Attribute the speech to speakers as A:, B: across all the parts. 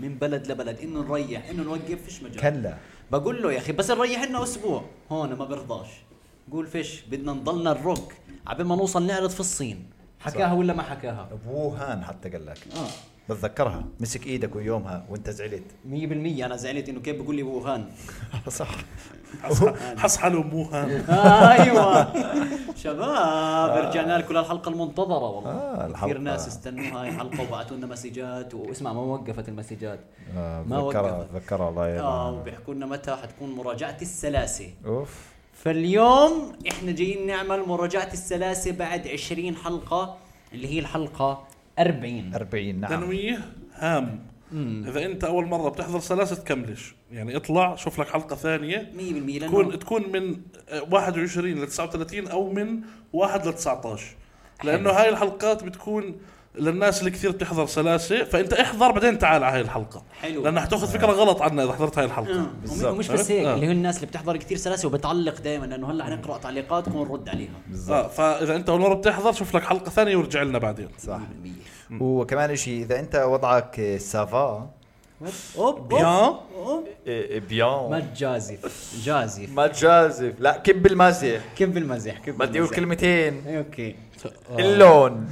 A: بلد لبلد انه نريح انه نوقف فيش مجال
B: كلا
A: بقول له يا اخي بس نريح لنا اسبوع هون ما برضاش قول فيش بدنا نضلنا الروك عبين ما نوصل نعرض في الصين حكاها
B: صح. آه.
A: ولا ما حكاها
B: بوهان حتى قال لك
A: اه
B: بتذكرها مسك ايدك ويومها وانت زعلت
A: 100% انا زعلت انه كيف بقول لي ووهان
B: صح
C: حصحل امها
A: ايوه شباب رجعنا لكم للحلقه المنتظره والله
B: آه، الحلقة.
A: كثير ناس استنوا هاي الحلقه وبعثوا لنا مسجات واسمع ما وقفت المسجات
B: آه،
A: ما
B: تذكرها
A: وقفت
B: تذكرها الله
A: اه
B: يلعنها.
A: وبيحكوا لنا متى حتكون مراجعه السلاسه
B: اوف
A: فاليوم احنا جايين نعمل مراجعه السلاسه بعد 20 حلقه اللي هي الحلقه 40
B: 40 نعم
C: تنويه هام اذا انت اول مره بتحضر سلاسه تكملش يعني اطلع شوف لك حلقه ثانيه
A: 100% لانه
C: تكون تكون من آه، 21 ل 39 او من 1 ل 19 لانه هاي الحلقات بتكون للناس اللي كثير بتحضر سلاسه فانت احضر بعدين تعال على هاي الحلقه
A: حلو.
C: لانها حتاخذ فكره غلط عنا اذا حضرت هاي الحلقه
B: بالظبط.
A: بالظبط مش آه، بس هيك
C: آه.
A: اللي هو الناس اللي بتحضر كثير سلاسه وبتعلق دائما لانه هلا حنقرا تعليقاتكم ونرد عليها
C: آه فاذا انت اول مره بتحضر شوف لك حلقه ثانيه وارجع لنا بعدين
B: صح
A: 100%
B: وكمان شيء اذا انت وضعك آه، سافا
A: اوب اوب
C: بيان
A: أوب. ما
B: إيه، بيان
A: تجازف جازف
B: ما تجازف لا كب المزح
A: كب المزح كب
B: بدي اقول
A: المزح.
B: كلمتين
A: إيه، اوكي
B: اللون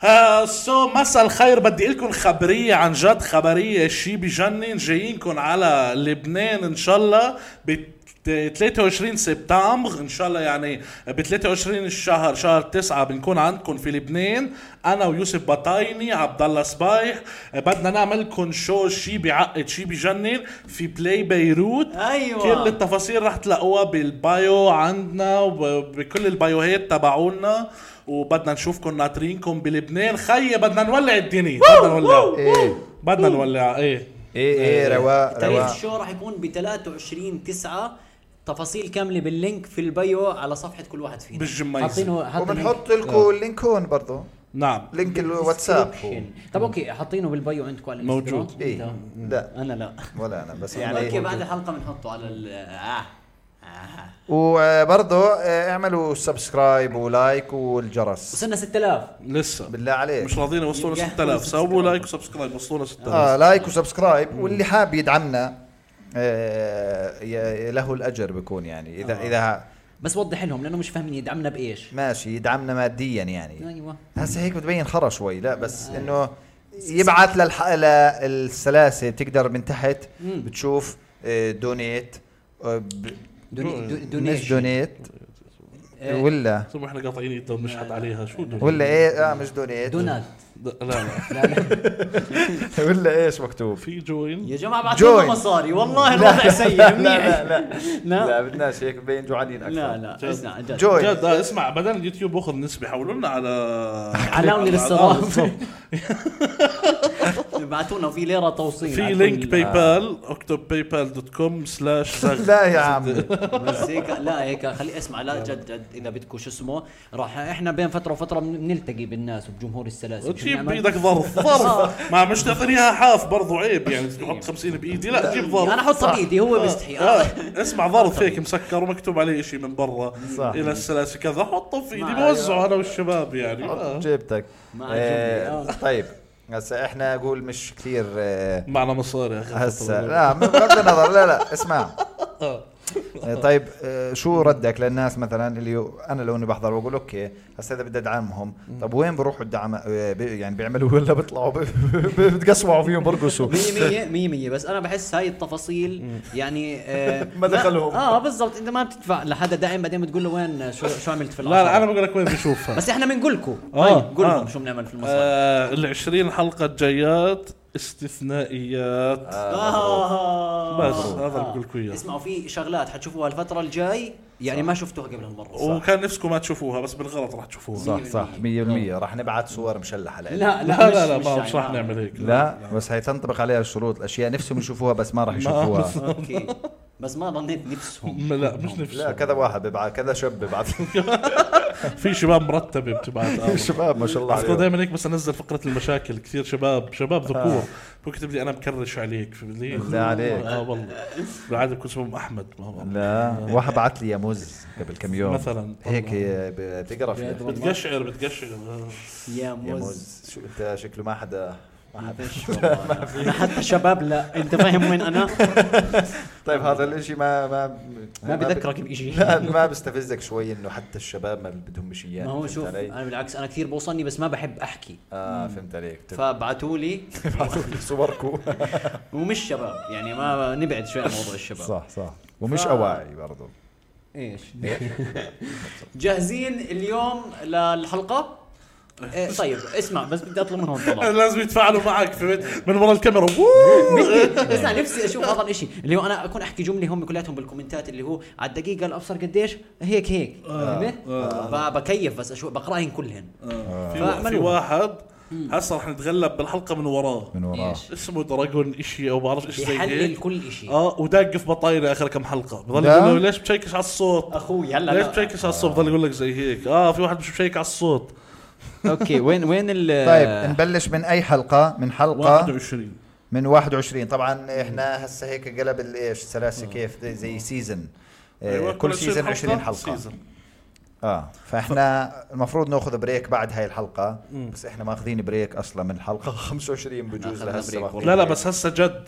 C: ها سو مساء الخير بدي لكم خبريه عن جد خبريه شي بجنن جايينكم على لبنان ان شاء الله ب 23 سبتمبر ان شاء الله يعني ب 23 الشهر شهر 9 بنكون عندكم في لبنان انا ويوسف بطايني عبد الله صبايح بدنا نعمل لكم شو شي بعقد شي بجنن في بلاي بيروت
A: أيوة.
C: كل التفاصيل رح تلاقوها بالبايو عندنا وبكل البايوهات تبعونا وبدنا نشوفكم ناطرينكم بلبنان خيي بدنا نولع الدنيا بدنا نولع
B: ايه
C: بدنا نولع ايه
B: ايه
A: إيه،
B: ايه رواق
A: تاريخ
B: رواق
A: الشو راح يكون ب 23 9 تفاصيل كامله باللينك في البايو على صفحه كل واحد فينا
C: بالجميزة.
A: حاطينه حاطين
B: وبنحط لكم اللينك هون برضه
C: نعم
B: لينك
A: لينك
B: الواتساب هو.
A: description. طب اوكي حاطينه بالبايو عندكم على
C: موجود.
A: الإنستغرام؟
B: ايه
A: إنت؟
B: لا
A: انا لا
B: ولا انا بس
A: يعني اوكي بعد
B: يعني
A: الحلقه بنحطه على ال آه. آه.
B: وبرضه آه، اعملوا سبسكرايب ولايك والجرس
A: وصلنا 6000
C: لسه
B: بالله عليك
C: مش راضيين يوصلونا
A: يبقى
C: 6000 سووا
A: سبسكرايب.
C: لايك وسبسكرايب وصلونا 6000
B: اه لايك وسبسكرايب واللي حاب يدعمنا آه، ي- له الاجر بكون يعني
A: آه.
B: اذا اذا
A: بس وضح لهم لانه مش فاهمين يدعمنا بايش
B: ماشي يدعمنا ماديا يعني
A: ايوه
B: هسه هيك بتبين خرا شوي لا بس
A: آه.
B: انه يبعث للح... للسلاسه بتقدر من تحت
A: مم.
B: بتشوف آه، دونيت آه، ب-
A: دوني- دو-
B: مش
A: دونيشن
B: دونيت
A: آه،
B: ولا
C: طب احنا قاطعين ايدنا وبنشحت عليها شو دون
B: ولا ايه اه مش دونيت
A: دونات
C: لا لا
A: لا لا
B: ولا ايش مكتوب
C: في جوين
A: يا جماعه بعتوا
B: Join.
A: لنا مصاري والله الوضع سيء منيح
B: لا
A: لا
B: بدناش هيك بين جوعانين
A: لا لا
C: جد.
A: اسمع جد
B: جوي
C: جد آه، اسمع بدل اليوتيوب باخذ نسبه حولوا لنا على
A: علامة للصرافة.
C: آه، بالضبط.
A: ابعتوا لنا في ليره توصيل
C: في
A: على
C: لينك
A: كل-
C: باي بال اكتب باي بال دوت كوم سلاش
B: لا يا عم
A: بس هيك لا هيك خلي اسمع لا جد جد اذا بدكم شو اسمه راح احنا بين فتره وفتره بن- بنلتقي بالناس وبجمهور السلاسل شو
C: تجيب
A: بنعمل؟
C: بايدك ظرف ظرف ما مش تعطينيها حاف برضو عيب يعني تحط 50 بايدي لا جيب
A: انا
C: ظرف
A: احطها بايدي هو مستحي
C: آه.
A: آه.
C: اسمع ظرف هيك مسكر ومكتوب عليه شيء من برا
B: صح.
C: الى السلاسل كذا حطه في ايدي
A: ما
C: بوزعه انا والشباب يعني آه.
B: حط جيبتك
A: مع
B: آه،
A: جملة.
B: طيب هسا احنا اقول مش كثير آه،
C: معنا مصاري يا اخي
B: هسا لا م- بغض النظر لا لا اسمع آه، طيب آه، شو ردك للناس مثلا اللي انا لو اني بحضر بقول اوكي هسا اذا بدي ادعمهم طب وين بروحوا الدعم آه، بي- يعني بيعملوا ولا بيطلعوا بي- بتقسوعوا فيهم برقصوا
A: مية مية مية مية بس أنا بحس هاي التفاصيل يعني آه
B: ما دخلهم.
A: آه بالضبط أنت ما بتدفع لحدا دائم بعدين بتقول له وين شو شو عملت في
C: لا لا
A: العشرة.
C: انا بقول لك وين بشوفها
A: بس إحنا بنقول لكم
C: آه،
A: آه قول لهم
C: آه.
A: شو بنعمل في المصاري
C: آه ال 20 حلقه الجايات استثنائيات
A: آه
C: بس هذا اللي بقول لكم اياه
A: اسمعوا في شغلات حتشوفوها الفترة الجاي يعني ما شفتوها قبل هالمرة
C: وكان نفسكم ما تشوفوها بس بالغلط راح تشوفوها
B: صح صح 100% راح نبعث صور مشلحه لإلك.
A: لا
C: لا لا لا ما
A: يعني.
C: مش راح نعمل هيك
B: لا بس حيتنطبق عليها الشروط الاشياء نفسهم يشوفوها بس ما راح يشوفوها
A: أوكي بس ما ظنيت نفسهم
C: م- لا مش نفسي
B: لا كذا واحد ببعث كذا شاب ببعث
C: في شباب مرتبه بتبعت
B: شباب ما شاء الله
C: اذكر
B: عليهم
C: دائما هيك بس انزل فكره المشاكل كثير شباب شباب ذكور بكتب لي انا مكرش عليك ليه؟
B: آه. بالله عليك.
C: اه والله بالعاده بكون اسمهم احمد ما بعرف.
B: لا واحد بعت لي يا موز قبل كم يوم
C: مثلاً.
B: هيك بتقرف يا أخي.
C: بتقشعر آه. بتقشعر
A: يا
B: يا
A: موز
B: موز شو انت شكله ما حدا
A: ما فيش والله. انا حتى شباب لا انت فاهم وين انا
B: طيب هذا الاشي ما ما
A: ما
B: ب-
A: بذكرك بشيء
B: لا ما بستفزك شوي انه حتى الشباب ما بدهم شيء اياه
A: ما هو
B: فهمت
A: شوف
B: علي؟
A: انا بالعكس انا كثير بوصلني بس ما بحب احكي
B: اه فهمت عليك
A: طيب. فابعتوا لي
B: ابعثوا لي صوركم
A: ومش شباب يعني ما نبعد شوي عن موضوع الشباب
B: صح صح ومش
A: ف-
B: اواعي برضه
A: ايش جاهزين اليوم للحلقه إيه طيب اسمع بس بدي اطلب من هون طلب
C: لازم يتفاعلوا معك في من ورا الكاميرا
A: بس انا نفسي اشوف هذا الاشي اللي هو انا اكون احكي جمله هم كلياتهم بالكومنتات اللي هو على الدقيقه الابصر قديش هيك هيك
C: آه،
A: فهمت؟ ب- بكيف بس اشوف بقراهن كلهن
C: في, في
A: فمنو؟
C: واحد هسه رح نتغلب بالحلقه من وراه
B: من وراه
A: إيش؟
C: اسمه دراجون اشي او بعرف ايش زي
A: بيحلل
C: هيك
A: كل اشي
C: اه وداق في بطاينه اخر كم حلقه بضل
B: ده؟
C: يقول له ليش بتشيكش على الصوت
A: اخوي هلا
C: ليش
A: لا.
C: بتشيكش على الصوت بضل يقول لك زي هيك اه في واحد مش مشيك على الصوت
A: اوكي وين وين ال
B: طيب نبلش من اي حلقه من حلقه
C: 21
B: من 21 طبعا احنا هسه هيك قلب الايش سلاسه كيف زي سيزن
C: أيوة،
B: آه. كل سيزن
C: حلقة
B: 20 حلقه
C: سيزن.
B: اه فاحنا المفروض ناخذ بريك بعد هاي الحلقه بس احنا ماخذين بريك اصلا من الحلقه 25 بجوز
A: أخذنا
B: لهسه
A: بريك
B: ماخذين
C: لا لا
B: بريك.
C: بس هسه جد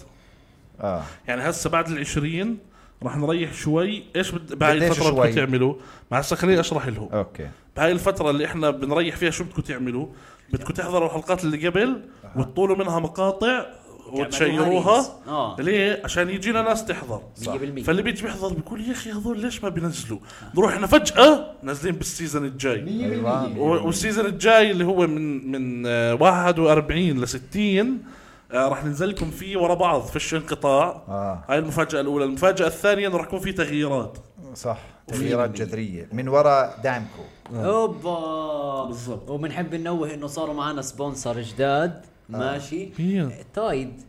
B: اه
C: يعني هسه بعد ال 20 رح نريح شوي ايش بد... بهاي
B: قديش
C: الفتره
B: شوي؟
C: بدكم تعملوا ما هسه خليني اشرح لهم
B: اوكي
C: بهاي الفترة اللي احنا بنريح فيها شو بدكم تعملوا؟ بدكم تحضروا الحلقات اللي قبل
B: آه.
C: وتطولوا منها مقاطع وتشيروها
A: آه.
C: ليه؟ عشان يجينا ناس تحضر
A: 100%.
C: فاللي بيجي بيحضر بيقول يا اخي هذول ليش ما بينزلوا؟ نروح احنا فجأة نازلين بالسيزون الجاي
B: أيوة.
C: و- والسيزون الجاي اللي هو من من آه، 41 ل 60 آه، راح ننزل لكم فيه ورا بعض فيش انقطاع
B: آه.
C: هاي المفاجأة الأولى، المفاجأة الثانية انه راح يكون في تغييرات
B: صح تغييرات جذريه من وراء دعمكم
A: اوبا
C: بالضبط.
A: وبنحب ننوه انه صاروا معنا سبونسر جداد ماشي
C: مين؟
A: تايد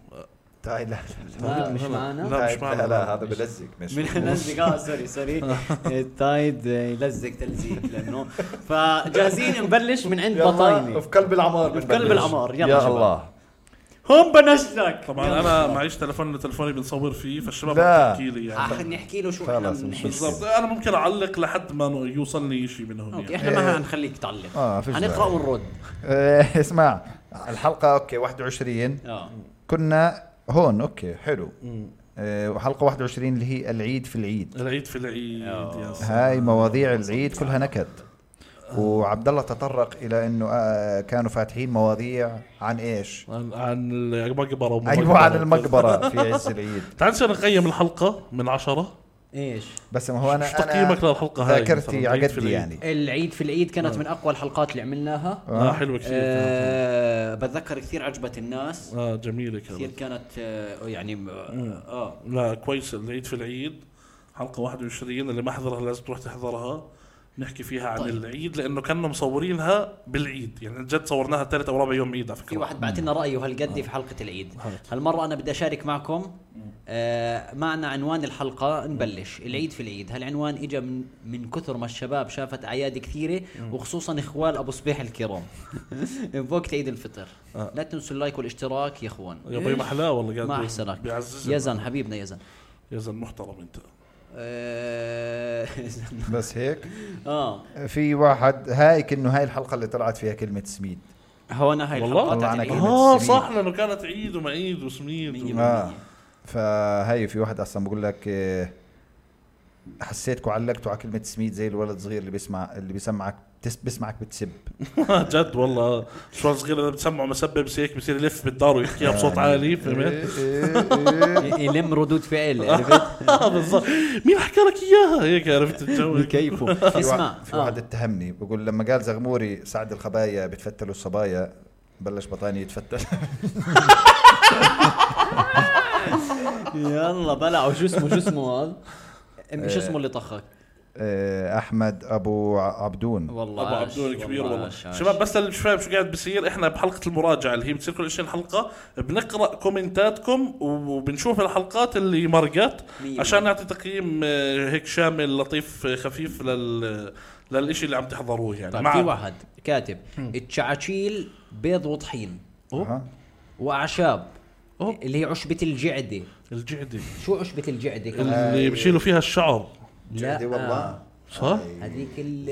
B: تعال لا
A: ما مش معنا
C: لا. مش
B: لا
C: معنا.
B: لا لا هذا بلزق مش
A: بنلزق اه سوري سوري تايد يلزق تلزيق لانه فجاهزين نبلش من عند بطاينه
B: في قلب العمار
A: في قلب العمار يلا
B: يا
A: شباب.
B: الله
A: هم بنزلك
C: طبعا انا معيش تلفون تلفوني بنصور فيه فالشباب
B: لا.
C: رح تحكي لي يعني
A: أح- نحكي آه، له شو احنا
B: خلاص
A: بنحس
B: مش
C: بالضبط انا ممكن اعلق لحد ما نو- يوصلني شيء منهم
A: اوكي
C: يعني
A: احنا ما حنخليك تعلم
B: إيه. آه، فيش
A: حنقرا
B: داعي.
A: ونرد
B: إيه، اسمع الحلقه اوكي 21
A: اه
B: كنا هون اوكي حلو إيه، وحلقه 21 اللي هي العيد في العيد
C: العيد في العيد يا سلام.
B: هاي مواضيع العيد كلها نكد وعبد الله تطرق الى انه آه، كانوا فاتحين مواضيع عن ايش؟
C: عن عن المقبره وما
B: ايوه عن
C: مقبرة.
B: المقبره في عز العيد
C: تعال نصير نقيم الحلقه من عشرة
A: ايش
B: بس ما هو انا
C: شو تقييمك
B: أنا
C: للحلقة هاي
B: ذاكرتي
C: مثلاً؟
B: على
C: العيد في
B: قدي
C: العيد.
B: يعني
A: العيد في العيد كانت
B: آه.
A: من اقوى الحلقات اللي عملناها
C: اه حلوه كثير كانت.
A: آه بتذكر كثير عجبت الناس
C: اه جميله
A: كثير
C: كانت
A: كانت آه يعني م- اه
C: آه. لا كويس العيد في العيد حلقه 21 اللي ما حضرها لازم تروح تحضرها نحكي فيها عن
A: طيب.
C: العيد لانه كانوا مصورينها بالعيد يعني عن جد صورناها ثالث او رابع يوم عيد على
A: في
C: فكره
A: واحد بعت لنا رايه هالقد في حلقه العيد هالمره انا بدي اشارك معكم آه معنا عنوان الحلقه نبلش العيد في العيد هالعنوان اجى من من كثر ما الشباب شافت اعياد كثيره وخصوصا اخوال ابو صبيح الكرام بوقت عيد الفطر لا تنسوا اللايك والاشتراك يا اخوان
C: آه. يا ابوي ما احلاه والله قاعد
A: ما
C: بي-
A: احسنك
C: بيعززك
A: يزن حبيبنا يزن
C: يزن محترم انت
A: آه
B: بس هيك
A: اه
B: في واحد هايك انه هاي الحلقه اللي طلعت فيها كلمه سميد
A: هو انا هاي
C: والله؟
A: الحلقه
B: والله
A: تاعت
B: أنا
A: العيد.
B: كلمة
C: اه
B: سميد.
C: صح لانه كانت عيد وما عيد وسميد و...
A: إيه، مية.
B: اه فهاي في واحد اصلا بقول لك آه، حسيتكم علقتوا على كلمه سميد زي الولد الصغير اللي بيسمع اللي بيسمعك بتس بيسمعك بتسب
C: آه، جد والله شو صغير اذا بتسمعه مسبب بس هيك بصير يلف بالدار ويحكيها بصوت
A: يعني
B: يعني
C: عالي
B: إيه،
A: إيه.
C: فهمت؟
A: يلم ردود فعل عرفت
C: آه، بالضبط مين حكى لك اياها هيك عرفت الجو
A: كيفه
B: في
A: اسمع آه.
B: واحد, في واحد اتهمني بقول لما قال زغموري سعد الخبايا بتفتلوا الصبايا بلش بطاني يتفتل
A: يلا بلعوا شو اسمه شو اسمه هذا أم- شو اسمه اللي طخك
B: آه، احمد ابو ع- عبدون
A: والله
C: ابو
A: عاش،
C: عبدون الكبير والله
A: عاش، عاش.
C: شباب بس اللي مش فاهم شو قاعد بصير احنا بحلقه المراجعه اللي هي بتصير كل 20 حلقه بنقرا كومنتاتكم وبنشوف الحلقات اللي مرقت
A: مية
C: عشان
A: بالمية.
C: نعطي تقييم آه، هيك شامل لطيف آه، خفيف لل للشيء اللي عم تحضروه يعني
A: طيب في
C: مع
A: واحد كاتب التشعشيل بيض وطحين
B: ها؟
A: واعشاب
C: أوه.
A: اللي هي عشبة الجعدة
C: الجعدي
A: شو عشبة الجعدة كمان؟
C: اللي بشيلوا فيها الشعر
A: لا آه.
B: جعدة والله.
C: صح؟
A: هذيك ال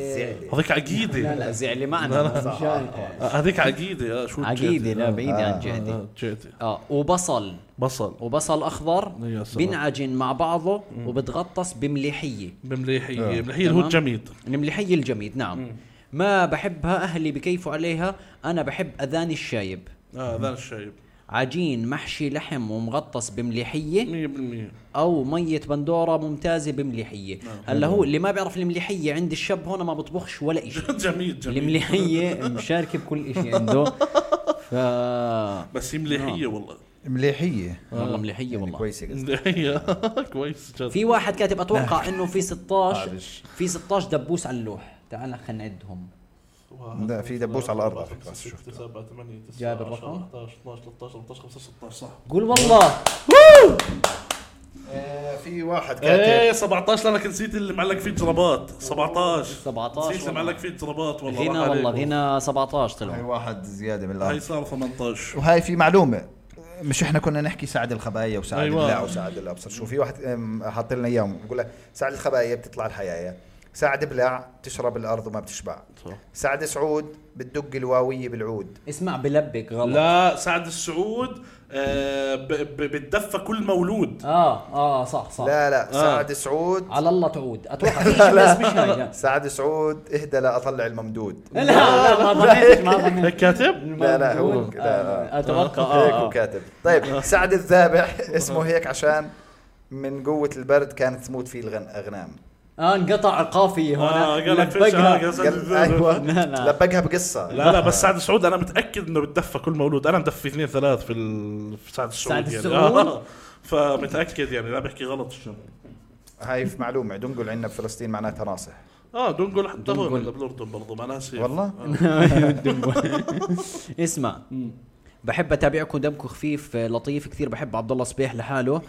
C: هذيك
A: لا
C: عقيدة
A: لا زعلي معنا مش هيك.
C: هذيك عقيدة آه، شو
A: عقيدة لا بعيدة عن جهدي
C: جهدي جهدي
A: اه وبصل
C: بصل
A: وبصل اخضر
C: يا سلام.
A: بينعجن مع بعضه وبتغطس بمليحيه آه.
C: بمليحية مليحية
A: تمام.
C: هو الجميد
A: المليحيه الجميد نعم ما بحبها اهلي بكيفوا عليها انا بحب اذاني الشايب
C: اه هذا الشايب
A: عجين محشي لحم ومغطس بمليحيه
C: 100%
A: او ميه بندوره ممتازه بمليحيه هلا هو اللي ما بيعرف المليحيه عند الشاب هون ما بطبخش ولا إشي
C: جميل جميل
A: المليحيه مشاركه بكل إشي عنده ف
C: بس هي مليحية والله
B: مليحيه
C: آه.
A: والله مليحيه
B: يعني
A: والله
B: كويسه قصدي.
C: مليحية كويس جد
A: في واحد كاتب اتوقع انه في 16
B: عارف.
A: في 16 دبوس على اللوح تعال خلينا نعدهم
C: واحد،
B: لا، في دبوس
C: اثنين،
B: على الأرض
C: أربعة،
B: على فكرة،
C: خمسة،
B: بس
C: ستة، سبعة، ثمانية، تسعة،
A: جايب
C: عشرة،
A: الرقم؟
C: 11 12 13 14 15 16 صح
A: قول والله
B: آه، في واحد
C: ايه
B: كاتب
C: 17 لانك نسيت اللي معلق فيه جرابات 17
A: 17
C: نسيت اللي
A: والله.
C: معلق فيه جرابات والله
A: فينا
C: راح عليك.
A: والله فينا 17
B: هاي
A: طلعوا
B: واحد زياده من
C: هاي
B: الارض
C: صار 18
B: وهاي في معلومه مش احنا كنا نحكي سعد الخبايا وسعد
C: أيوة.
B: أيوة. البلاع وسعد الابصر شو في واحد أم، حاط لنا اياهم بقول لك سعد الخبايا بتطلع الحيايا سعد بلاع تشرب الارض وما بتشبع
C: صح.
B: سعد سعود بتدق الواويه بالعود
A: اسمع بلبك غلط
C: لا سعد السعود آه ب- ب- بتدفى كل مولود
B: آه.
A: اه اه صح صح
B: لا لا
C: آه.
B: سعد سعود
A: على الله تعود اتوقع في شيء بس مش هاي لا
B: سعد سعود اهدى لا اطلع الممدود
A: لا لا ما ظنيتش ما
C: هيك
A: ظنيتش
C: كاتب
B: لا لا هو
A: الموجود.
B: كده
A: آه، اتوقع
B: هيك
A: آه،
B: هو
A: آه.
B: كاتب طيب سعد الذابح اسمه هيك عشان من قوة البرد كانت تموت فيه الغن- الاغنام
A: اه انقطع قافية
C: اه
A: هون
C: قال لك فيش آه، قال
A: لبقها
C: سعد
B: قال
C: السعود.
B: ايوه
A: لا، لا.
B: لبقها بقصة
C: لا لا بس سعد السعود انا متاكد انه بتدفى كل مولود انا مدفي اثنين ثلاث في, ال... في سعد السعود
A: سعد
C: يعني
A: السعود؟
C: آه. فمتاكد يعني لا بحكي غلط شو.
B: هاي في معلومة دنقل عندنا بفلسطين معناتها ناصح
C: اه دونجول حتى هون
A: دونجول.
C: ولا بالاردن برضه ما ناسي آه،
B: والله
A: اسمع بحب اتابعكم دمكم خفيف آه، لطيف كثير بحب عبد الله صبيح لحاله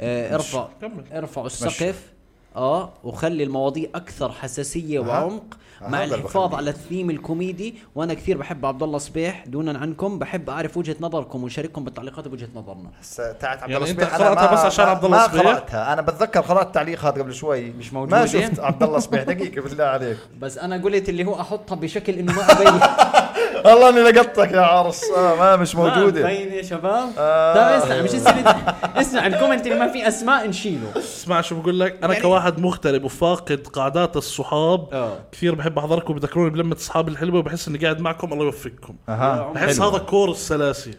A: آه، ارفع
C: كمل.
A: ارفعوا السقف اه وخلي المواضيع اكثر حساسيه
B: أها.
A: وعمق
B: أها،
A: مع
B: هذا
A: الحفاظ
B: بخليه.
A: على الثيم الكوميدي وانا كثير بحب عبد الله صبيح دونا عنكم بحب اعرف وجهه نظركم ونشارككم بالتعليقات بوجهه نظرنا
B: هسا تاعت عبد
C: يعني
B: الله
C: أنت
B: صبيح
C: قرأتها
B: ما-
C: بس عشان
B: ما-
C: عبد الله صبيح؟
B: ما قرأتها انا بتذكر قرأت تعليق هذا قبل شوي
A: مش
B: ما
A: موجودة؟
B: شفت عبد الله صبيح دقيقة بالله عليك
A: بس انا قلت اللي هو احطها بشكل انه ما ابين
B: والله اني لقطتك يا عرس آه ما طيب. مش موجودة
A: باين يا شباب
B: آه.
A: طيب اسمع مش يصير اسمع الكومنت اللي ما فيه اسماء نشيله
C: اسمع شو بقول لك
A: يعني
C: انا كواحد مغترب وفاقد قعدات الصحاب
A: آه.
C: كثير بحب احضركم بتذكروني بلمه اصحابي الحلوه وبحس اني قاعد معكم الله يوفقكم
A: آه،
B: اها
C: بحس هذا كور السلاسي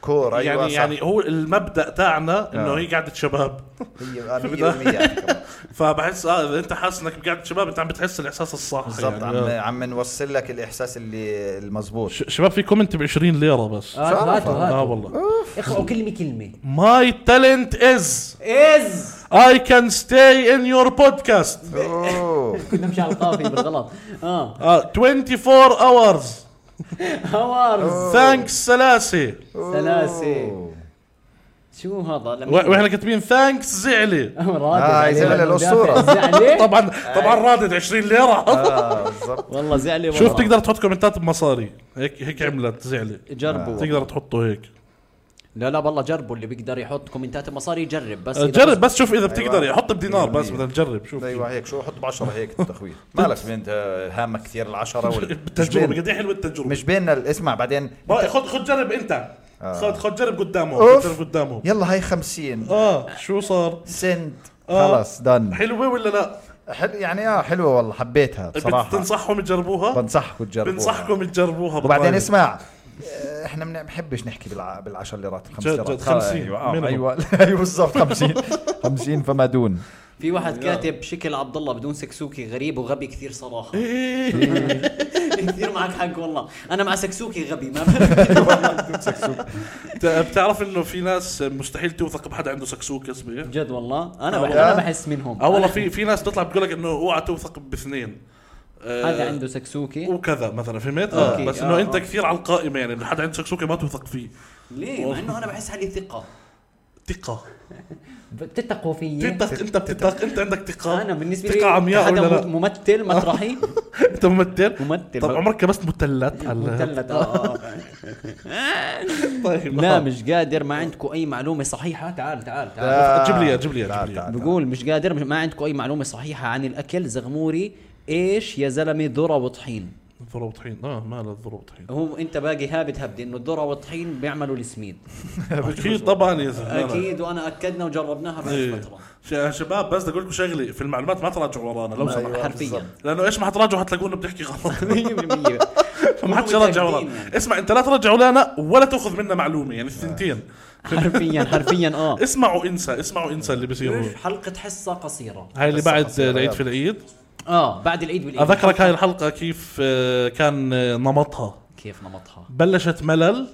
B: كور
C: يعني
B: ايوه
C: أيوة
B: صح.
C: يعني هو المبدا تاعنا انه
B: آه.
C: هي قعده شباب
B: هي آه، 100% على فكرة.
C: فبحس اه اذا انت حاسس انك قاعده شباب انت عم بتحس الاحساس الصح
B: بالضبط
C: يعني.
B: عم
C: آه.
B: عم نوصل لك الاحساس اللي المزبوط
C: ش- شباب في كومنت ب 20 ليره بس
A: آه، هاتوا
C: اه
A: هاتوا
C: والله
A: اقرأوا كلمه كلمه
C: ماي تالنت از
A: از
C: اي كان ستاي ان يور بودكاست
B: اوه
A: كنا مش على القافية بالغلط اه
C: آه، 24 اورز
A: هوارز
C: ثانكس سلاسي
A: سلاسي شو هذا لما
C: و- واحنا كاتبين ثانكس زعلي
A: رادد
B: آه،
A: عليه
B: زعل
A: المدافع.
B: الأسطورة.
A: زعلي
C: طبعا طبعا رادد 20 ليره
B: آه، بالضبط
A: والله زعلي والله
C: شوف تقدر تحط كومنتات بمصاري هيك هيك عملت زعلي
A: جربوا
C: آه. تقدر تحطه هيك
A: لا لا والله جربوا اللي بيقدر يحط كومنتات مصاري يجرب بس إذا
C: آه، جرب بس شوف اذا بتقدر
B: أيوة.
C: حط بدينار بس
B: بالمية.
C: بدنا نجرب شوف
B: ايوه هيك شو حط ب 10 هيك التخويف مالك انت هامك كثير العشرة ولا مش
C: التجربه
B: بين
C: قد ايه حلوه التجربه
B: مش بيننا ال- اسمع بعدين
C: با- خد خد جرب انت
B: آه.
C: خد خد جرب قدامه خد
B: أوف.
C: جرب قدامه
B: يلا هاي 50
C: اه شو صار
B: سنت
C: آه.
B: خلص دن
C: حلوه ولا لا
B: حلو يعني اه حلوه والله حبيتها بصراحه
C: بتنصحهم يجربوها
B: بنصحكم طيب. تجربوها
C: بنصحكم تجربوها
B: وبعدين
C: بالطريقة.
B: اسمع آه، احنا ما بنحبش نحكي بالع... بالعشر ليرات الخمس
C: جد-
B: ليرات
C: جد، أيوة.
B: خلاص،
C: 50
B: ايوه آه،
C: minimum.
B: ايوه ايوه بالضبط 50 50 فما دون
A: في واحد كاتب شكل عبد الله بدون سكسوكي غريب وغبي كثير صراحه
C: إيه.
A: كثير معك حق والله انا مع سكسوكي غبي ما بحب.
C: بت- بتعرف انه في ناس مستحيل توثق بحد عنده سكسوك اصبع
A: جد والله انا
B: آه.
A: بحس انا بحس منهم
C: اه والله في في ناس تطلع بتقول لك انه اوعى توثق باثنين آه،
A: هذا عنده سكسوكي
C: وكذا مثلا فهمت؟ اه
A: أوكي،
C: بس
A: آه،
C: انه
A: آه.
C: انت كثير على القائمه يعني انه حد عنده سكسوكه ما توثق فيه
A: ليه مع انه انا بحس حالي ثقه
C: ثقه
A: بتتقوا فيي
C: تتق انت بتتق انت عندك ثقه
A: انا بالنسبه لي
C: ثقه عمياء ولا
A: هذا
C: لا
A: ممثل مسرحي
C: انت ممثل
A: ممثل.
C: طب عمرك كبست مثلث هلا؟
A: مثلث آه، آه.
C: طيب
A: لا مش قادر ما عندكم اي معلومه صحيحه تعال تعال تعال
C: جيب لي إياه، جيب لي إياه،
B: تعال،
C: جيب لي إياه.
B: تعال، تعال.
A: بقول مش قادر مش- ما عندكم اي معلومه صحيحه عن الاكل زغموري ايش يا زلمه ذره وطحين
C: الذره وطحين اه مال الذره وطحين
A: هو انت باقي هابت هبدي انه الذره والطحين بيعملوا السميد
C: اكيد طبعا يا زلمه
A: اكيد وانا اكدنا وجربناها
C: إيه.
A: بعد فتره
C: يا شباب بس بدي اقول لكم شغله في المعلومات ما تراجعوا ورانا لو سمحت
A: حرفيا
C: لانه ايش ما حتراجعوا حتلاقونا بنحكي غلط
A: 100%
C: فما حدش يرجع
A: متأكدين
C: ورانا
A: يعني.
C: اسمع انت لا ترجع ورانا ولا تاخذ منا معلومه يعني الثنتين
A: حرفيا حرفيا اه
C: اسمعوا انسى اسمعوا انسى اللي بيصير هون.
A: حلقه حصه قصيره
C: هاي اللي
B: قصة
C: بعد
B: قصيرة،
C: العيد
B: يلا.
C: في العيد آه.
A: اه بعد العيد بالعيد
C: اذكرك هاي الحلقه كيف آه، كان آه، نمطها
A: كيف نمطها
C: بلشت ملل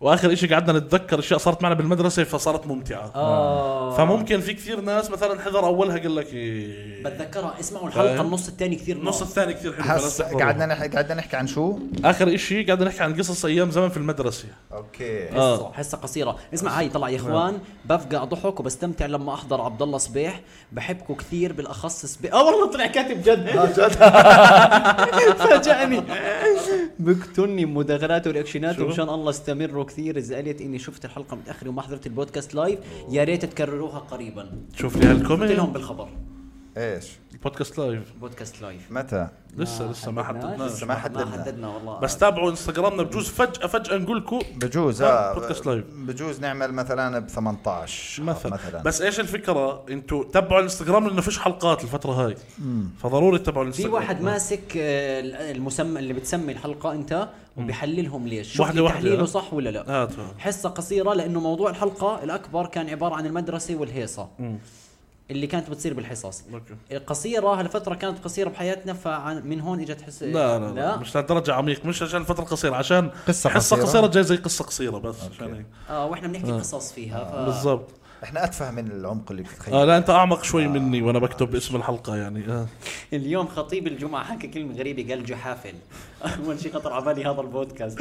C: واخر شيء قعدنا نتذكر اشياء صارت معنا بالمدرسه فصارت ممتعه
A: اه
C: فممكن في كثير ناس مثلا حضر اولها قال لك إيه،
A: بتذكرها اسمعوا
C: فاهم؟
A: الحلقه النص الثاني كثير
C: النص
A: نار.
C: الثاني كثير حلو
B: نعم. حس نعم.
C: فلازم تحضره.
B: قعدنا نحكي قعدنا نحكي عن شو؟
C: اخر شيء قاعد نحكي عن قصص ايام زمان في المدرسه
B: اوكي
A: حصه حصه قصيره اسمع هاي طلع يا اخوان بفقع ضحك وبستمتع لما احضر عبد الله صبيح بحبكم كثير بالاخص صبيح اه والله طلع كاتب جد فاجأني بقتلني مداخلاته ورياكشناته
C: شو؟
A: ومشان الله استمروا كثير زعلت اني شفت الحلقه متاخره وما حضرت البودكاست لايف يا ريت تكرروها قريبا
C: شوف لي
A: قلت
C: هالكومنت
A: لهم بالخبر
B: ايش؟
C: البودكاست لايف
A: بودكاست لايف
B: متى؟
C: لسه لسه ما
A: حددناش،
C: حددناش
B: لسه ما
A: ما
B: حددنا.
A: حددنا والله
C: بس تابعوا انستغرامنا بجوز فجاه فجاه نقول لكم
B: بجوز
C: آه،
B: اه
C: بودكاست لايف.
B: بجوز نعمل مثلا ب 18
C: مثلا.
B: مثلا
C: بس ايش الفكره انتوا تبعوا الانستغرام لانه فيش حلقات الفتره هاي فضروري تتابعوا
A: في
C: الانستغرام
A: واحد ماسك آه، المسمى اللي بتسمي الحلقه انت وبحللهم ليش شوف
C: واحدة
A: لي
C: واحدة.
A: تحليله صح ولا لا
C: هات هات.
A: حصه قصيره لانه موضوع الحلقه الاكبر كان عباره عن المدرسه والهيصه اللي كانت بتصير بالحصص
C: أوكي.
A: قصيره هالفتره كانت قصيره بحياتنا فمن هون اجت حصه
C: لا لا, لا مش لدرجه عميق مش عشان فتره قصيره عشان
B: قصة
C: حصه
B: قصيرة.
C: قصيره جاي زي قصه قصيره بس عشان هيك
A: اه واحنا بنحكي قصص فيها ف...
C: آه. بالضبط
B: احنا اتفه من العمق اللي بتتخيل
C: آه لا انت اعمق شوي مني وانا بكتب اسم الحلقه يعني آه.
A: اليوم خطيب الجمعه حكى كلمه غريبه قال جحافل اول شيء خطر على بالي هذا البودكاست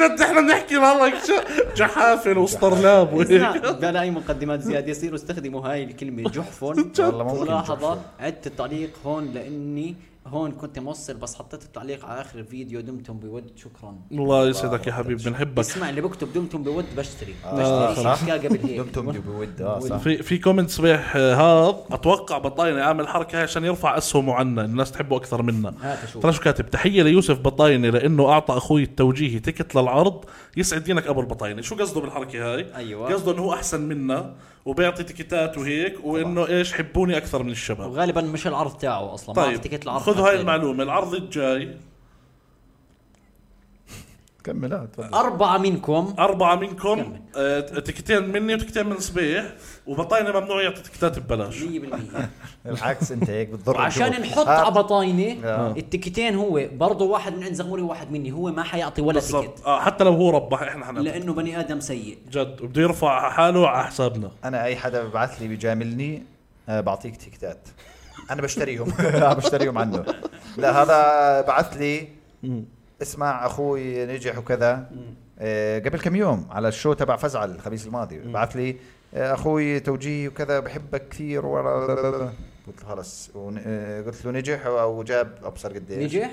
C: جد احنا بنحكي والله ج- جحافل واسطرلاب وهيك
A: لا، بلا اي مقدمات زياده يصيروا استخدموا هاي الكلمه جحفن
B: والله ممكن
A: ملاحظه
B: جحفن.
A: عدت التعليق هون لاني هون كنت موصل بس حطيت التعليق على اخر الفيديو دمتم بود شكرا
C: الله يسعدك يا حبيبي بنحبك
A: اسمع اللي بكتب دمتم بود بشتري
B: آه،
A: بشتري
B: صح.
A: شيكا قبل هيك
B: دمتم دي بود اه صح
C: في في كومنت صبيح آه، هذا اتوقع بطاينه عامل حركه هاي عشان يرفع اسهمه عنا الناس تحبه اكثر منا
A: هات شوف.
C: ترى شو كاتب تحيه ليوسف بطاينه لانه اعطى اخوي التوجيهي تكت للعرض يسعد دينك ابو البطاينه شو قصده بالحركه هاي
A: أيوة.
C: قصده انه هو احسن منا وبيعطي تكتات وهيك وانه ايش حبوني اكثر من الشباب
A: وغالبا مش العرض تاعه اصلا ما
C: طيب
A: اعطيك العرض
C: خذوا هاي
A: حقين.
C: المعلومه العرض الجاي
B: كمل آه، تفضل
A: اربعه منكم
C: أربعة منكم آه، تكتين مني وتكتين من صبيح وبطاينة ممنوع يعطي تكتات ببلاش
A: 100%
B: بالعكس انت هيك بتضر
A: عشان
B: الجو.
A: نحط
B: آه،
A: على بطاينه
B: آه.
A: التكتين هو برضه واحد من عند زغموري وواحد مني هو ما حيعطي ولا تكت
C: بالضبط آه حتى لو هو ربح احنا حنعطي
A: لانه بني ادم سيء
C: جد وبده يرفع حاله على حسابنا
B: انا اي حدا ببعث لي بجاملني آه، بعطيك تيكتات انا بشتريهم آه، بشتريهم عنه لا هذا بعث لي اسمع اخوي نجح وكذا آه، قبل كم يوم على الشو تبع فزعل الخميس الماضي بعث لي آه، اخوي توجيهي وكذا بحبك كثير ورا- قلت له خلص ون- آه، قلت له نجح وجاب ابصر قديش
A: نجح؟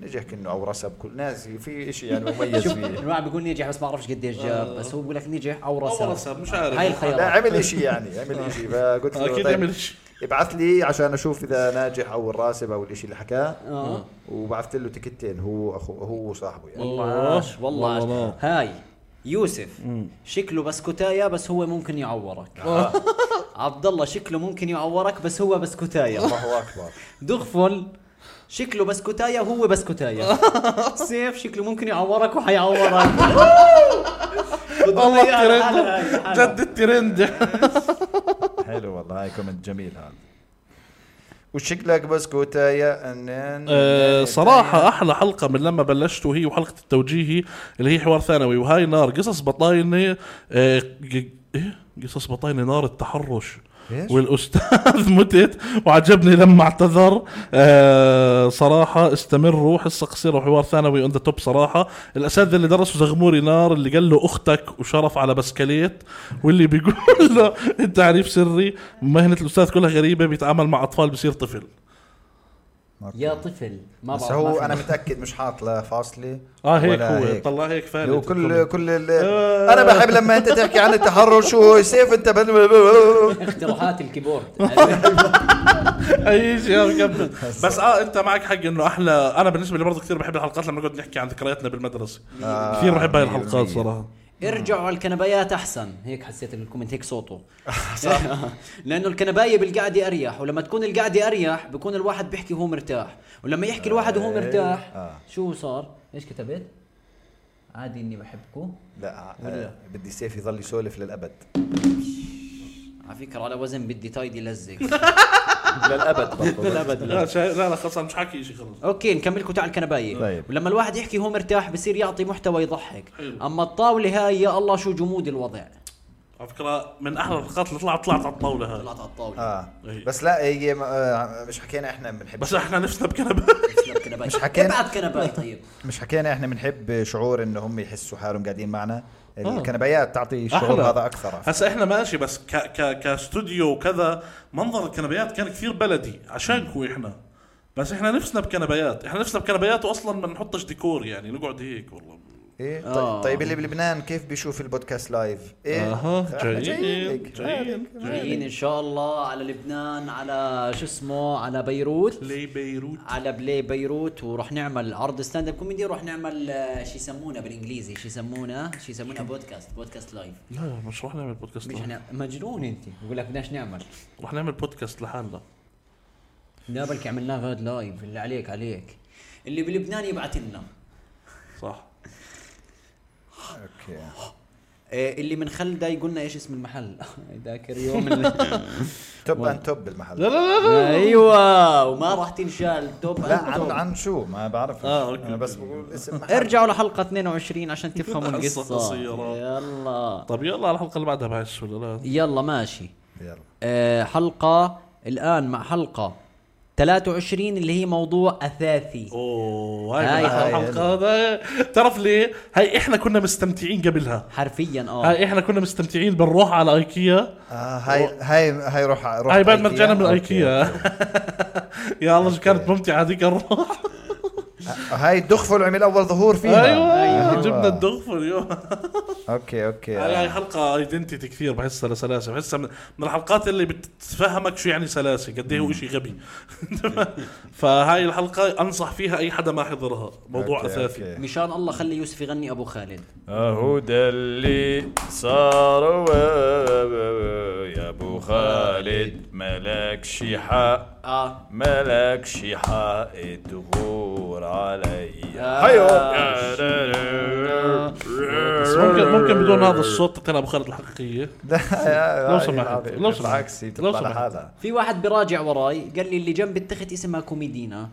B: نجح كانه او رسب كل نازي في شيء يعني مميز
A: شوف
B: فيه
A: الواحد بيقول نجح بس ما بعرفش قديش جاب بس هو بيقول لك نجح او رسب
C: أو رسب، مش عارف.
A: هاي
B: لا
A: الخيارات
B: عمل شيء يعني عمل شيء فقلت له
C: اكيد
B: طيب،
C: يعمل شيء
B: ابعث لي عشان اشوف اذا ناجح او الراسب او الشيء اللي حكاه
A: آه.
B: وبعثت له تكتين هو اخو هو وصاحبه يعني
A: والله عاش والله عاش.
C: والله.
A: هاي يوسف شكله بسكوتايا بس هو ممكن يعورك عبد الله شكله ممكن يعورك بس هو بسكوتايا
B: الله اكبر
A: دغفل شكله بسكوتايا هو بسكوتايا سيف شكله ممكن يعورك وحيعورك
C: والله
A: إياها لحالها هاي،
C: الترند
A: لحالها.
C: جد الترند
B: حلو والله هاي كومنت جميل هذا وشكلك بسكوتايا انن
C: آه، صراحة أحلى حلقة من لما بلشت وهي وحلقة التوجيهي اللي هي حوار ثانوي وهاي نار قصص بطاينة آه، ج- إيه قصص بطاينة نار التحرش
B: إيش؟
C: والاستاذ متت وعجبني لما اعتذر آه صراحه استمروا حصه قصيره وحوار ثانوي اون ذا توب صراحه الاساتذه اللي درسوا زغموري نار اللي قال له اختك وشرف على بسكليت واللي بيقول له التعريف سري مهنه الاستاذ كلها غريبه بيتعامل مع اطفال بصير طفل
A: يا طفل ما
B: بس
A: بعرف
B: هو
A: ما
B: انا
A: في-
B: متاكد مش حاط لا فاصله
C: اه هيك
B: ولا
C: هو طلع هيك فارق
B: لو كل كل ال...
C: آه.
B: انا بحب لما انت تحكي عن التحرر شو سيف انت بل...
A: اقتراحات الكيبورد
C: اي شيء كمل بس اه انت معك حق انه احلى انا بالنسبه لي برضه كثير بحب الحلقات لما نقعد نحكي عن ذكرياتنا بالمدرسه
B: آه،
C: كثير بحب هاي
B: مية
C: الحلقات
B: بالمية.
C: صراحه
A: ارجعوا على الكنبايات احسن هيك حسيت الكومنت هيك صوته صح لانه الكنبايه بالقعده اريح ولما تكون القعده اريح بكون الواحد بيحكي وهو مرتاح ولما يحكي الواحد وهو مرتاح
B: آه.
A: شو صار ايش كتبت عادي اني بحبكم
B: لا آه،
A: ولا.
B: بدي سيف يضل يسولف للابد
A: على فكره على وزن بدي تايدي لزق
B: للابد برضه
C: لا شا... لا لا خلص أنا مش حاكي شيء خلص
A: اوكي نكملكم تعال الكنبايه
B: طيب.
A: ولما الواحد يحكي وهو مرتاح بصير يعطي محتوى يضحك
C: حلو.
A: اما الطاوله هاي يا الله شو جمود الوضع
C: على فكره من احلى الحلقات اللي طلعت طلعت على الطاوله هاي
A: طلعت على الطاوله
B: اه
C: إيه.
B: بس لا هي ما- آه، مش حكينا احنا بنحب
C: بس احنا نفسنا بكنبه
A: مش
B: حكينا.
A: ابعت كنبايه طيب
B: مش حكينا احنا بنحب شعور انه هم يحسوا حالهم قاعدين معنا
C: آه.
B: الكنبيات تعطي الشعور
C: أحلى.
B: هذا اكثر
C: هسا احنا ماشي بس ك... ك... كاستوديو وكذا منظر الكنبيات كان كثير بلدي عشانكم احنا بس احنا نفسنا بكنبيات احنا نفسنا بكنبيات واصلا ما نحطش ديكور يعني نقعد هيك والله
B: إيه؟
A: آه.
B: طيب, طيب اللي بلبنان كيف بيشوف البودكاست لايف؟ ايه
C: اها
B: إحنا
C: جايين
B: لك.
C: جايين
A: جايين
C: جايين
A: ان شاء الله على لبنان على شو اسمه على بيروت
C: لي بيروت
A: على بلاي بيروت وراح نعمل عرض ستاند اب كوميدي وراح نعمل آه، شو يسمونه بالانجليزي شو يسمونه شو يسمونه بودكاست بودكاست لايف
C: لا مش رح نعمل بودكاست
A: مش
C: لحالنا.
A: احنا مجنون انت بقول لك بدناش نعمل
C: رح نعمل بودكاست لحالنا
A: لا بلكي عملناه غاد لايف اللي عليك عليك اللي بلبنان يبعت لنا
C: صح
B: اوكي
A: آه، اللي من خلده يقولنا ايش اسم المحل ذاكر يوم ال-
B: توب ان توب بالمحل
C: لا لا لا
A: ايوه وما راح تنشال توب
B: لا
A: أند
B: عن
A: توب.
B: عن شو ما بعرف
C: آه، أوكي.
B: انا بس بقول اسم محل.
A: ارجعوا لحلقه 22 عشان تفهموا
C: قصة
A: القصه
C: قصيرة.
A: يلا
C: طب يلا على الحلقه اللي بعدها بهاي السلالات
A: يلا ماشي
B: يلا
A: أه حلقه الان مع حلقه 23 اللي هي موضوع اثاثي
C: اوه هاي,
A: هاي
C: هاي, هاي
B: هاي.
C: الحلقه هذا تعرف ليه؟ هاي احنا كنا مستمتعين قبلها
A: حرفيا اه
C: هاي احنا كنا مستمتعين بنروح على ايكيا
B: آه هاي هاي هاي روح روح
C: هاي بعد ما
B: IKEA.
C: رجعنا من
B: أوكي.
C: ايكيا يا الله شو كانت
B: أوكي.
C: ممتعه هذيك الروح
B: آه، هاي الدخفل عمل اول ظهور فيها أيوة.
C: ايوه جبنا الدغفل يوه
B: اوكي اوكي
C: هاي هاي حلقه ايدنتيتي كثير بحسها لسلاسه بحسها من من الحلقات اللي بتفهمك شو يعني سلاسه قد ايه هو شيء غبي فهاي الحلقه انصح فيها اي حدا ما حضرها موضوع
B: أوكي،
C: اساسي
B: أوكي.
A: مشان الله خلي يوسف يغني ابو خالد
D: اهو ده اللي صار و- يا ابو خالد ملكش حق
A: اه
D: ملكش حق تغور عليا
A: آه.
C: بس ممكن ممكن بدون هذا الصوت تطلع ابو خالد الحقيقيه لو سمحت لو سمحت
B: بالعكس هي
C: لو
B: بتطلع
C: سمحت.
B: لحالها
A: في واحد براجع وراي قال لي اللي جنب التخت اسمها كوميدينا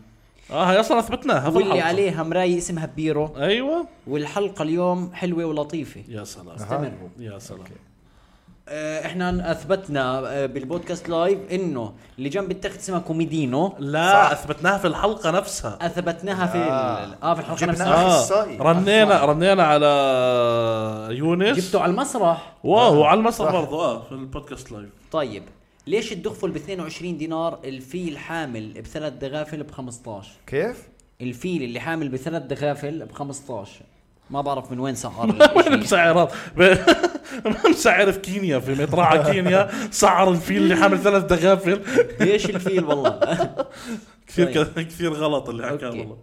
C: اه هاي اصلا اثبتناها في
A: واللي
C: الحلقه
A: عليها مرايه اسمها بيرو
C: ايوه
A: والحلقه اليوم حلوه ولطيفه
C: يا سلام
A: استمروا
C: يا سلام
A: آه، احنا اثبتنا آه، بالبودكاست لايف انه اللي جنب التخت اسمها كوميدينو
C: لا
B: صح.
C: اثبتناها في الحلقه نفسها
A: اثبتناها في
B: آه.
A: ال- اه في الحلقه
B: جبنا
A: نفسها
C: اه
B: أخصائي.
C: رنينا رنينا على يونس
A: جبته على المسرح
C: واو على المسرح
B: صح.
C: برضه اه في البودكاست لايف
A: طيب ليش الدغفل ب 22 دينار الفيل حامل بثلاث دغافل ب 15
B: كيف؟
A: الفيل اللي حامل بثلاث دغافل ب 15 ما بعرف من وين سعر
C: وين
A: الإشي.
C: مسعرات ب- مسعر في كينيا في مطرعه كينيا سعر الفيل اللي حامل ثلاث دغافل
A: ليش الفيل والله
C: كثير كثير غلط اللي حكاه
A: أوكي.
C: والله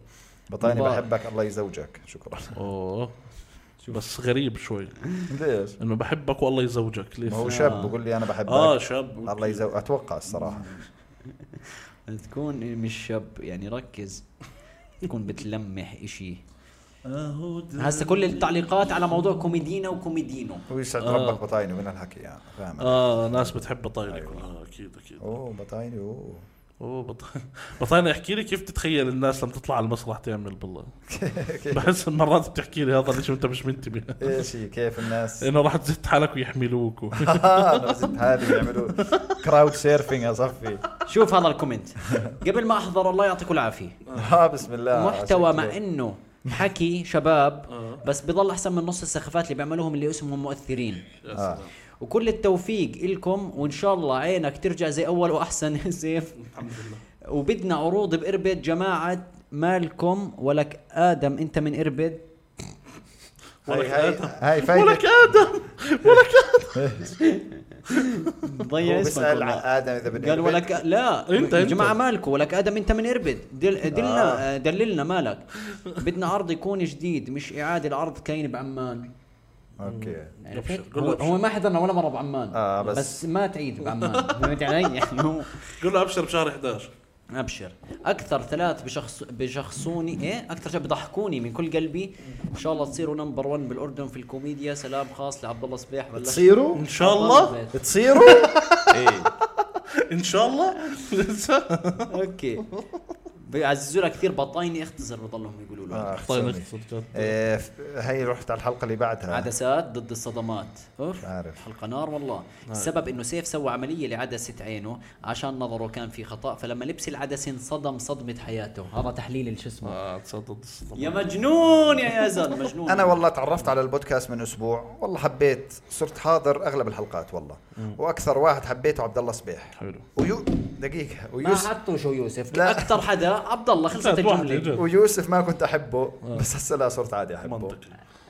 B: بطاني
A: مبارك.
B: بحبك الله يزوجك شكرا
C: اوه بس غريب شوي
B: ليش؟
C: انه بحبك والله يزوجك ليش
B: ما هو شاب بقول لي انا بحبك
C: اه شاب
B: الله يزوج اتوقع الصراحه
A: تكون مش شاب يعني ركز تكون بتلمح اشي
C: آه،
A: هسه كل التعليقات على موضوع كوميدينا وكوميدينو
B: ويسعد ربك
C: آه.
B: بطايني من الحكي يعني فاهم
C: اه ناس بتحب طايله كلها اكيد اكيد
B: اوه بطايني اوه
C: اوه بط- بطلنا احكي لي كيف تتخيل الناس لما تطلع على المسرح تعمل بالله بحس إن مرات بتحكي لي هذا ليش انت مش منتبه
B: ايش هي كيف الناس
C: انه راح تزت حالك ويحملوك و-
B: انا نزلت حالي يعملوا كراود سيرفينج يا صفي
A: شوف هذا الكومنت قبل ما احضر الله يعطيكم العافيه
B: اه بسم الله
A: محتوى
B: عشان
A: مع
B: كده.
A: انه حكي شباب بس بضل احسن من نص السخافات اللي بيعملوهم اللي اسمهم مؤثرين
B: آه.
A: وكل التوفيق إلكم وان شاء الله عينك ترجع زي اول واحسن سيف
C: الحمد لله
A: وبدنا عروض باربد جماعه مالكم ولك ادم انت من اربد
B: هاي
C: ولك
B: هاي
C: آدم.
B: هاي فايدة
C: ولك آه. ادم
A: ضيع
B: هو
A: اسمك
B: بيسأل عن
A: والله.
B: ادم اذا بده
A: طيب، قال
B: يربط.
A: ولك لا
C: أنت-
A: يا
C: أنت.
A: جماعه مالكم ولك ادم انت من اربد دل دلنا آه. دللنا مالك بدنا عرض يكون جديد مش اعاده العرض كاين بعمان
B: اوكي
A: يعني
C: أبشر،
A: فهمت؟
C: قول
A: هو,
C: أبشر.
A: هو ما حضرنا ولا مره بعمان
B: آه، بس-
A: بس ما تعيد بعمان فهمت علي يعني هو
C: قول له ابشر بشهر 11
A: ابشر اكثر ثلاث بشخص بشخصوني ايه اكثر شيء بضحكوني من كل قلبي ان شاء الله تصيروا نمبر 1 بالاردن في الكوميديا سلام خاص لعبد الله صبيح بلشت-
B: تصيروا
C: ان شاء الله
A: بالبيت.
B: تصيروا إيه.
D: ايه
C: ان شاء الله
A: اوكي بيعززوا لها كثير بطايني اختصر بضلهم يقولوا له
B: آه،
C: طيب
B: خسرني.
C: نخسر جد
B: إيه، ف- هي رحت على الحلقه اللي بعدها
A: عدسات ضد الصدمات اوف
B: عارف.
A: حلقه نار والله السبب انه سيف سوى عمليه لعدسه عينه عشان نظره كان في خطا فلما لبس العدسه انصدم صدمه حياته هذا تحليل شو اسمه
C: اه تصدق تصدق.
A: يا مجنون يا يزن مجنون
B: انا والله تعرفت على البودكاست من اسبوع والله حبيت صرت حاضر اغلب الحلقات والله واكثر واحد حبيته عبد الله صبيح
C: حلو
B: ويو دقيقه
A: ما
B: ويوسف
A: حطوا شو يوسف
B: لا.
A: اكثر حدا عبد الله خلصت
C: ثلاث واحد
A: الجمله
C: جد.
B: ويوسف ما كنت احبه بس هسه لا صرت عادي احبه
C: منطقي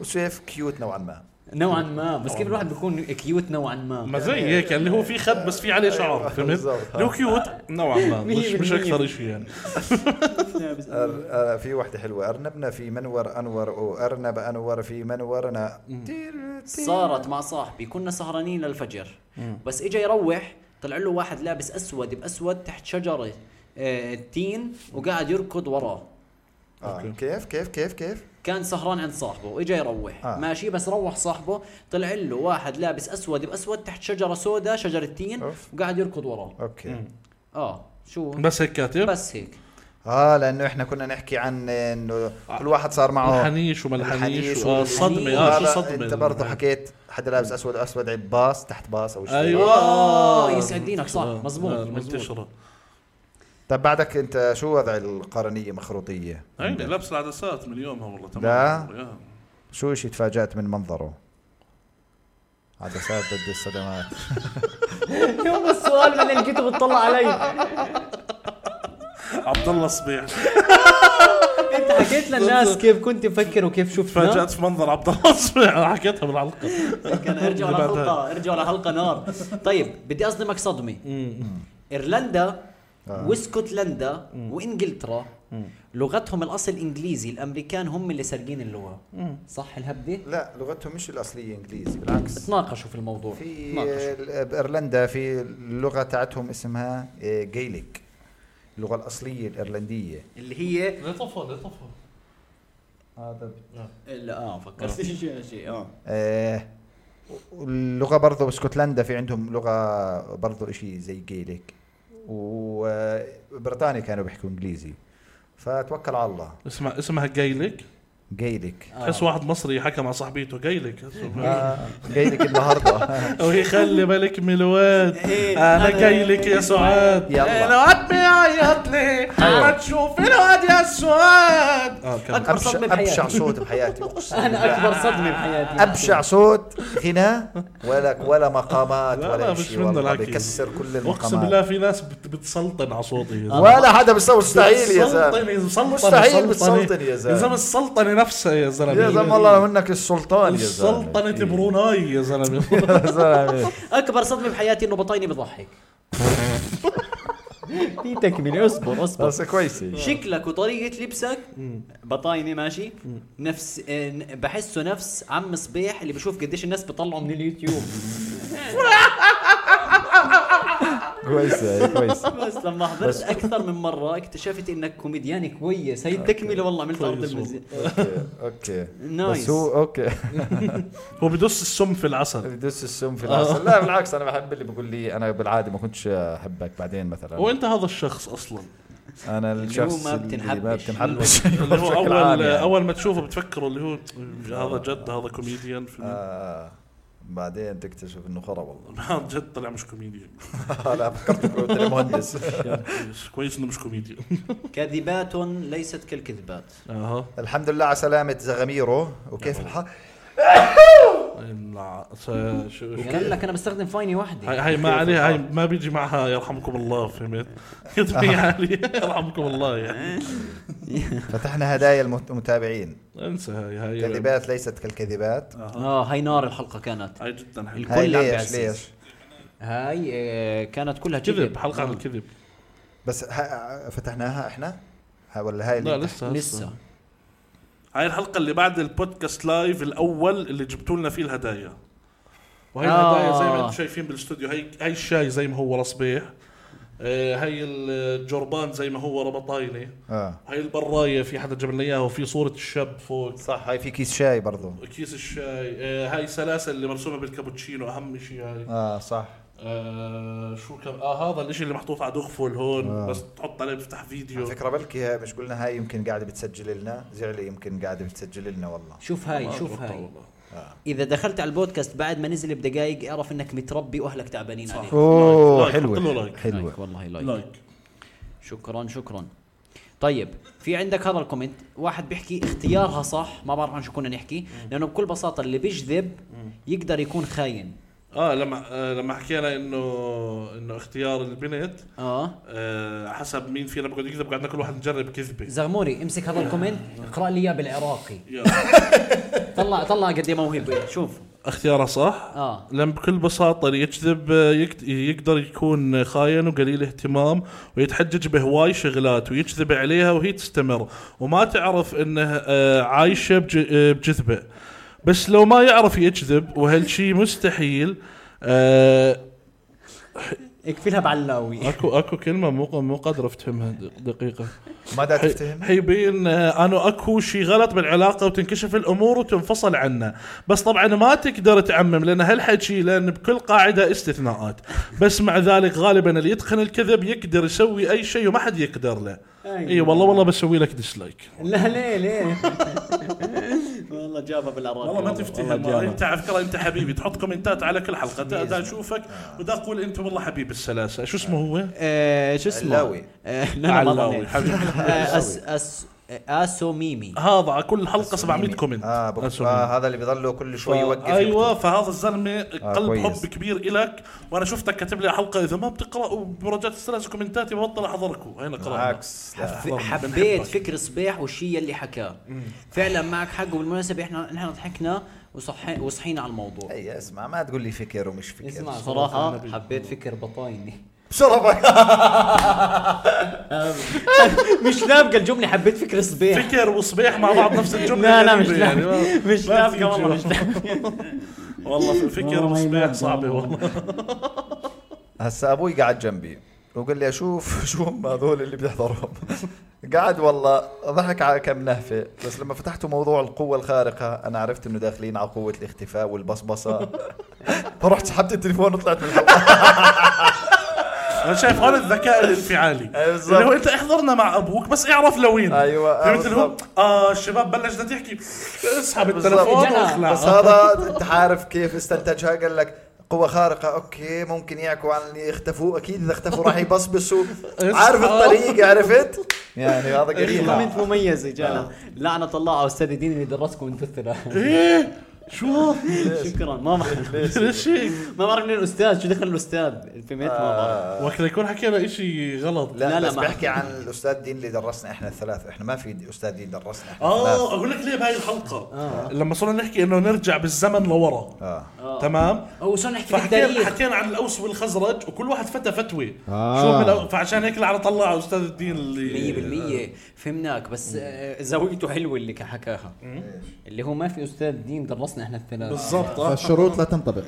B: وسيف كيوت نوعا ما
A: نوعا ما بس كيف الواحد بيكون كيوت نوعا ما
C: ما زي هيك اللي هو في خد بس في عليه شعر فهمت؟
B: أيوة. بالضبط. آه،
C: لو كيوت نوعا ما مش مش
A: 100%
C: اكثر شيء يعني
B: أر- آه، في وحده حلوه ارنبنا في منور انور وارنب انور في منورنا تير- تير.
A: صارت مع صاحبي كنا سهرانين للفجر بس اجى يروح طلع له واحد لابس اسود باسود تحت شجره آه، تين وقاعد يركض وراه
B: آه. كيف كيف كيف كيف
A: كان سهران عند صاحبه واجى يروح
B: آه.
A: آه. ماشي بس روح صاحبه طلع له واحد لابس اسود باسود تحت شجره سوداء شجره تين
B: أوف.
A: وقاعد يركض وراه
B: اوكي
A: اه شو
C: بس هيك كاتب
A: بس هيك
B: اه لانه احنا كنا نحكي عن انه كل واحد صار معه
C: آه. الحنيش وما
B: الحنيش
C: الحنيش
B: وال-
C: آه، صدمه اه
B: وهذا
C: شو صدمه
B: انت برضه حكيت حدا لابس اسود اسود عيب باص تحت باص او شيء
C: ايوه
A: آه، يسعد دينك، صح،
C: آه،
A: مزبوط،
C: آه،
A: مزبوط.
C: منتشره
B: طب طيب بعدك انت شو وضع القرنيه مخروطيه
C: عيني لابس العدسات من يومها والله تمام
B: لا.
C: يا.
B: شو شي تفاجات من منظره عدسات ضد الصدمات
A: يوم السؤال من الكتب بتطلع علي
C: عبد الله صبيح
A: انت حكيت للناس كيف كنت مفكر وكيف شفنا
C: تفاجات في منظر عبد الله صبيح أنا حكيتها بالحلقه
A: كان ارجعوا
C: اللي بعدها.
A: لحلقه ارجعوا لحلقه نار طيب بدي اصدمك صدمه ايرلندا
B: آه.
A: واسكتلندا وانجلترا لغتهم الاصل انجليزي الامريكان هم اللي سارقين اللغه صح الهبده
B: لا لغتهم مش الاصليه انجليزي بالعكس
A: تناقشوا في الموضوع
B: في
A: تناقشوا.
B: آه، بايرلندا في اللغه تاعتهم اسمها آه، جيليك اللغه الاصليه الايرلنديه
A: اللي هي
C: لا طفى لا طفى
B: هذا
A: لا اه فكرت شيء شيء اه
B: آه اللغة برضه باسكتلندا في عندهم لغة برضه إشي زي جيلك وبريطانيا كانوا بيحكوا إنجليزي فتوكل على الله
C: اسمها اسمها جايلك
B: جيلك
A: آه.
C: تحس واحد مصري حكى مع صاحبيته جايلك
B: آه، جيلك النهاردة
C: وهي خلي بالك من
B: آه،
C: الواد
A: إيه،
C: انا
A: أنا-
C: جايلك يا سعاد
B: يلا.
C: الواد بيعيط لي ما تشوف الواد يا سعاد
B: آه،
C: اه كمل.
A: أكبر صدمة
B: أبشع, أبشع
A: بحياتي
B: صوت بحياتي أقسم بالله.
A: انا اكبر صدمة بحياتي
B: أبشع صوت غناء ولا ولا مقامات
C: لا،
B: ولا
C: لا، مش
B: إشي
C: منه
B: والله
C: الحكي.
B: بكسر كل
C: اقسم بالله
B: المقامات
C: في ناس بت- بتسلطن على صوتي يا زلمة.
B: ولا حدا بيسوي آه، مستحيل يا زلمة
C: بتسلطن، مسلطن
B: مستحيل
C: مسلطنة.
B: بتسلطن يا زلمة.
C: يا زلمه السلطنه نفسها يا زلمه
B: يا زلمة والله منك السلطان يا زلمة
C: سلطنة بروناي يا زلمه
B: يا زلمة.
A: اكبر صدمة بحياتي انه بطايني بضحك في تكملة اصبر اصبر
B: بس كويسة
A: شكلك وطريقة لبسك بطاينة ماشي نفس آه، ن- بحسه نفس عم صبيح اللي بشوف قديش الناس بيطلعوا من اليوتيوب
B: كويسه هي، كويسه
A: بس لما حضرت اكثر من مره اكتشفت انك كوميديان كويس هي التكمله والله من ارض المزيد
B: اوكي اوكي
A: نايس.
B: بس هو اوكي
C: هو بدس السم في العسل
B: بدوس السم في العسل لا بالعكس انا بحب اللي بيقول لي انا بالعاده ما كنتش احبك بعدين مثلا
C: وانت هذا الشخص اصلا
B: انا الشخص
A: ما
B: اللي ما
A: بتنحبش.
B: بتنحبش
C: اللي هو
B: بشكل
C: اول
B: عام يعني.
C: اول ما تشوفه بتفكره اللي هو هذا جد هذا كوميديان في
B: آه، بعدين تكتشف انه خرا والله
C: هذا جد طلع مش كوميديان
B: لا فكرت إنه طلع مهندس
C: كويس- كويس انه مش كوميديان
A: كذبات ليست كالكذبات
C: اها
B: الحمد لله على سلامة زغميرو وكيف الحال؟
C: لا، س- شو-
B: يعني
C: شو-
A: قال يعني لك انا بستخدم فايني
C: هاي
A: وحدي
C: هاي ما عليها هاي ما بيجي معها يرحمكم الله فهمت؟ كذبي
B: آه.
C: عليها يرحمكم الله يعني
B: فتحنا هدايا المتابعين
C: انسى هاي هاي آه.
B: كذبات ليست كالكذبات
A: اه هاي نار الحلقه كانت
C: هاي جدا حلوه
A: الكل
B: هاي
A: عم
B: ليش
A: بيعزز.
B: ليش
A: هاي آه، كانت كلها
C: كذب حلقه عن الكذب
B: بس ها فتحناها احنا ها ولا هاي
C: لا
B: اللي
C: لسه
A: لسه
C: هاي الحلقه اللي بعد البودكاست لايف الاول اللي جبتوا لنا فيه الهدايا وهي
A: آه.
C: الهدايا زي ما انتم شايفين بالاستوديو هاي هاي الشاي زي ما هو رصبيح آه، هاي الجربان زي ما هو ربطاينه
B: اه
C: هاي البرايه في حدا جاب لنا اياها وفي صوره الشاب فوق
B: صح هاي في كيس شاي برضو
C: كيس الشاي آه، هاي سلاسل اللي مرسومه بالكابتشينو اهم شيء هاي
B: اه صح
C: آه شو كم اه هذا الاشي اللي محطوط على دغفل هون
B: آه.
C: آه. بس تحط عليه بفتح فيديو
B: على فكرة بلكي هاي مش قلنا هاي يمكن قاعدة بتسجل لنا زعلي يمكن قاعدة بتسجل لنا والله
A: شوف هاي
C: ما
A: شوف
C: أتوقع
A: هاي
C: والله.
A: اذا دخلت على البودكاست بعد ما نزل بدقائق اعرف انك متربي واهلك تعبانين عليك
C: أوه، حلوة.
A: لايك، والله لايك.
C: لايك
A: شكرا شكرا طيب في عندك هذا الكومنت واحد بيحكي اختيارها صح ما بعرف عن شو كنا نحكي لانه بكل بساطه اللي بيجذب يقدر يكون خاين
C: اه لما آه لما حكينا انه انه اختيار البنت
A: اه
C: آه حسب مين فينا بقعد يكذب قعدنا كل واحد نجرب كذبه
A: زغموري امسك هذا الكومنت اقرا لي اياه بالعراقي
C: يلا.
A: طلع طلع قد ايه موهبه شوف
C: اختياره صح
A: آه.
C: لما بكل بساطه اللي يكذب آه، يكت- يقدر يكون خاين وقليل اهتمام ويتحجج بهواي شغلات ويكذب عليها وهي تستمر وما تعرف انه آه، عايشه بج- آه، بجذبه بس لو ما يعرف يكذب وهالشي مستحيل آه،
A: اكفي لها بعلاوي
C: اكو اكو كلمه مو مو قادر افتهمها د- دقيقه
B: ماذا
C: حي-
B: تفتهم؟
C: حيبين آه، انه اكو شيء غلط بالعلاقه وتنكشف الامور وتنفصل عنا بس طبعا ما تقدر تعمم لان هالحكي لان بكل قاعده استثناءات بس مع ذلك غالبا اللي يتقن الكذب يقدر يسوي اي شيء وما حد يقدر له
A: أيوة.
C: اي والله والله بسوي لك ديسلايك
A: لا ليه ليه والله جابها بالعراقي
C: والله ما تفتهم
A: والله
C: انت
A: جابها.
C: على فكره انت حبيبي تحط كومنتات على كل حلقه دا دا اشوفك ودا اقول انت والله حبيب السلاسه شو اسمه هو؟
A: آه، شو اسمه؟
B: علاوي.
A: آه، لا، لا، ما
C: علاوي،
A: ظنيت.
C: حبيبي.
A: آه، أس أس اسو ميمي
C: هذا على كل حلقه 700 كومنت
B: اه, بك...
C: أسوأ.
B: آه هذا اللي بيضله كل شوي يوقف
C: ايوه
B: يكتب.
C: فهذا الزلمه
A: آه،
C: قلب
B: كويس.
C: حب كبير الك وانا شفتك كاتب لي حلقه اذا ما بتقرا ومراجعه السلاسل كومنتاتي ببطل احضركم هنا قرانا
B: بالعكس
C: آه،
B: لا.
A: ف- حبيت فكر صبيح والشيء اللي حكاه فعلا معك حق وبالمناسبة احنا نحن ضحكنا وصحي وصحينا على الموضوع
B: اي إيه، اسمع ما تقول لي فكر ومش فكر
A: اسمع صراحة حبيت فكر بطايني
B: بشرفك
C: آه.
A: مش لابقة الجملة حبيت فكر صبيح
C: فكر وصبيح مع بعض نفس الجمله
A: لا، لا،
C: غريبة
A: مش
C: يعني.
A: لا.
C: ما-
A: مش
C: ما
A: لابقة
C: تيجي
A: والله، مش
C: والله فكر وصبيح صعبه والله
B: هسا ابوي قاعد جنبي وقال لي اشوف شو هم هذول اللي بيحضرهم قاعد والله ضحك على كم نهفه بس لما فتحت موضوع القوه الخارقه انا عرفت انه داخلين على قوه الاختفاء والبصبصه فرحت سحبت التليفون وطلعت من الحلقه
C: انا شايف هون الذكاء الانفعالي
B: أي
C: اللي
B: بالظبط.
C: هو انت احضرنا مع ابوك بس اعرف لوين
B: أيوة، آه،
C: فهمت اللي هو
B: بالظبط.
C: اه الشباب بلشنا تحكي اسحب
B: بالظبط.
C: التلفون
A: جنى.
B: بس
C: واخلع
B: هذا انت عارف كيف استنتجها قال لك قوة خارقة اوكي ممكن يحكوا عن اللي اختفوا اكيد اذا اختفوا راح يبصبصوا عارف الطريق عرفت؟ يعني هذا قريب
A: كومنت مميز يا جماعة لعنة الله على أستاذ الدين اللي درسكم انتوا الثلاثة
C: ايه شو هذا؟
A: شكرا ما بعرف
C: ليش هيك؟
A: ما بعرف مين الأستاذ شو دخل الأستاذ فهمت ما بعرف
C: وقت يكون حكينا اشي غلط
B: لا,
A: لا،
B: لا,
A: لا،
B: بس
A: ما-
B: بحكي عن الاستاذ دين اللي درسنا احنا الثلاثة احنا ما في استاذ دين درسنا احنا
C: اه
B: الثلاثة.
C: اقول لك ليه بهاي الحلقه آه. لما صرنا نحكي انه نرجع بالزمن لورا
B: اه
C: آه. تمام
A: أو صرنا نحكي
C: فحكينا
A: بالتاريخ
C: حكينا عن الاوس والخزرج وكل واحد فتى فتوى
B: آه.
C: شو بالأو... فعشان هيك لعنه طلع استاذ الدين اللي
A: 100% آه، فهمناك بس آه، زاويته حلوه اللي حكاها اللي هو ما في استاذ دين درسنا نصنا احنا الثلاثه
C: بالضبط آه.
E: فالشروط لا تنطبق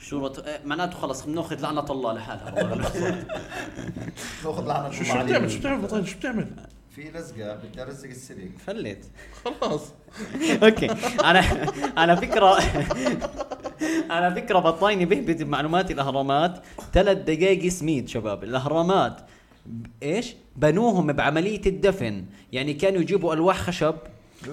A: شو بط... إيه، معناته خلص بناخذ لعنه الله لحالها
B: ناخذ لعنه
C: شو شو بتعمل شو بتعمل بطل شو بتعمل
B: في لزقه بدي الزق السلك
A: فلت
C: خلص
A: اوكي على على فكره على فكره بطايني بهبد بمعلومات الاهرامات ثلاث دقائق سميد شباب الاهرامات ب- ايش بنوهم بعمليه الدفن يعني كانوا يجيبوا الواح خشب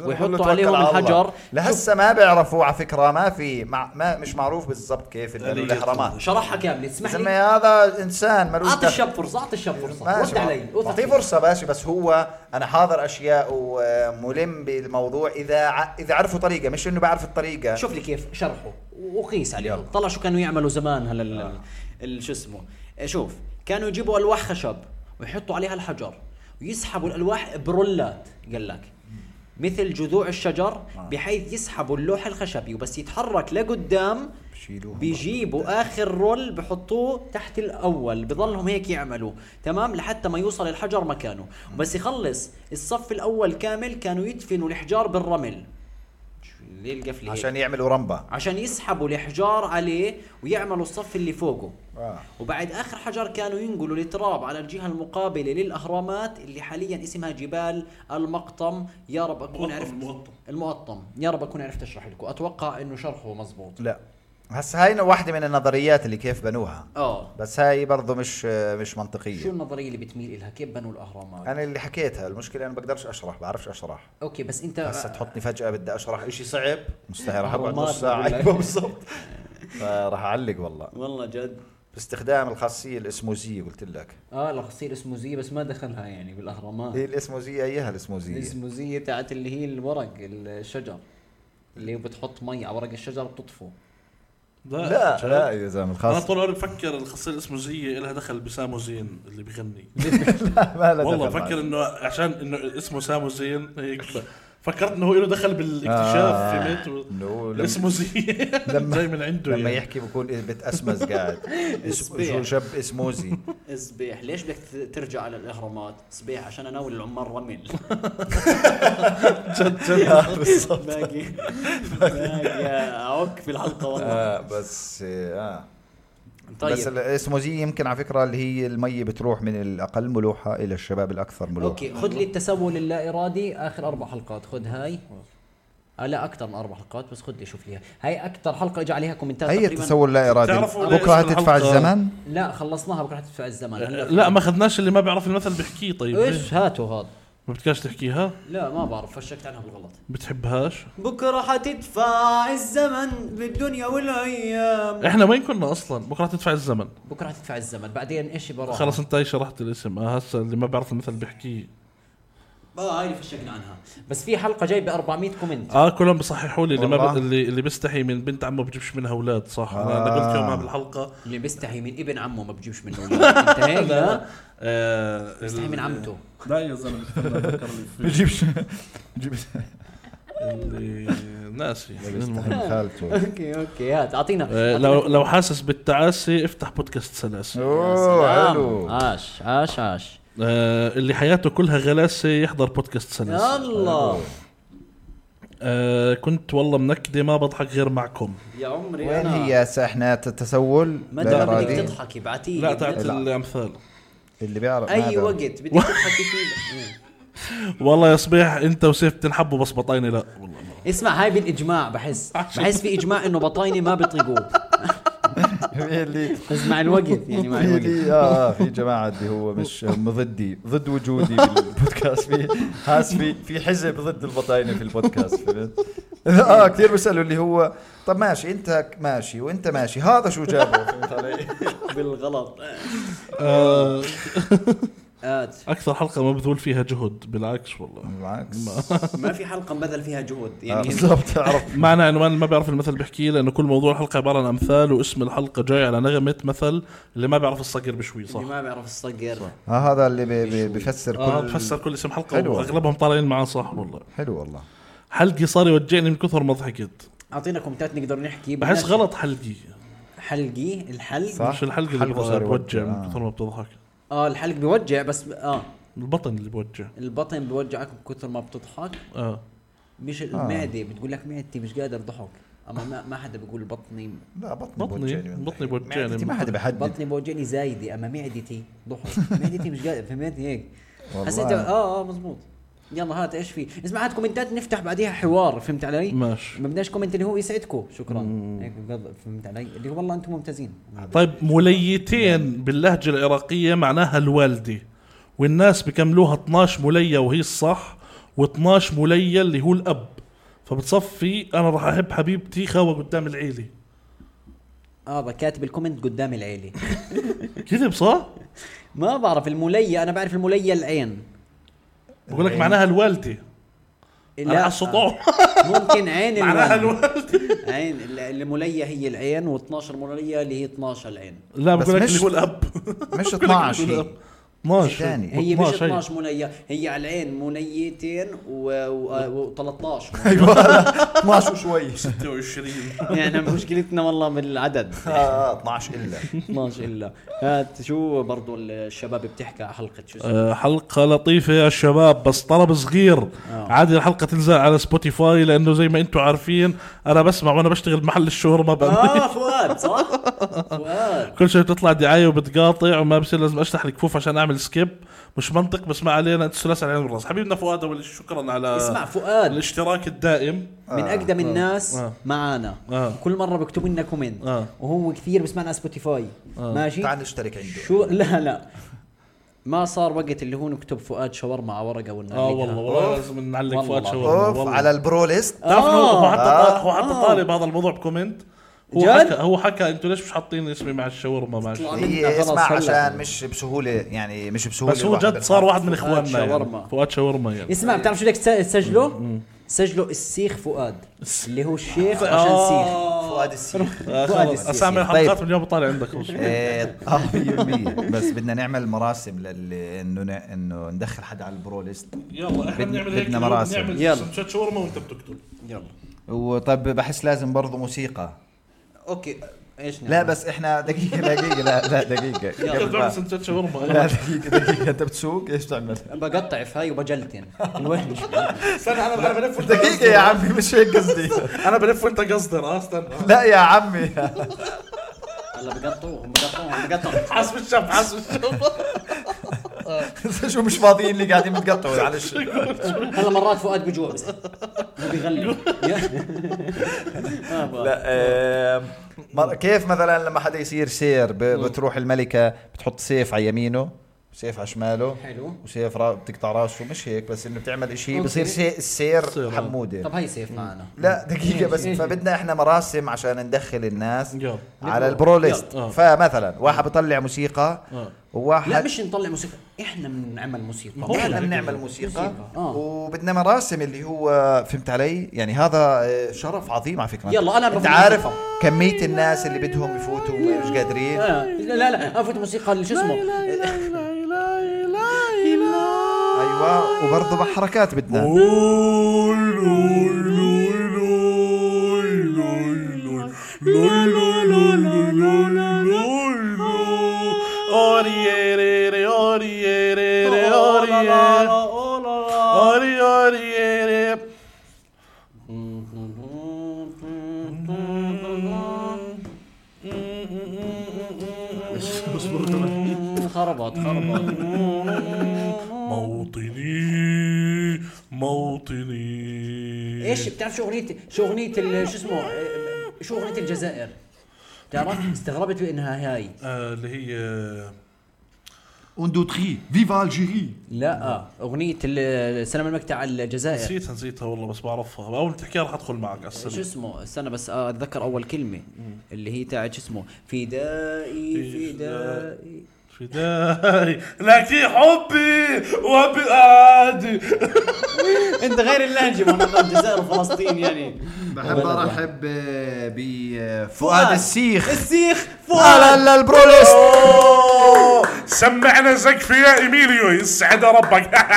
A: ويحطوا عليهم الحجر
B: لهسه ما بيعرفوا على فكره ما في مع ما مش معروف بالضبط كيف إنه الاهرامات
A: شرحها كامله اسمح
B: زلمه
A: لي
B: هذا انسان ملوش
A: اعطي الشاب فرصه اعطي الشاب فرصه رد علي وثق
B: اعطيه
A: فيه.
B: فرصه ماشي بس هو انا حاضر اشياء وملم بالموضوع اذا ع- اذا عرفوا طريقه مش انه بعرف الطريقه
A: شوف لي كيف شرحه وقيس عليه
B: يلا.
A: طلع شو كانوا يعملوا زمان هلا ال- ال- شو اسمه إيه، شوف كانوا يجيبوا الواح خشب ويحطوا عليها الحجر ويسحبوا الالواح برولات قال لك مثل جذوع الشجر بحيث يسحبوا اللوح الخشبي وبس يتحرك لقدام
B: بشيلوه
A: بيجيبوا اخر رول بحطوه تحت الاول بضلهم هيك يعملوا تمام لحتى ما يوصل الحجر مكانه وبس يخلص الصف الاول كامل كانوا يدفنوا الحجار بالرمل شو ذي القفله هيك.
B: عشان يعملوا رمبه
A: عشان يسحبوا الحجار عليه ويعملوا الصف اللي فوقه
B: آه.
A: وبعد اخر حجر كانوا ينقلوا التراب على الجهه المقابله للاهرامات اللي حاليا اسمها جبال المقطم يا رب اكون
C: مقطم،
A: عرفت
C: مقطم.
A: المقطم يا رب اكون عرفت اشرح لكم اتوقع انه شرحه مزبوط
B: لا هسه هاي واحده من النظريات اللي كيف بنوها
A: اه
B: بس هاي برضه مش مش
A: شو
B: منطقيه
A: النظريه اللي بتميل لها كيف بنوا الاهرامات
B: انا اللي حكيتها المشكله انا بقدرش اشرح بعرفش اشرح
A: اوكي بس انت
B: هسه تحطني فجاه بدي اشرح شيء صعب مستحيل راح اقعد
A: أهرامات
B: نص ساعه
A: بقول لك.
B: أيوة بالضبط فراح اعلق والله
A: والله جد
B: باستخدام الخاصيه الاسموزيه قلت لك
A: اه الخصير اسموزيه بس ما دخلها يعني بالاهرامات
B: هي الاسموزيه اياها الاسموزيه
A: الاسموزيه تاعت اللي هي الورق الشجر اللي بتحط مي على ورق الشجر بتطفو
B: لا لا يا زلمه
C: انا
B: الخاص
C: طول عمري بفكر الخصير اسمه زي لها دخل بسامو زين اللي بغني
B: ما لا
C: والله
B: دخل معي.
C: بفكر انه عشان انه اسمه سامو زين هيك ب- فكرت انه هو له دخل بالاكتشاف
B: آه.
C: فهمت و-
B: إنه لم-
C: اسمه زين
B: لما-
C: جاي من عنده
B: لما
C: يعني.
B: يحكي بكون إيه، بتأسمز قاعد اس-
A: صبيح.
B: شو شاب اسموزي
A: صبيح ليش بدك ترجع على الاهرامات صبيح عشان اناول العمال رمل
B: آه، بالضبط.
A: باقي باقي اعك في الحلقه والله
B: آه بس اه بس
A: طيب
B: الاسموزيه يمكن على فكره اللي هي المي بتروح من الاقل ملوحه الى الشباب الاكثر ملوحه
A: اوكي خذ لي التسول اللا ارادي اخر اربع حلقات خذ هاي آه لا اكثر من اربع حلقات بس خذ لي شوف لي هاي اكثر حلقه اجى عليها كومنتات
B: هي
A: تقريبا
B: التسول لا ارادي
C: تعرفوا
B: بكره
C: ليه اسم
B: حتدفع
C: الحلقة؟
B: الزمن
A: لا خلصناها بكره تدفع الزمن هلا
C: لا ما اخذناش اللي ما بيعرف المثل بحكيه طيب ليه؟
A: ايش هاتوا هذا
C: ما بدكاش تحكيها
A: لا ما بعرف فشكت عنها بالغلط
C: بتحبهاش
A: بكره حتدفع الزمن بالدنيا والايام
C: احنا وين كنا اصلا بكره تدفع الزمن
A: بكره حتدفع الزمن بعدين ايش براها
C: خلص انت هي شرحت الاسم آه، هسه اللي ما بيعرف المثل بحكيه
A: اه هاي اللي فشكنا عنها آه. بس في حلقه جايبه 400 كومنت
C: اه كلهم بصححوا لي اللي ما ب...
B: والله.
C: اللي اللي بيستحي من بنت عمه بجيبش منها اولاد صح انا انا قلت يومها بالحلقه
A: اللي بيستحي من ابن عمه ما بجيبش منه أولاد. انت هيك لا
C: آه
A: بيستحي من عمته
C: لا يا زلمه استنى أفكر لي في-
B: بجيبش
C: اللي ناسي المهم.
B: خالته
A: اوكي اوكي هات اعطينا
C: آه، لو لو حاسس بالتعاسه افتح بودكاست سلاسه
B: اوه حلو
A: عاش عاش عاش
C: آه اللي حياته كلها غلاسه يحضر بودكاست سلاسه
A: الله
C: آه كنت والله منكده ما بضحك غير معكم
A: يا عمري
B: وين
A: أنا
B: هي سحنات التسول
A: متى بدك
B: الإرادي؟
A: تضحكي بعتيلي
C: لا تعطي
B: لا.
C: الامثال
B: اللي بيعرف ما
A: اي
B: بيعرف.
A: وقت بدك تضحكي فيه
C: والله يا صبيح انت وسيف بتنحبوا بس بطايني لا والله
A: اسمع هاي بالاجماع بحس بحس في اجماع انه بطايني ما بيطيقوه
B: اللي
A: بس مع الوقت يعني مع الوقت
B: اللي اه آه، في جماعه اللي هو مش هم ضدي ضد وجودي بالبودكاست في حاس في في حزب ضد البطاينه في البودكاست فهمت؟ اه كثير بيسالوا اللي هو طب ماشي انت ماشي وانت ماشي هذا شو جابه فهمت علي؟
A: بالغلط آه،
C: آه
A: آت.
C: اكثر حلقه مبذول فيها جهد بالعكس والله
B: بالعكس
A: ما في حلقه مبذل فيها جهد
B: آه،
A: يعني
B: بالضبط عرفت
C: معنى عنوان اللي ما بيعرف المثل بحكيه لانه كل موضوع الحلقه عباره عن امثال واسم الحلقه جاي على نغمه مثل اللي ما بيعرف الصقر بشوي صح
A: اللي ما بيعرف الصقر
B: آه، هذا اللي بي- بي- بفسر
C: اه
B: كل
C: بفسر كل اسم حلقه
B: حلو.
C: واغلبهم طالعين معاه صح والله
B: حلو والله
C: حلقي صار يوجعني من كثر ما ضحكت
A: اعطينا كومنتات نقدر نحكي
C: بحس
A: بدناش
C: غلط حلقي
A: حلقي الحلق
B: صح.
C: مش الحلقه اللي
B: حلقه
C: بتوجع
B: صار
C: بتوجع
B: يوجع،
C: من
B: آه.
C: كثر ما بتضحك
A: اه الحلق بيوجع بس ب... اه
C: البطن اللي بوجع
A: البطن بيوجعك من كثر ما بتضحك
C: اه
A: مش المعده بتقول لك معدتي مش قادر ضحك اما ما, ما حدا بيقول بطني
B: لا بطني
C: بطني
B: بوجعني
C: بطني
B: معدتي ما
C: بوجعني
B: حدا بحدد
A: بطني بوجعني زايده اما معدتي ضحك معدتي مش قادر فهمتني هيك
B: والله.
A: حسيت اه اه مزبوط يلا هات ايش في اسمع هات كومنتات نفتح بعديها حوار فهمت علي
C: ماشي.
A: ما بدناش كومنت اللي هو يسعدكم شكرا هيك بقض- فهمت علي اللي هو والله انتم ممتازين
C: طيب مليتين باللهجة العراقية معناها الوالدة والناس بكملوها 12 ملية وهي الصح و12 ملية اللي هو الأب فبتصفي أنا راح أحب حبيبتي خاوة قدام العيلة
A: اه كاتب الكومنت قدام العيله
C: كذب صح؟
A: ما بعرف الملية انا بعرف الملية العين
C: بقول لك
B: إيه.
C: معناها الوالدة أنا على السطوع
A: آه، ممكن عين
C: معناها
A: الوالد.
C: الوالدة
A: عين ال- الملية هي العين و12 ملية اللي هي 12 العين
C: لا
B: بس
C: بقول لك
B: مش-
C: اللي هو الأب
B: مش 12
C: بقول
B: هي.
C: الأب 12
B: تاني.
A: هي مش
C: 12 هي.
A: 12 ملية هي على العين مليتين آه، و13
B: ايوه 12 وشوي
C: 26
A: يعني مشكلتنا والله بالعدد
B: آه، 12 الا
A: 12 الا هات شو برضو الشباب بتحكي على حلقة شو اسمه
C: آه، حلقة لطيفة يا شباب بس طلب صغير
A: آه.
C: عادي الحلقة تنزل على سبوتيفاي لأنه زي ما أنتم عارفين أنا بسمع وأنا بشتغل محل الشاورما بأمريكا
A: اه فؤاد صح؟ فؤاد
C: كل شوي بتطلع دعاية وبتقاطع وما بصير لازم أشلح الكفوف عشان أعمل سكيب مش منطق بس ما علينا أنتوا ثلاثة على العين والراس حبيبنا فؤاد أول شي شكرا على
A: اسمع فؤاد
C: الاشتراك الدائم
A: من اقدم الناس
C: آه.
A: معانا
C: آه.
A: كل مره بيكتب لنا كومنت
C: آه.
A: وهو كثير بسمعنا على سبوتيفاي ماشي
B: تعال نشترك عنده
A: شو لا لا ما صار وقت اللي هو نكتب فؤاد شاورما على ورقه
C: آه
A: ونعلقها
C: والله والله لازم نعلق
A: والله.
C: فؤاد شاورما
B: اوف
C: والله.
B: على البرو ليست
C: تعرف إنه هو- هو حتى
B: آه.
C: هو حتى طالب هذا الموضوع بكومنت هو
A: جد؟
C: حكى هو حكى انتوا ليش مش حاطين اسمي مع الشاورما ماشي
A: طلع منها
B: هي
A: خلاص
B: إيه، اسمع
A: هلا.
B: عشان مش بسهوله يعني مش بسهوله
C: بس هو
B: الواحد
C: جد صار
B: بيلحق.
C: واحد من اخواننا
A: شاورما.
C: يعني فؤاد شاورما يعني
A: اسمع بتعرف شو بدك تس- تسجله؟ سجله السيخ فؤاد اللي هو الشيخ عشان سيخ
B: فؤاد السيخ
C: آه،
A: فؤاد
C: خلص
A: السيسي.
C: اسامي الحلقات
B: طيب.
C: من اليوم بطالع عندك خلص.
B: إيه، اه 100% بس بدنا نعمل مراسم لل انه ن- انه ندخل حدا على البرو ليست
C: يلا احنا
B: بدنا-
C: بنعمل
B: بدنا
C: هيك اليوم،
B: مراسم.
C: بنعمل
A: يلا.
C: سندوتشات شاورما وانت بتقتل
A: يلا
B: وطب بحس لازم برضه موسيقى
A: اوكي ايش نعمل؟
B: لا بس احنا دقيقه دقيقه لا لا دقيقه
C: انت
B: قبل ما-
C: بتعمل سندوتشات شاورما
B: لا
C: أنا-
B: دقيقه دقيقه انت بتسوق ايش تعمل
A: بقطع في هاي وبجلتن الوحش
C: استنى انا انا بلف وانت
B: دقيقه
C: قصدي.
B: يا عمي مش هيك قصدي
C: انا بلف وانت قصدي اه استنى
B: لا يا عمي
A: هلا بقطعوهم بقطعوهم بقطعوهم
C: حاسب الشب حاسب الشب
B: شو مش فاضيين اللي قاعدين بتقطعوا معلش
A: هلا مرات فؤاد بجوع بس بيغلي آه،
B: لا آم، مر- كيف مثلا لما حدا يصير سير ب- بتروح الملكه بتحط سيف على يمينه سيف على شماله
A: حلو.
B: وسيف را... بتقطع راسه مش هيك بس انه بتعمل شيء
A: أوكي.
B: بصير سي... السير
C: سير. آه.
B: حموده
A: طب هاي سيف معنا
B: لا دقيقة بس
A: إيه.
B: فبدنا احنا مراسم عشان ندخل الناس
C: يلا.
B: على البرو ليست
C: يلا. آه.
B: فمثلا واحد بيطلع موسيقى
C: آه.
B: وواحد
A: لا مش نطلع موسيقى احنا بنعمل موسيقى
C: ما هو
B: احنا
C: لا.
B: بنعمل موسيقى
A: موسيقى. آه.
B: وبدنا مراسم اللي هو فهمت علي يعني هذا آه، شرف عظيم على فكره
A: يلا أنا
B: انت
A: بفوت
B: عارف
A: موسيقى.
B: كميه الناس اللي بدهم يفوتوا ومش قادرين
A: آه، لا لا افوت موسيقى شو اسمه
B: ايوه وبرضه بحركات بدنا
A: خربت خربت
C: موطني موطني
A: ايش بتعرف شو اغنيه شو اغنيه ال- شو اسمه آه، شو اغنيه الجزائر بتعرف استغربت انها هاي
C: آه، اللي هي
E: Ondotri, vive Algérie
A: لا آه. اغنيه ال- السلام المكتة على الجزائر
C: نسيتها نسيتها والله بس بعرفها اول ما تحكيها رح ادخل معك على
A: شو
C: السنه
A: اسمه استنى بس آه، اتذكر اول كلمه اللي هي تاعت شو اسمه فدائي فدائي
C: فدائي لك حبي وبعادي
A: انت غير اللهجه منظمه الجزائر وفلسطين يعني
B: بحب ارحب بفؤاد
A: فؤاد.
B: السيخ
A: السيخ
B: اهلا
A: فؤاد
B: للبروليست
C: سمعنا زقفة يا ايميليو يسعد ربك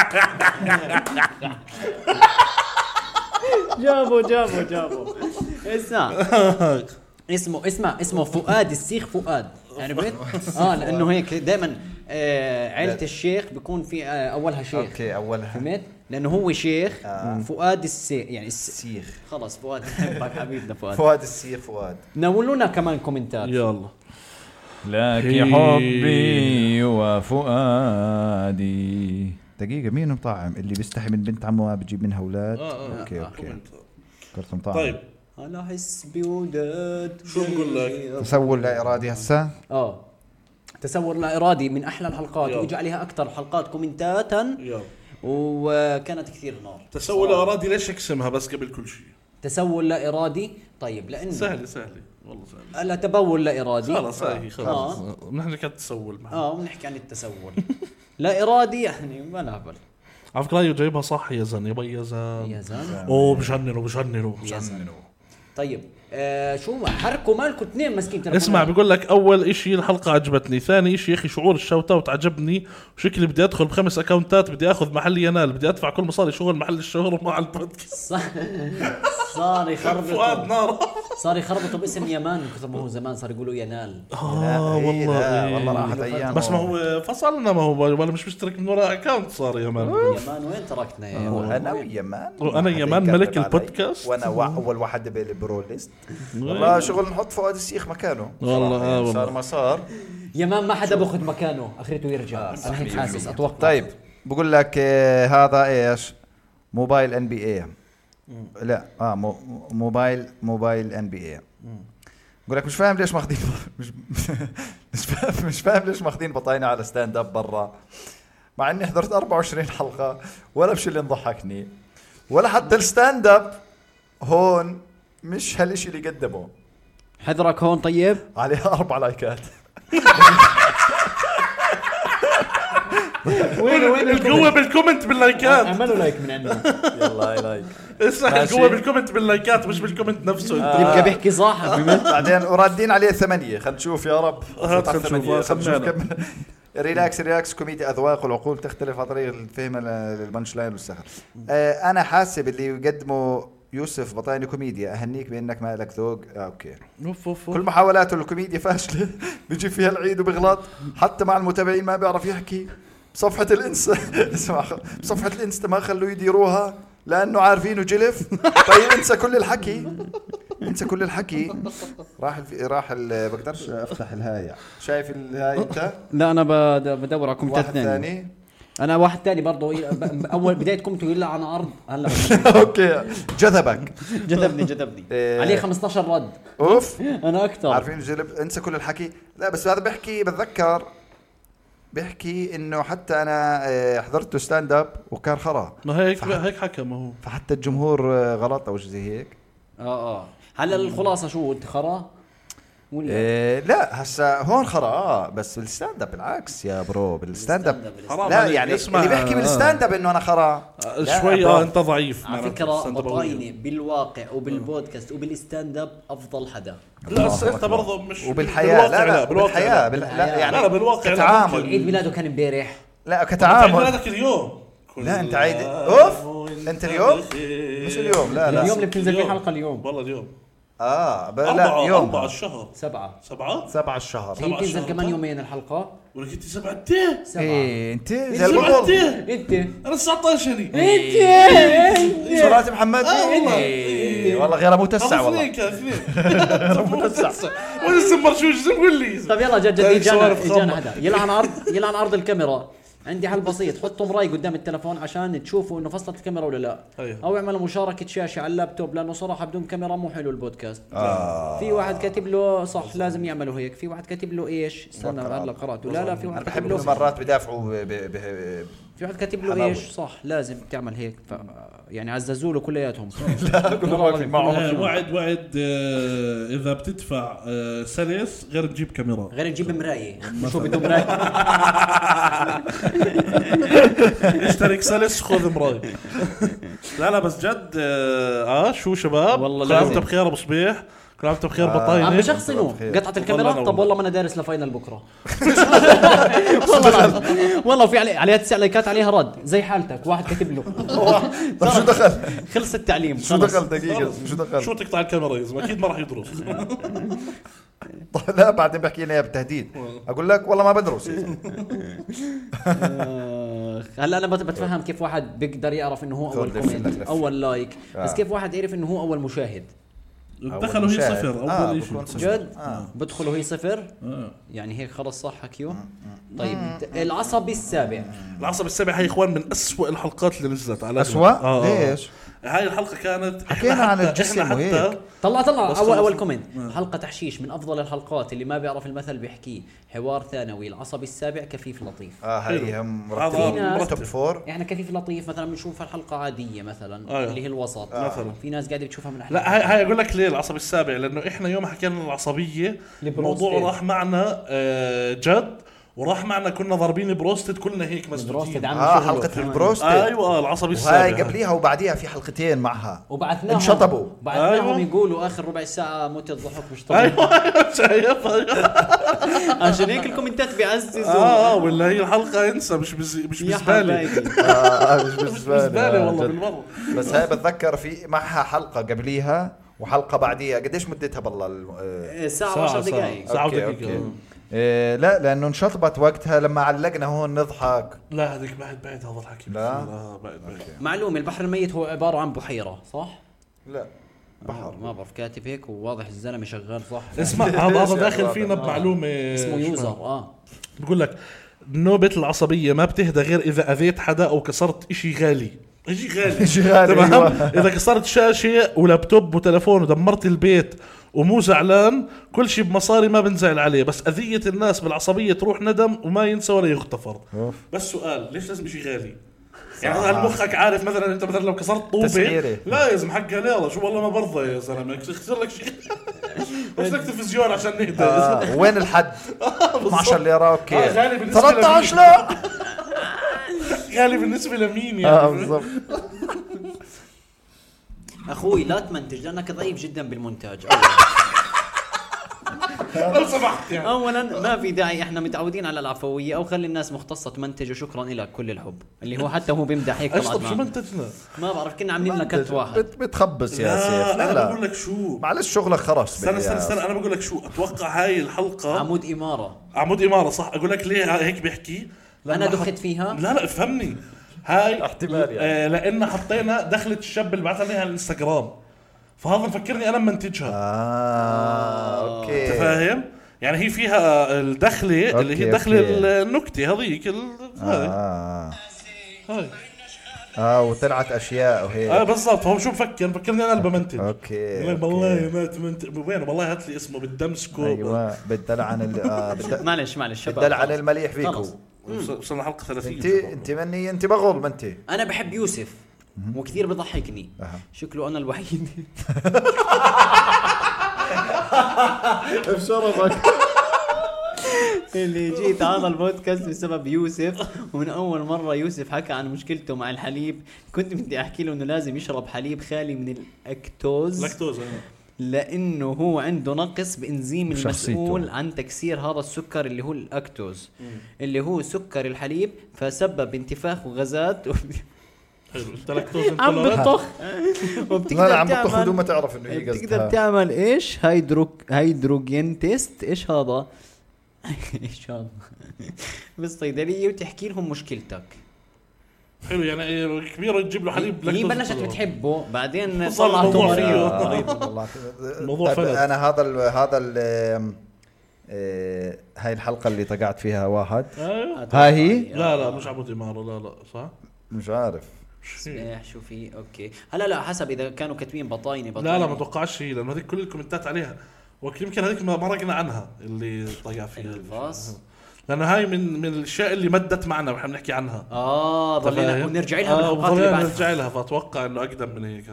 A: جابوا جابوا جابوا اسمع يعني اسمه اسمع اسمه فؤاد السيخ فؤاد عرفت؟ اه لانه آه، هيك دائما آه عيلة
B: لا.
A: الشيخ بيكون في آه اولها شيخ
B: اوكي اولها
A: فهمت؟ لانه هو شيخ
B: آه.
A: فؤاد السي يعني الس...
B: سيخ
A: خلص فؤاد بحبك حبيبنا فؤاد
B: فؤاد السيخ فؤاد
A: نولونا كمان كومنتات
C: يلا
D: لك
C: هي.
D: حبي وفؤادي
B: دقيقة مين مطعم اللي بيستحي من بنت عمه بتجيب منها اولاد
C: آه، آه،
B: اوكي
A: آه،
B: اوكي كرت مطعم
C: طيب
A: على حسبي وداد
C: شو نقول لك؟
B: تسول لا ارادي هسه
A: اه تسور لا ارادي من احلى الحلقات
C: يلا.
A: واجى عليها اكثر حلقات كومنتات
C: يلا
A: وكانت كثير نار
C: تسول اراضي ليش اقسمها بس قبل كل شيء
A: تسول لا ارادي طيب لانه
C: سهله سهله والله سهله
A: لا تبول لا ارادي
C: خلاص هي خلاص
A: آه.
C: نحن كانت تسول معها
A: اه بنحكي عن التسول لا ارادي يعني ما نهبل
C: على فكره هي جايبها صح يا زن يا بي يا زن
A: يا زلمه
C: اوه بجننوا بجننوا
A: يا زلمه طيب آه شو حركوا مالكم اثنين ماسكين تلفونات.
C: اسمع بيقول لك اول اشي الحلقه عجبتني ثاني اشي يا اخي شعور الشوت اوت عجبني شكلي بدي ادخل بخمس اكونتات بدي اخذ محل ينال بدي ادفع كل مصاري شغل محل الشهر مع البودكاست
A: ص- صار
C: فؤاد
A: يخربطوا
C: نار
A: صار يخربطوا باسم يمان من كثر ما هو زمان صار يقولوا ينال
C: اه والله
B: إيه،
C: إيه.
B: لا والله راحت ايام
C: بس ما هو فصلنا ما هو ولا مش مشترك من وراء اكونت صار يا مان
A: يمان وين تركنا يا
B: هو
A: يمان؟
B: انا ويمان
C: وأنا يمان
B: حدا
C: ملك
B: يكذب علي.
C: البودكاست.
B: وانا وا- اول واحد بالبرو ليست والله شغل نحط فؤاد السيخ مكانه
C: والله،
B: صراحة يعني
C: آه،
B: صار
C: والله.
B: ما صار
A: يمان ما حدا باخذ مكانه اخرته يرجع انا هيك حاسس اتوقع
B: آه، طيب بقول لك آه، هذا ايش موبايل ان بي اي لا اه مو موبايل موبايل ان بي اي بقول لك مش فاهم ليش ماخذين مش مش فاهم مش فاهم ليش ماخذين بطاينه على ستاند اب برا مع اني حضرت 24 حلقه ولا مش اللي انضحكني ولا حتى الستاند اب هون مش هالشيء اللي قدمه
A: حذرك هون طيب
B: عليها اربع لايكات
A: وين وين آه.
C: القوه بالكومنت باللايكات
A: اعملوا لايك من عندنا
B: يلا لايك
C: اسمع
B: ماشي. آه.
C: القوه بالكومنت باللايكات مش بالكومنت نفسه
A: يبقى بيحكي صاحب
B: بعدين ورادين عليه ثمانية خلينا نشوف يا رب
C: هات
B: خلنا
C: خلنا نشوف،
B: خلنا نشوف
C: خلنا.
B: كم ريلاكس ريلاكس كوميديا اذواق والعقول تختلف عن طريق الفهم ل- للبنش لاين والسخر آه، انا حاسب اللي يقدمه يوسف بطاني كوميديا اهنيك بانك ما لك ذوق آه، اوكي
C: اوف اوف
B: كل محاولاته للكوميديا فاشله بيجي فيها العيد وبغلط حتى مع المتابعين ما بيعرف يحكي بصفحة الانستا اسمع بصفحة الانستا ما خلوه يديروها لانه عارفينه جلف طيب انسى كل الحكي انسى كل الحكي راح الف... راح ال... بقدرش افتح الهاي شايف الهاي انت
A: لا انا بد- بدور على كومنتات
B: واحد
A: ثانيه
B: ثاني
A: انا واحد ثاني برضه ي- ب- اول بدايه كومته يقول لي عن عرض هلا
B: اوكي جذبك
A: جذبني جذبني
B: إيه.
A: عليه 15 رد
B: اوف
A: انا اكثر
B: عارفين جلب انسى كل الحكي لا بس هذا بحكي بتذكر بحكي انه حتى انا آه، حضرته ستاند اب وكان خرا
C: ما هيك هيك حكى ما هو
B: فحتى الجمهور آه، غلط او شيء زي هيك
A: اه اه هلا الخلاصه شو انت خرا ولا
B: إيه لا هسا هون خرا اه بس بالستاند اب بالعكس يا برو بالستاند اب
C: حرام
B: لا
C: عليك،
B: يعني
C: اسمع.
B: اللي بيحكي بالستاند اب انه انا خرا لا،
C: شوي
B: برو.
C: اه انت ضعيف
A: على
C: معناته.
A: فكره
C: استنت بقول.
A: بطاينه بالواقع وبالبودكاست وبالستاند اب افضل حدا
C: لا بس
B: الله
C: انت
B: أكبر.
C: برضه مش
B: وبالحياه لا لا
C: بالواقع
B: بالحياه
C: لا.
B: بال- لا يعني
C: لا، لا، بالواقع لا،
B: كتعامل
A: عيد ميلاده كان امبارح
B: لا
C: عيد
B: كتعامل
C: ميلادك اليوم
B: لا، أنت عيد- أوف! أنت اليوم؟
C: بخير.
B: مش اليوم لا
A: اليوم
B: لا
A: اللي بتنزل فيه
C: اليوم.
A: حلقه اليوم
C: والله اليوم
B: اه ب- لا
C: أربعة أربعة
B: يوم
C: الشهر
A: سبعه
C: سبعة
B: سبعة الشهر
A: هي
C: سبعة
A: بتنزل
C: شهر. طيب.
A: كمان يومين الحلقه
C: ولك أنت سبعة إيه؟
A: سبعه
B: انت زي
C: سبعة
B: البطل
C: إيه؟
A: انت
C: أنا 19 هني
A: إيه، انت
B: صلاة محمد
C: إيه. آه، والله.
B: إيه، والله غير متسع
C: خلص
B: والله
C: هيك اثنين ولسه مرشوش شو قول لي
A: طب يلا جد جد
C: طيب،
A: اجانا
C: سوالف
A: اجانا
C: خمة.
A: هذا يلعن عرض يلعن عرض الكاميرا عندي حل بسيط حطوا مراي قدام التلفون عشان تشوفوا انه فصلت الكاميرا ولا لا
C: أيوه.
A: او اعملوا مشاركه شاشه على اللابتوب لانه صراحه بدون كاميرا مو حلو البودكاست
B: آه.
A: في واحد كاتب له صح لازم يعملوا هيك في واحد كاتب له ايش استنى هلا قراته لا لا في
B: انا
A: واحد
B: بحب
A: كاتب له
B: إنه مرات بدافعوا ب- ب- ب-
A: في واحد كاتب له
B: حماوي.
A: ايش صح لازم تعمل هيك ف... يعني عززوا له كلياتهم
C: وعد وعد آه، اذا بتدفع آه، سلس غير تجيب كاميرا
A: غير نجيب مرايه شو بده مرايه
C: اشترك سلس خذ مراي لا لا بس جد اه آه، شو شباب
A: والله
C: والله
A: لازم.
C: بخير ابو صبيح كل عام وانتم بخير
B: آه.
A: عم
C: بطاينه
A: بشخصنوه
B: طيب،
A: قطعت
C: والله
A: الكاميرا
C: أنا
A: طب والله ما انا دارس لفاينل بكره والله العظيم. والله في علي عليها تسع لايكات عليها رد زي حالتك واحد كاتب له
B: طب شو دخل؟
A: خلص التعليم
B: شو
A: خلص.
B: دخل دقيقة شو
C: شو
B: دخل؟
C: تقطع الكاميرا يا زلمه اكيد ما راح يدرس
B: طيب، لا بعدين بحكي لي اياها بتهديد اقول لك والله ما بدرس يا زلمة.
A: آخ. آه، هلا انا بت- بتفهم كيف واحد بيقدر يعرف انه هو اول
B: لف- لف-
A: كومنت
B: لف.
A: اول لايك بس
B: آه.
A: كيف واحد يعرف انه هو اول مشاهد
C: دخلوا هي
B: مشاهد.
C: صفر
B: آه،
C: اول شيء آه.
B: بكون صفر.
A: جد
B: آه.
A: بدخلوا هي صفر يعني هيك خلص صح حكيو طيب العصبي السابع
C: العصب السابع هاي اخوان من أسوأ الحلقات اللي نزلت على
B: أسوأ؟
C: الأغلب. آه، آه.
B: ليش؟
C: هاي الحلقه كانت إحنا
B: حكينا عن
C: حتى-
B: الجسم
C: إحنا
B: وهيك.
C: حتى
A: طلع طلع
C: بس نعم.
A: اول
C: خلص.
A: اول كومنت حلقه تحشيش من افضل الحلقات اللي ما بيعرف المثل بيحكيه حوار ثانوي العصبي السابع كفيف لطيف
B: اه
C: حلو.
B: هي هم
A: هذا
B: مرتبين
A: مرتب.
B: مرتب فور
A: احنا كفيف لطيف مثلا بنشوفها الحلقه عاديه مثلا
C: آه.
A: اللي هي الوسط
C: مثلاً.
A: في ناس قاعده بتشوفها من
C: لا هاي هاي اقول لك ليه العصبي السابع لانه احنا يوم حكينا عن العصبيه
A: البروستيت.
C: الموضوع راح معنا آه، جد وراح معنا كنا ضاربين بروستد كلنا هيك
A: بروستد
C: مسدودين
A: عم
B: اه
A: شغله.
B: حلقة
A: تمام.
B: البروستد
C: ايوه آه، العصبي
B: وهاي
C: السابع
B: قبليها وبعديها في حلقتين معها
A: وبعثناهم
B: انشطبوا.
A: بعثناهم
C: أيوة.
A: يقولوا اخر ربع ساعه موت الضحك مش طبيعي
C: ايوه شايف أيوة.
A: عشان هيك الكومنتات بيعززوا
C: اه آه، ولا هي الحلقه انسى مش بز... مش
A: يا
C: بزبالي
A: حبايبي
B: آه، آه، مش
C: مش بزبالي
B: آه،
C: والله
B: جد.
C: بالمره
B: بس هاي بتذكر في معها حلقة قبليها وحلقة بعديها قديش مدتها بالله الم- آه،
A: ساعه و10 دقائق
C: ساعة
B: أوكي،
C: ودقيقة.
B: أوكي. آه، لا لانه انشطبت وقتها لما علقنا هون نضحك
C: لا هذيك بعد بعد هذا الحكي
B: لا؟
C: بكثير. آه، بعد بعد
A: معلومه البحر الميت هو عباره عن بحيره صح؟
B: لا
A: بحر ما بعرف كاتب هيك وواضح الزلمه شغال صح
C: اسمع هذا هذا
B: إيش يا
C: داخل
B: أخوان؟
C: فينا
B: آه.
C: بمعلومه
A: اسمه
C: شو
A: يوزر اه
C: بقول لك نوبة العصبية ما بتهدى غير إذا أذيت حدا أو كسرت إشي غالي إشي غالي
B: إشي غالي،
C: تمام
B: أيوة.
C: إذا كسرت شاشة ولابتوب وتلفون ودمرت البيت ومو زعلان كل شيء بمصاري ما بنزعل عليه بس أذية الناس بالعصبية تروح ندم وما ينسى ولا يغتفر
B: أوف.
C: بس سؤال ليش لازم إشي غالي يعني هذا مخك عارف مثلا انت مثلا لو كسرت
B: تسعيرة.
C: طوبه لا يا زلمه حقها ليره شو والله ما برضى يا زلمه خسر لك شيء بس لك تلفزيون عشان نهدى
B: آه، وين الحد؟ 12 ليرة اوكي
C: آه، غالي بالنسبة
B: 13
C: لمين؟
B: لا
C: غالي بالنسبه لمين يعني
B: اه بالضبط
A: اخوي لا تمنتج لانك ضعيف جدا بالمونتاج
C: لو سمحت يعني
A: اولا ما في داعي احنا متعودين على العفويه او خلي الناس مختصه تمنتج وشكرا لك كل الحب اللي هو حتى هو بيمدح هيك طلعت
C: اشطب
A: معه.
C: شو منتجنا؟
A: ما بعرف كنا عاملين لنا كت واحد
B: بت- بتخبص يا سيف
C: لا
B: لا
C: انا آه، بقول
B: لا
C: لك شو
B: معلش شغلك خرس
C: استنى استنى استنى انا بقول لك شو اتوقع هاي الحلقه
A: عمود اماره
C: عمود اماره صح اقول لك ليه هيك بيحكي لأن
A: انا
C: حط-
A: دخت فيها
C: لا لا افهمني هاي
B: احتمال يعني.
C: آه، لان حطينا دخلة الشاب اللي بعثها لي على الانستغرام فهذا مفكرني انا
B: آه،
C: منتجها
B: اه
C: انت
B: اوكي
C: فاهم؟ يعني هي فيها الدخلة اللي هي
B: أوكي،
C: دخلة
B: أوكي.
C: النكتة هذيك ال- هاي
B: اه
C: هاي
B: اه وطلعت اشياء
C: اه
B: وهيك
C: بالضبط هو شو مفكر مفكرني انا اللي بمنتج
A: إيه،
B: اوكي
C: والله-
B: أوكي.
C: والله ما تمنت وين والله هات لي اسمه بالدمسكو
A: أيوة.
B: ايوه بدل عن ال آه، بدل-
A: معلش معلش شباب
B: بدل عن
A: خلص.
B: المليح فيكو
A: خلص.
C: وصلنا حلقه 30
B: انت انت مني انت بغل ما انت
A: انا بحب يوسف وكثير بضحكني
B: أها.
A: شكله انا الوحيد
B: بشرفك
A: اللي جيت هذا البودكاست بسبب يوسف ومن اول مره يوسف حكى عن مشكلته مع الحليب كنت بدي احكي له انه لازم يشرب حليب خالي من الاكتوز
C: لاكتوز آه.
A: لانه هو عنده نقص بانزيم
D: شخصيته.
A: المسؤول عن تكسير هذا السكر اللي هو الاكتوز اللي هو سكر الحليب فسبب انتفاخ وغازات وب-
C: حلو انت لاكتوز
A: عم
C: انتولرنت
A: بطخ وبتقدر
B: لا لا عم بطخ
A: تعمل-
B: بدون ما تعرف انه هي
A: إيه، بتقدر
B: قصدها
A: تعمل ايش هيدرو هيدروجين تيست ايش هذا ايش هذا طيب، بالصيدليه وتحكي لهم مشكلتك
C: حلو يعني إيه، كبيره تجيب له حليب
A: هي
C: لاكتوز
A: إيه، بلشت
C: انتولرنت.
A: بتحبه بعدين
C: وصار
A: طلعته
C: الموضوع
A: مريض
C: فيه.
B: آه، والله.
C: الموضوع
B: طيب،
C: فلت.
B: انا هذا ال هذا ال آه، هاي الحلقه اللي طقعت فيها واحد
C: ايوه
B: هاي هي؟
A: أيوة.
C: لا لا مش عمود اماره لا لا صح
B: مش عارف
C: شو هي؟
A: إيه، شو في اوكي هلا لا حسب اذا كانوا كاتبين بطاينه بطاينه
C: لا لا ما اتوقعش هي لانه هذيك كل الكومنتات عليها وكل يمكن هذيك ما مرقنا عنها اللي طقع فيها
A: الفاس.
C: لانه هاي من من الاشياء اللي مدت معنا واحنا بنحكي عنها
A: اه ضلينا
C: فاهم؟
A: ونرجع لها
C: آه،
A: بالحلقات اللي
C: وضلينا
A: بعدها
C: نرجع لها فاتوقع انه اقدم من هيك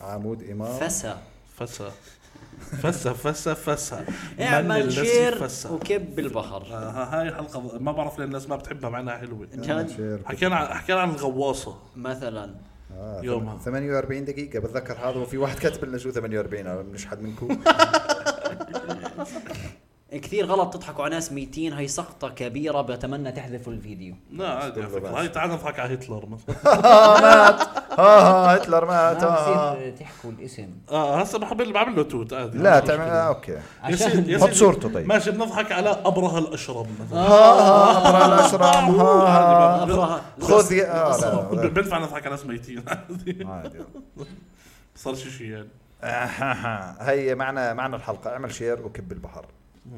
B: عمود امام
A: فسا
C: فسا فسا فسا فسا من
A: اعمل
C: الذي
A: شير
C: فسا؟
A: وكب بالبحر
C: آه، هاي الحلقة ما بعرف ليه الناس ما بتحبها مع انها حلوة
A: جد
C: حكينا عن حكينا عن الغواصة
A: مثلا
B: آه،
C: يومها.
B: 48 دقيقة بتذكر هذا وفي واحد كاتب لنا شو 48 أنا بنشحد منكم
A: كثير غلط تضحكوا على ناس ميتين هي سقطة كبيرة بتمنى تحذفوا الفيديو
C: لا عادي على فكرة. هاي تعال نضحك على هتلر مثلا
B: ها ها هتلر مات
A: ما
B: آه.
A: بصير تحكوا الاسم
C: اه هسه بحب بعمل له توت عادي
B: لا
C: مش
B: تعمل
C: مشكلة.
B: آه، اوكي
C: يا
A: عشان-
C: سيدي- يا
B: حط
C: سيدي،
B: صورته طيب.
C: ماشي بنضحك على ابرهه الاشرب مثلا
B: ها ها أمر الأشرم ها ها
A: أبرهة.
B: خذ يا آه، لا،
C: أصلاً
B: لا،
C: بنفع نضحك على ناس ميتين عادي.
B: عادي.
C: صار شي شي يعني
B: آه، هي معنا معنا الحلقة اعمل شير وكب البحر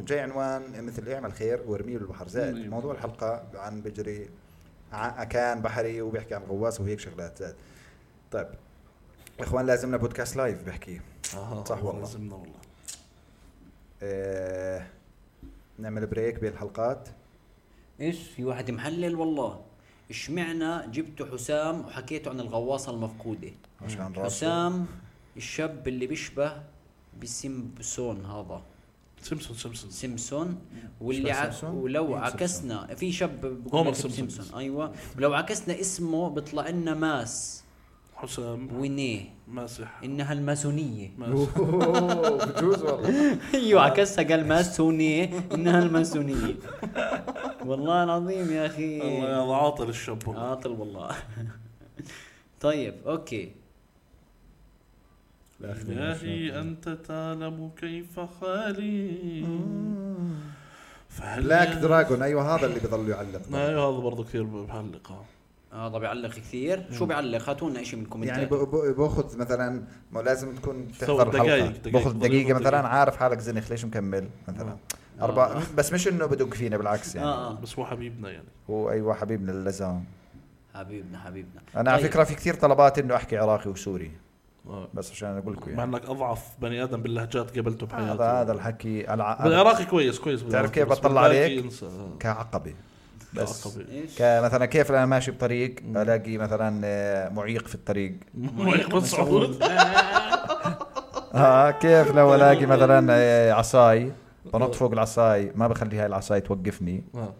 B: جاي عنوان مثل اعمل خير وارميه بالبحر زائد
C: مم.
B: موضوع الحلقة عن بجري ع- كان بحري وبيحكي عن غواص وهيك شغلات زائد طيب اخوان لازمنا بودكاست لايف بحكي صح والله.
C: لازمنا والله
B: آه، نعمل بريك بين الحلقات
A: ايش في واحد محلل والله اشمعنا جبتوا حسام وحكيتوا عن الغواصه المفقوده
B: عشان راسه
A: حسام الشاب اللي بيشبه بسيمبسون هذا
C: سيمسون سيمسون
A: سيمسون واللي
B: شبه إيه،
A: ع...
B: سيمبسون؟
A: ولو
B: مين
A: عكسنا في شاب بقول
C: هومر
A: لك
C: سيمبسون.
A: سيمبسون ايوه ولو عكسنا اسمه بيطلع لنا ماس
C: حسام
A: وينيه
C: ماسح
A: انها الماسونيه
C: ماسح
B: أوه، بجوز والله
A: ايوه عكسها قال ماسونيه انها الماسونيه والله العظيم يا اخي
C: الله يا عاطل الشاب والله.
A: عاطل والله طيب اوكي
C: إلهي أنت تعلم كيف حالي فهل
B: بلاك دراجون ايوه هذا اللي بضل يعلق
C: ما هي هذا برضه كثير بحلق آه.
A: هذا بيعلق كثير شو بيعلق هاتوا لنا شيء من الكومنتات
B: يعني ب- ب- باخذ مثلا ما لازم تكون تحضر
C: دقايق-
B: الحلقه
C: دقايق.
B: باخذ دقيقه
C: دقيقة.
B: مثلا عارف حالك زنخ ليش مكمل مثلا
C: آه.
B: اربع بس مش انه بدق فينا بالعكس يعني
A: اه اه
C: بس هو حبيبنا يعني
B: هو ايوه حبيبنا اللزام
A: حبيبنا حبيبنا
B: انا على
A: طيب،
B: فكره في كثير طلبات انه احكي عراقي وسوري
C: آه.
B: بس عشان اقول لكم
C: مع
B: يعني
C: انك اضعف بني ادم باللهجات قابلته بحياتي
B: آه، هذا هذا الحكي الع...
C: بالعراقي كويس كويس
B: تعرف كيف
C: بس
B: بطلع
C: بالباقي
B: عليك؟
C: انسى، آه.
B: كعقبه بس
C: عقبة.
A: ايش
B: كمثلا كيف انا ماشي بطريق الاقي مثلا آه، معيق في الطريق
C: معيق مسعود آه.
B: اه كيف لو الاقي مثلا آه، عصاي بنط فوق العصاي ما بخلي هاي العصاي توقفني
C: آه.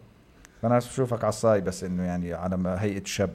B: انا بشوفك عصاي بس انه يعني على ما هيئه شاب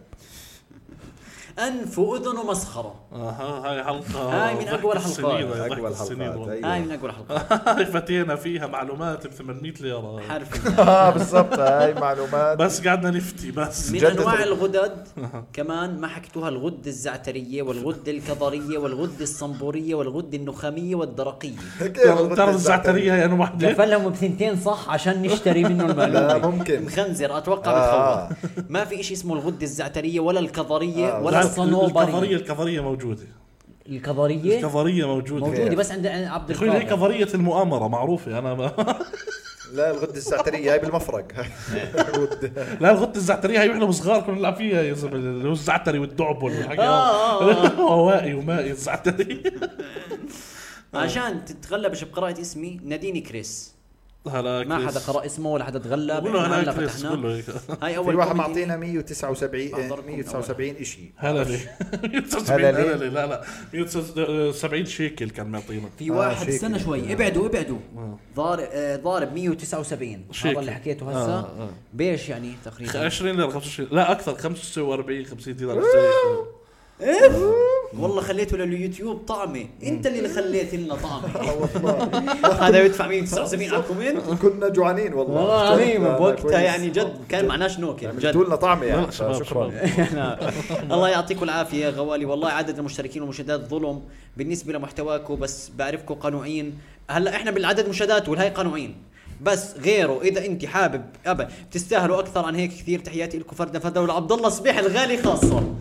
A: انف واذن ومسخره
C: اها هاي حلقه
A: هاي من أقوى
C: ضحك
A: الحلقات.
C: السنين، هاي ضحك
B: أقوى
C: السنين
B: الحلقات،
C: والله.
B: أيوة.
A: هاي من اقوى الحلقات
C: هاي فتينا فيها معلومات ب 800 ليره
A: حرف
B: اه بالضبط هاي معلومات
C: بس قعدنا نفتي بس
A: من
B: جدد.
A: انواع الغدد كمان ما حكيتوها الغده الزعتريه والغده الكظريه والغده الصنبوريه والغده النخاميه والدرقيه
B: طيب،
C: ترى يعني الزعتريه هي انا وحده
A: كفلهم بثنتين صح عشان نشتري منه
B: لا
A: المعلومه
B: ممكن
A: مخنزر اتوقع
B: آه.
A: بتخوف ما في شيء اسمه الغده الزعتريه ولا الكظريه
B: آه.
A: ولا
C: الكظريه
A: الصنوبريه
C: الكظريه موجوده
A: الكظريه
C: الكظريه موجوده
A: موجوده بس عند عبد
C: اخوي هي
A: القادر
C: كظريه المؤامره معروفه انا ما
B: لا الغده الزعتريه هاي بالمفرق غدة.
C: لا الغده الزعتريه هي واحنا صغار كنا نلعب فيها يا زلمه اللي هو الزعتري والدعب والحكي
A: آه، آه،
C: هوائي ومائي الزعتري
A: آه. عشان تتغلبش بقراءه اسمي ناديني كريس
C: هلا
A: ما
C: آه، كريس.
A: حدا قرا اسمه ولا حدا تغلب
C: قول له
A: إحنا
C: هلا
A: هلا
C: كريس قول
A: فتحناه
C: له هيك
A: هاي اول
B: في واحد
A: كوميدي.
B: معطينا 179 آه،
A: أحضركم
B: 179 شيء
C: هلا ليه 179
B: هلا ليه؟
C: هلا ليه لا لا 179 شيكل كان معطينا
A: في
B: آه،
A: واحد
B: شيك.
A: استنى شوي ابعدوا ابعدوا ضارب آه، ضارب 179
C: شيك.
A: هذا اللي حكيته
C: آه،
A: هسه
C: آه.
A: بيش يعني تقريبا
C: 20 ليره 25 لا اكثر 45 50 دينار زي هيك.
A: إيه؟ والله خليته لليوتيوب طعمه انت اللي خليت لنا طعمه هذا يدفع 179 على الكومنت
B: كنا جوعانين والله
A: والله العظيم
B: جد، آه،
A: بوقتها
B: كويس.
A: يعني جد كان معناش نوكل
B: عملتوا
A: جد
B: لنا طعمه
C: لا
B: يعني
C: شباب
B: شكرا
C: شباب
A: نعم. الله يعطيكم العافيه يا غوالي والله عدد المشتركين والمشاهدات ظلم بالنسبه لمحتواكم بس بعرفكم قنوعين هلا احنا بالعدد مشاهدات والهي قنوعين بس غيره اذا انت حابب ابا تستاهلوا اكثر عن هيك كثير تحياتي لكم فردا فردا ولعبد الله صبيح الغالي خاصه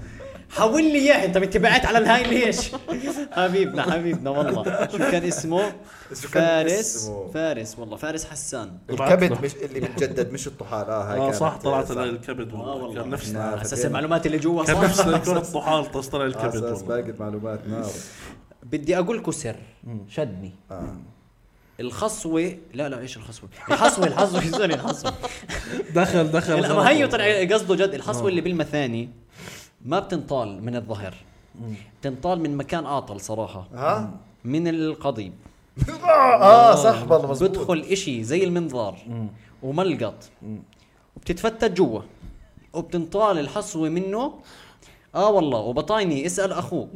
A: حول لي اياه انت تبعت على الهاي ليش حبيبنا حبيبنا والله شو كان اسمه
B: شو كان
A: فارس
B: اسمه؟
A: فارس والله فارس حسان
B: الكبد مش اللي بتجدد مش الطحال اه هاي
C: اه
B: كانت-
C: صح طلعت
B: صح.
C: الكبد
A: اه
C: والله
A: والله
C: كان نفس
B: نعم.
A: على اساس المعلومات اللي جوا
C: كان
A: صح
C: نفس الكره الطحال طلع- طلع
B: على
C: الكبد
B: اساس
C: والله
B: آه، باقي المعلومات نار
A: بدي اقول لكم سر شدني
B: آه.
A: الخصوه لا لا ايش الخصوه الحصوه الحصوه شو سوري الحصوه
B: آه.
C: دخل دخل
A: لا، ما هي طلع قصده جد الحصوه اللي بالمثاني ما بتنطال من الظهر بتنطال من مكان اعطل صراحه
B: ها
A: من القضيب
B: اه صح والله مزبوط
A: بدخل اشي زي المنظار وملقط وبتتفتت جوا وبتنطال الحصوه منه اه والله وبطايني اسال اخوك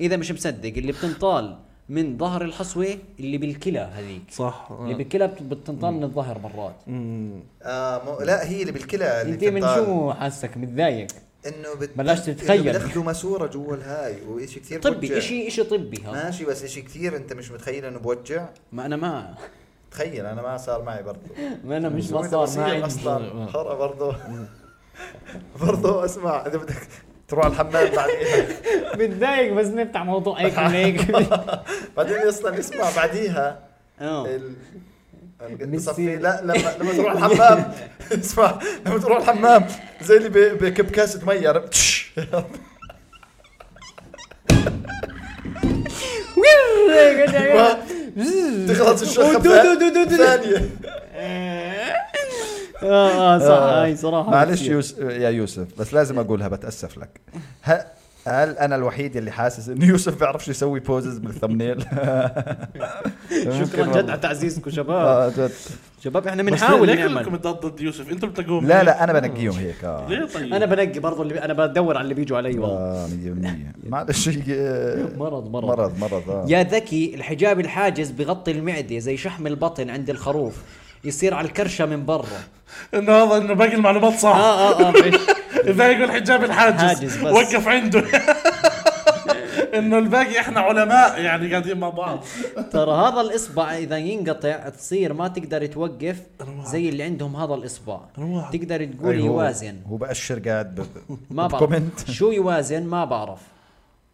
A: اذا مش مصدق اللي بتنطال من ظهر الحصوه اللي بالكلى هذيك
C: صح
B: آه.
A: اللي بالكلى بت- بتنطال من الظهر مرات
E: آه مو... لا هي اللي بالكلى اللي
A: انت من
E: بتنطال.
A: شو حاسك متضايق
E: انه بت...
A: بلاش تتخيل.
E: إنه بياخذوا ماسوره جوا الهاي وشيء كثير بوجع.
A: طبي اشي اشي طبي هذا
E: ماشي بس اشي كثير انت مش متخيل انه بوجع
A: ما انا ما
E: تخيل انا ما صار معي برضه
A: ما انا مش ما صار ما عندي
E: اصلا خرا برضه برضه اسمع اذا بدك تروح على الحمام بعديها
A: متضايق بس نفتح موضوع هيك من هيك
E: بعدين اصلا اسمع بعديها
A: اه
E: ال...
A: ميسي.
E: بصفي لا لما لما تروح الحمام اسمع لما تروح الحمام زي اللي ب- بكب كاسه مي عرفت؟ تش. ما- تخلص الشخ ثانيه
A: اه اه صح هاي صراحه
B: معلش يوس... يا يوسف بس لازم اقولها بتاسف لك ه... هل انا الوحيد اللي حاسس انه يوسف بيعرفش يسوي بوزز بالثمنيل
A: شكرا جد على تعزيزكم شباب
B: آه جد.
A: شباب احنا
C: بنحاول
A: بنحاول
C: ليه كلكم
A: نعمل
C: ضد يوسف انتم بتلاقوهم
B: لا لا انا بنقيهم هيك اه
C: ليه طيب
A: انا بنقي برضه اللي انا بدور على اللي بيجوا علي والله
B: آه، 100% معلش آه،
A: مرض مرض
B: مرض مرض آه.
A: يا ذكي الحجاب الحاجز بغطي المعده زي شحم البطن عند الخروف يصير على الكرشه من برا
C: انه هذا انه باقي المعلومات صح
A: اه اه اه معلش.
C: اذا يقول حجاب الحاجز
A: حاجز بس.
C: وقف عنده انه الباقي احنا علماء يعني قاعدين مع بعض
A: ترى هذا الاصبع اذا ينقطع تصير ما تقدر توقف زي اللي عندهم هذا الاصبع
C: أروح.
A: تقدر تقول
B: أي هو-
A: يوازن
B: هو بأشر قاعد ب...
A: ما
B: بكومنت.
A: بعرف شو يوازن ما بعرف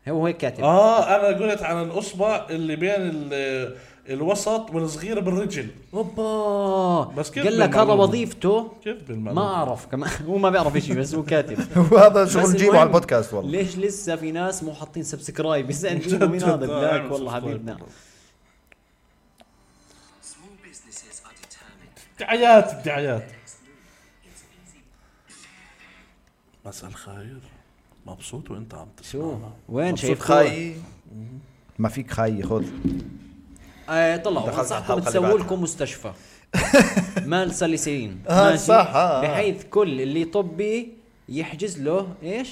A: هو هيك
B: آه.
A: كاتب
C: اه انا قلت عن الاصبع اللي بين ال- الوسط والصغير بالرجل
A: اوبا
C: بس كيف
A: قال لك هذا
C: بالمعلومة؟
A: وظيفته
C: كيف
A: ما
C: بالمعلومة
A: اعرف كمان هو ما بيعرف شيء بس هو كاتب
B: وهذا شغل
A: بس
B: نجيبه
A: المهم،
B: على البودكاست والله
A: ليش لسه في ناس مو حاطين سبسكرايب يسالني مين هذا
C: جد،
A: بلاك
C: اعمل
A: والله
C: سبسكرايب.
A: حبيبنا
F: Small businesses are determined.
C: دعايات دعايات مساء الخير مبسوط وانت عم
A: شو
C: تسمعنا
A: وين
E: مبسوط
A: شايف
E: خاي
B: ما فيك خي خذ
A: آه طلعوا
E: دخلت على
A: انصحكم
E: الحلقة اللي
A: تسووا
E: بعدها.
A: لكم مستشفى مال سلسلين
E: آه،
A: ماشي؟
E: صح، آه، آه.
A: بحيث كل اللي طبي يحجز له ايش؟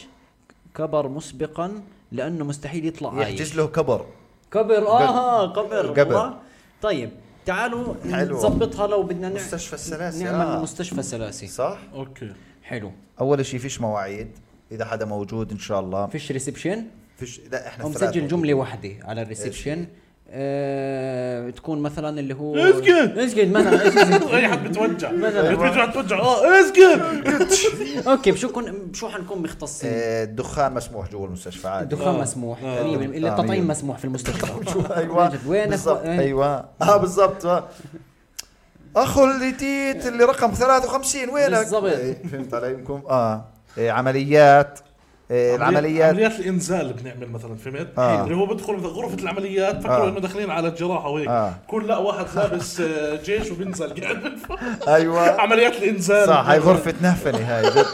A: كبر مسبقا لانه مستحيل يطلع عايش
E: يحجز له كبر
A: كبر اه كبر
B: قبر.
A: والله. طيب تعالوا
E: حلو.
A: نظبطها لو بدنا نع...
E: مستشفى السلاسل
A: نعمل
E: آه.
A: مستشفى سلاسي
E: صح
C: اوكي
A: حلو
B: اول شيء
E: فيش مواعيد اذا حدا موجود ان شاء الله
A: فيش ريسبشن
E: فيش لا احنا
A: او
E: الثلاث
A: مسجل
E: موجودين.
A: جمله واحده على الريسبشن آه تكون مثلا اللي هو
C: اسكت.
A: اسكت مثلا اسكت
C: اي حد بتوجع بتوجع بتوجع اه اسكت
A: اوكي بشو كن بشو حنكون مختصين؟
E: آه، الدخان مسموح جوا المستشفى عادي
A: دخان مسموح تقريبا الا
B: آه،
A: التطعيم
B: مية.
A: مسموح في المستشفى
E: ايوه
A: وين
E: بالضبط
A: أخو- وين؟
E: ايوه اه بالضبط آه. اخو الجديد اللي رقم 53 وينك؟
A: بالضبط.
E: إيه، فهمت علي منكم؟ اه إيه، عمليات إيه، العمليات
C: عمليات الانزال بنعمل مثلا فهمت؟
B: آه.
C: اللي هو بدخل مثل غرفه العمليات فكروا
B: آه.
C: انه داخلين على الجراحه وهيك
B: آه.
C: كل لا واحد لابس آه، جيش وبينزل قاعد
E: أيوة.
B: ايوه
C: عمليات الانزال
B: صح هاي غرفة نهفنة هاي جد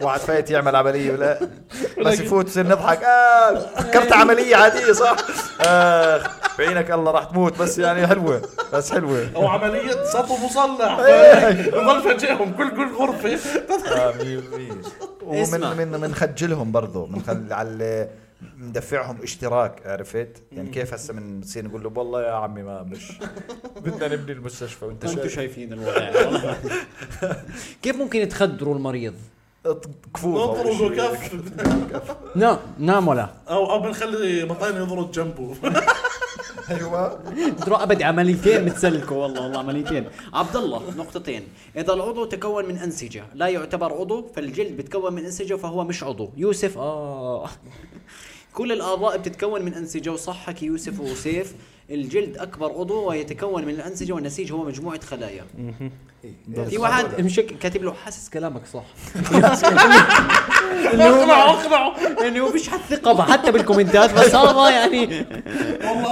B: واحد فايت يعمل عملية ولا بس يفوت يصير نضحك اه كرت عملية عادية صح اخ بعينك الله راح تموت بس يعني حلوة بس حلوة
C: او عمليه سطو مصلح بضل فجاهم كل كل غرفه
B: آه،
A: اسمع.
B: ومن من منخجلهم برضه منخل على مدفعهم اشتراك عرفت؟ يعني كيف هسه من بتصير نقول له والله يا عمي ما مش بدنا نبني المستشفى وانت
A: انتم
B: شايف
A: شايفين الوضع والله. كيف ممكن يتخدروا المريض؟
B: كفوف أول
C: نضربه
B: شيء.
C: كف
A: نعم نعم ولا
C: او او بنخلي مطين يضرب جنبه
B: ايوه
A: تروح ابد عمليتين بتسلكوا والله والله عمليتين عبد الله نقطتين اذا العضو تكون من انسجه لا يعتبر عضو فالجلد بتكون من انسجه فهو مش عضو يوسف اه كل الاعضاء بتتكون من انسجه وصحك يوسف وسيف الجلد اكبر عضو ويتكون من الانسجه والنسيج هو مجموعه خلايا
B: إيه،
A: في واحد مشك كاتب له حاسس كلامك صح اللي هو
C: اقنعه اقنعه
A: يعني هو فيش حد ثقه بقى حتى بالكومنتات بس هذا يعني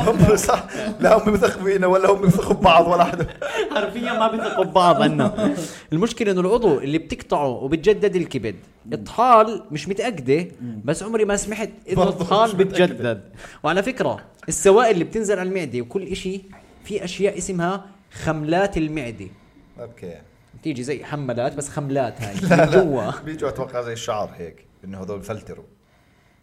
B: هم صح لا هم بيثقوا فينا ولا هم بيثقوا ببعض ولا حدا
A: حرفيا ما بيثقوا ببعض عنا المشكله انه العضو اللي بتقطعه وبتجدد الكبد الطحال مش متاكده بس عمري ما سمعت انه الطحال بتجدد وعلى فكره السوائل اللي بتنزل على المعده وكل إشي في اشياء اسمها خملات المعده
B: اوكي
A: تيجي زي حملات بس خملات هاي من جوا
B: بيجوا اتوقع زي الشعر هيك انه هذول بفلتروا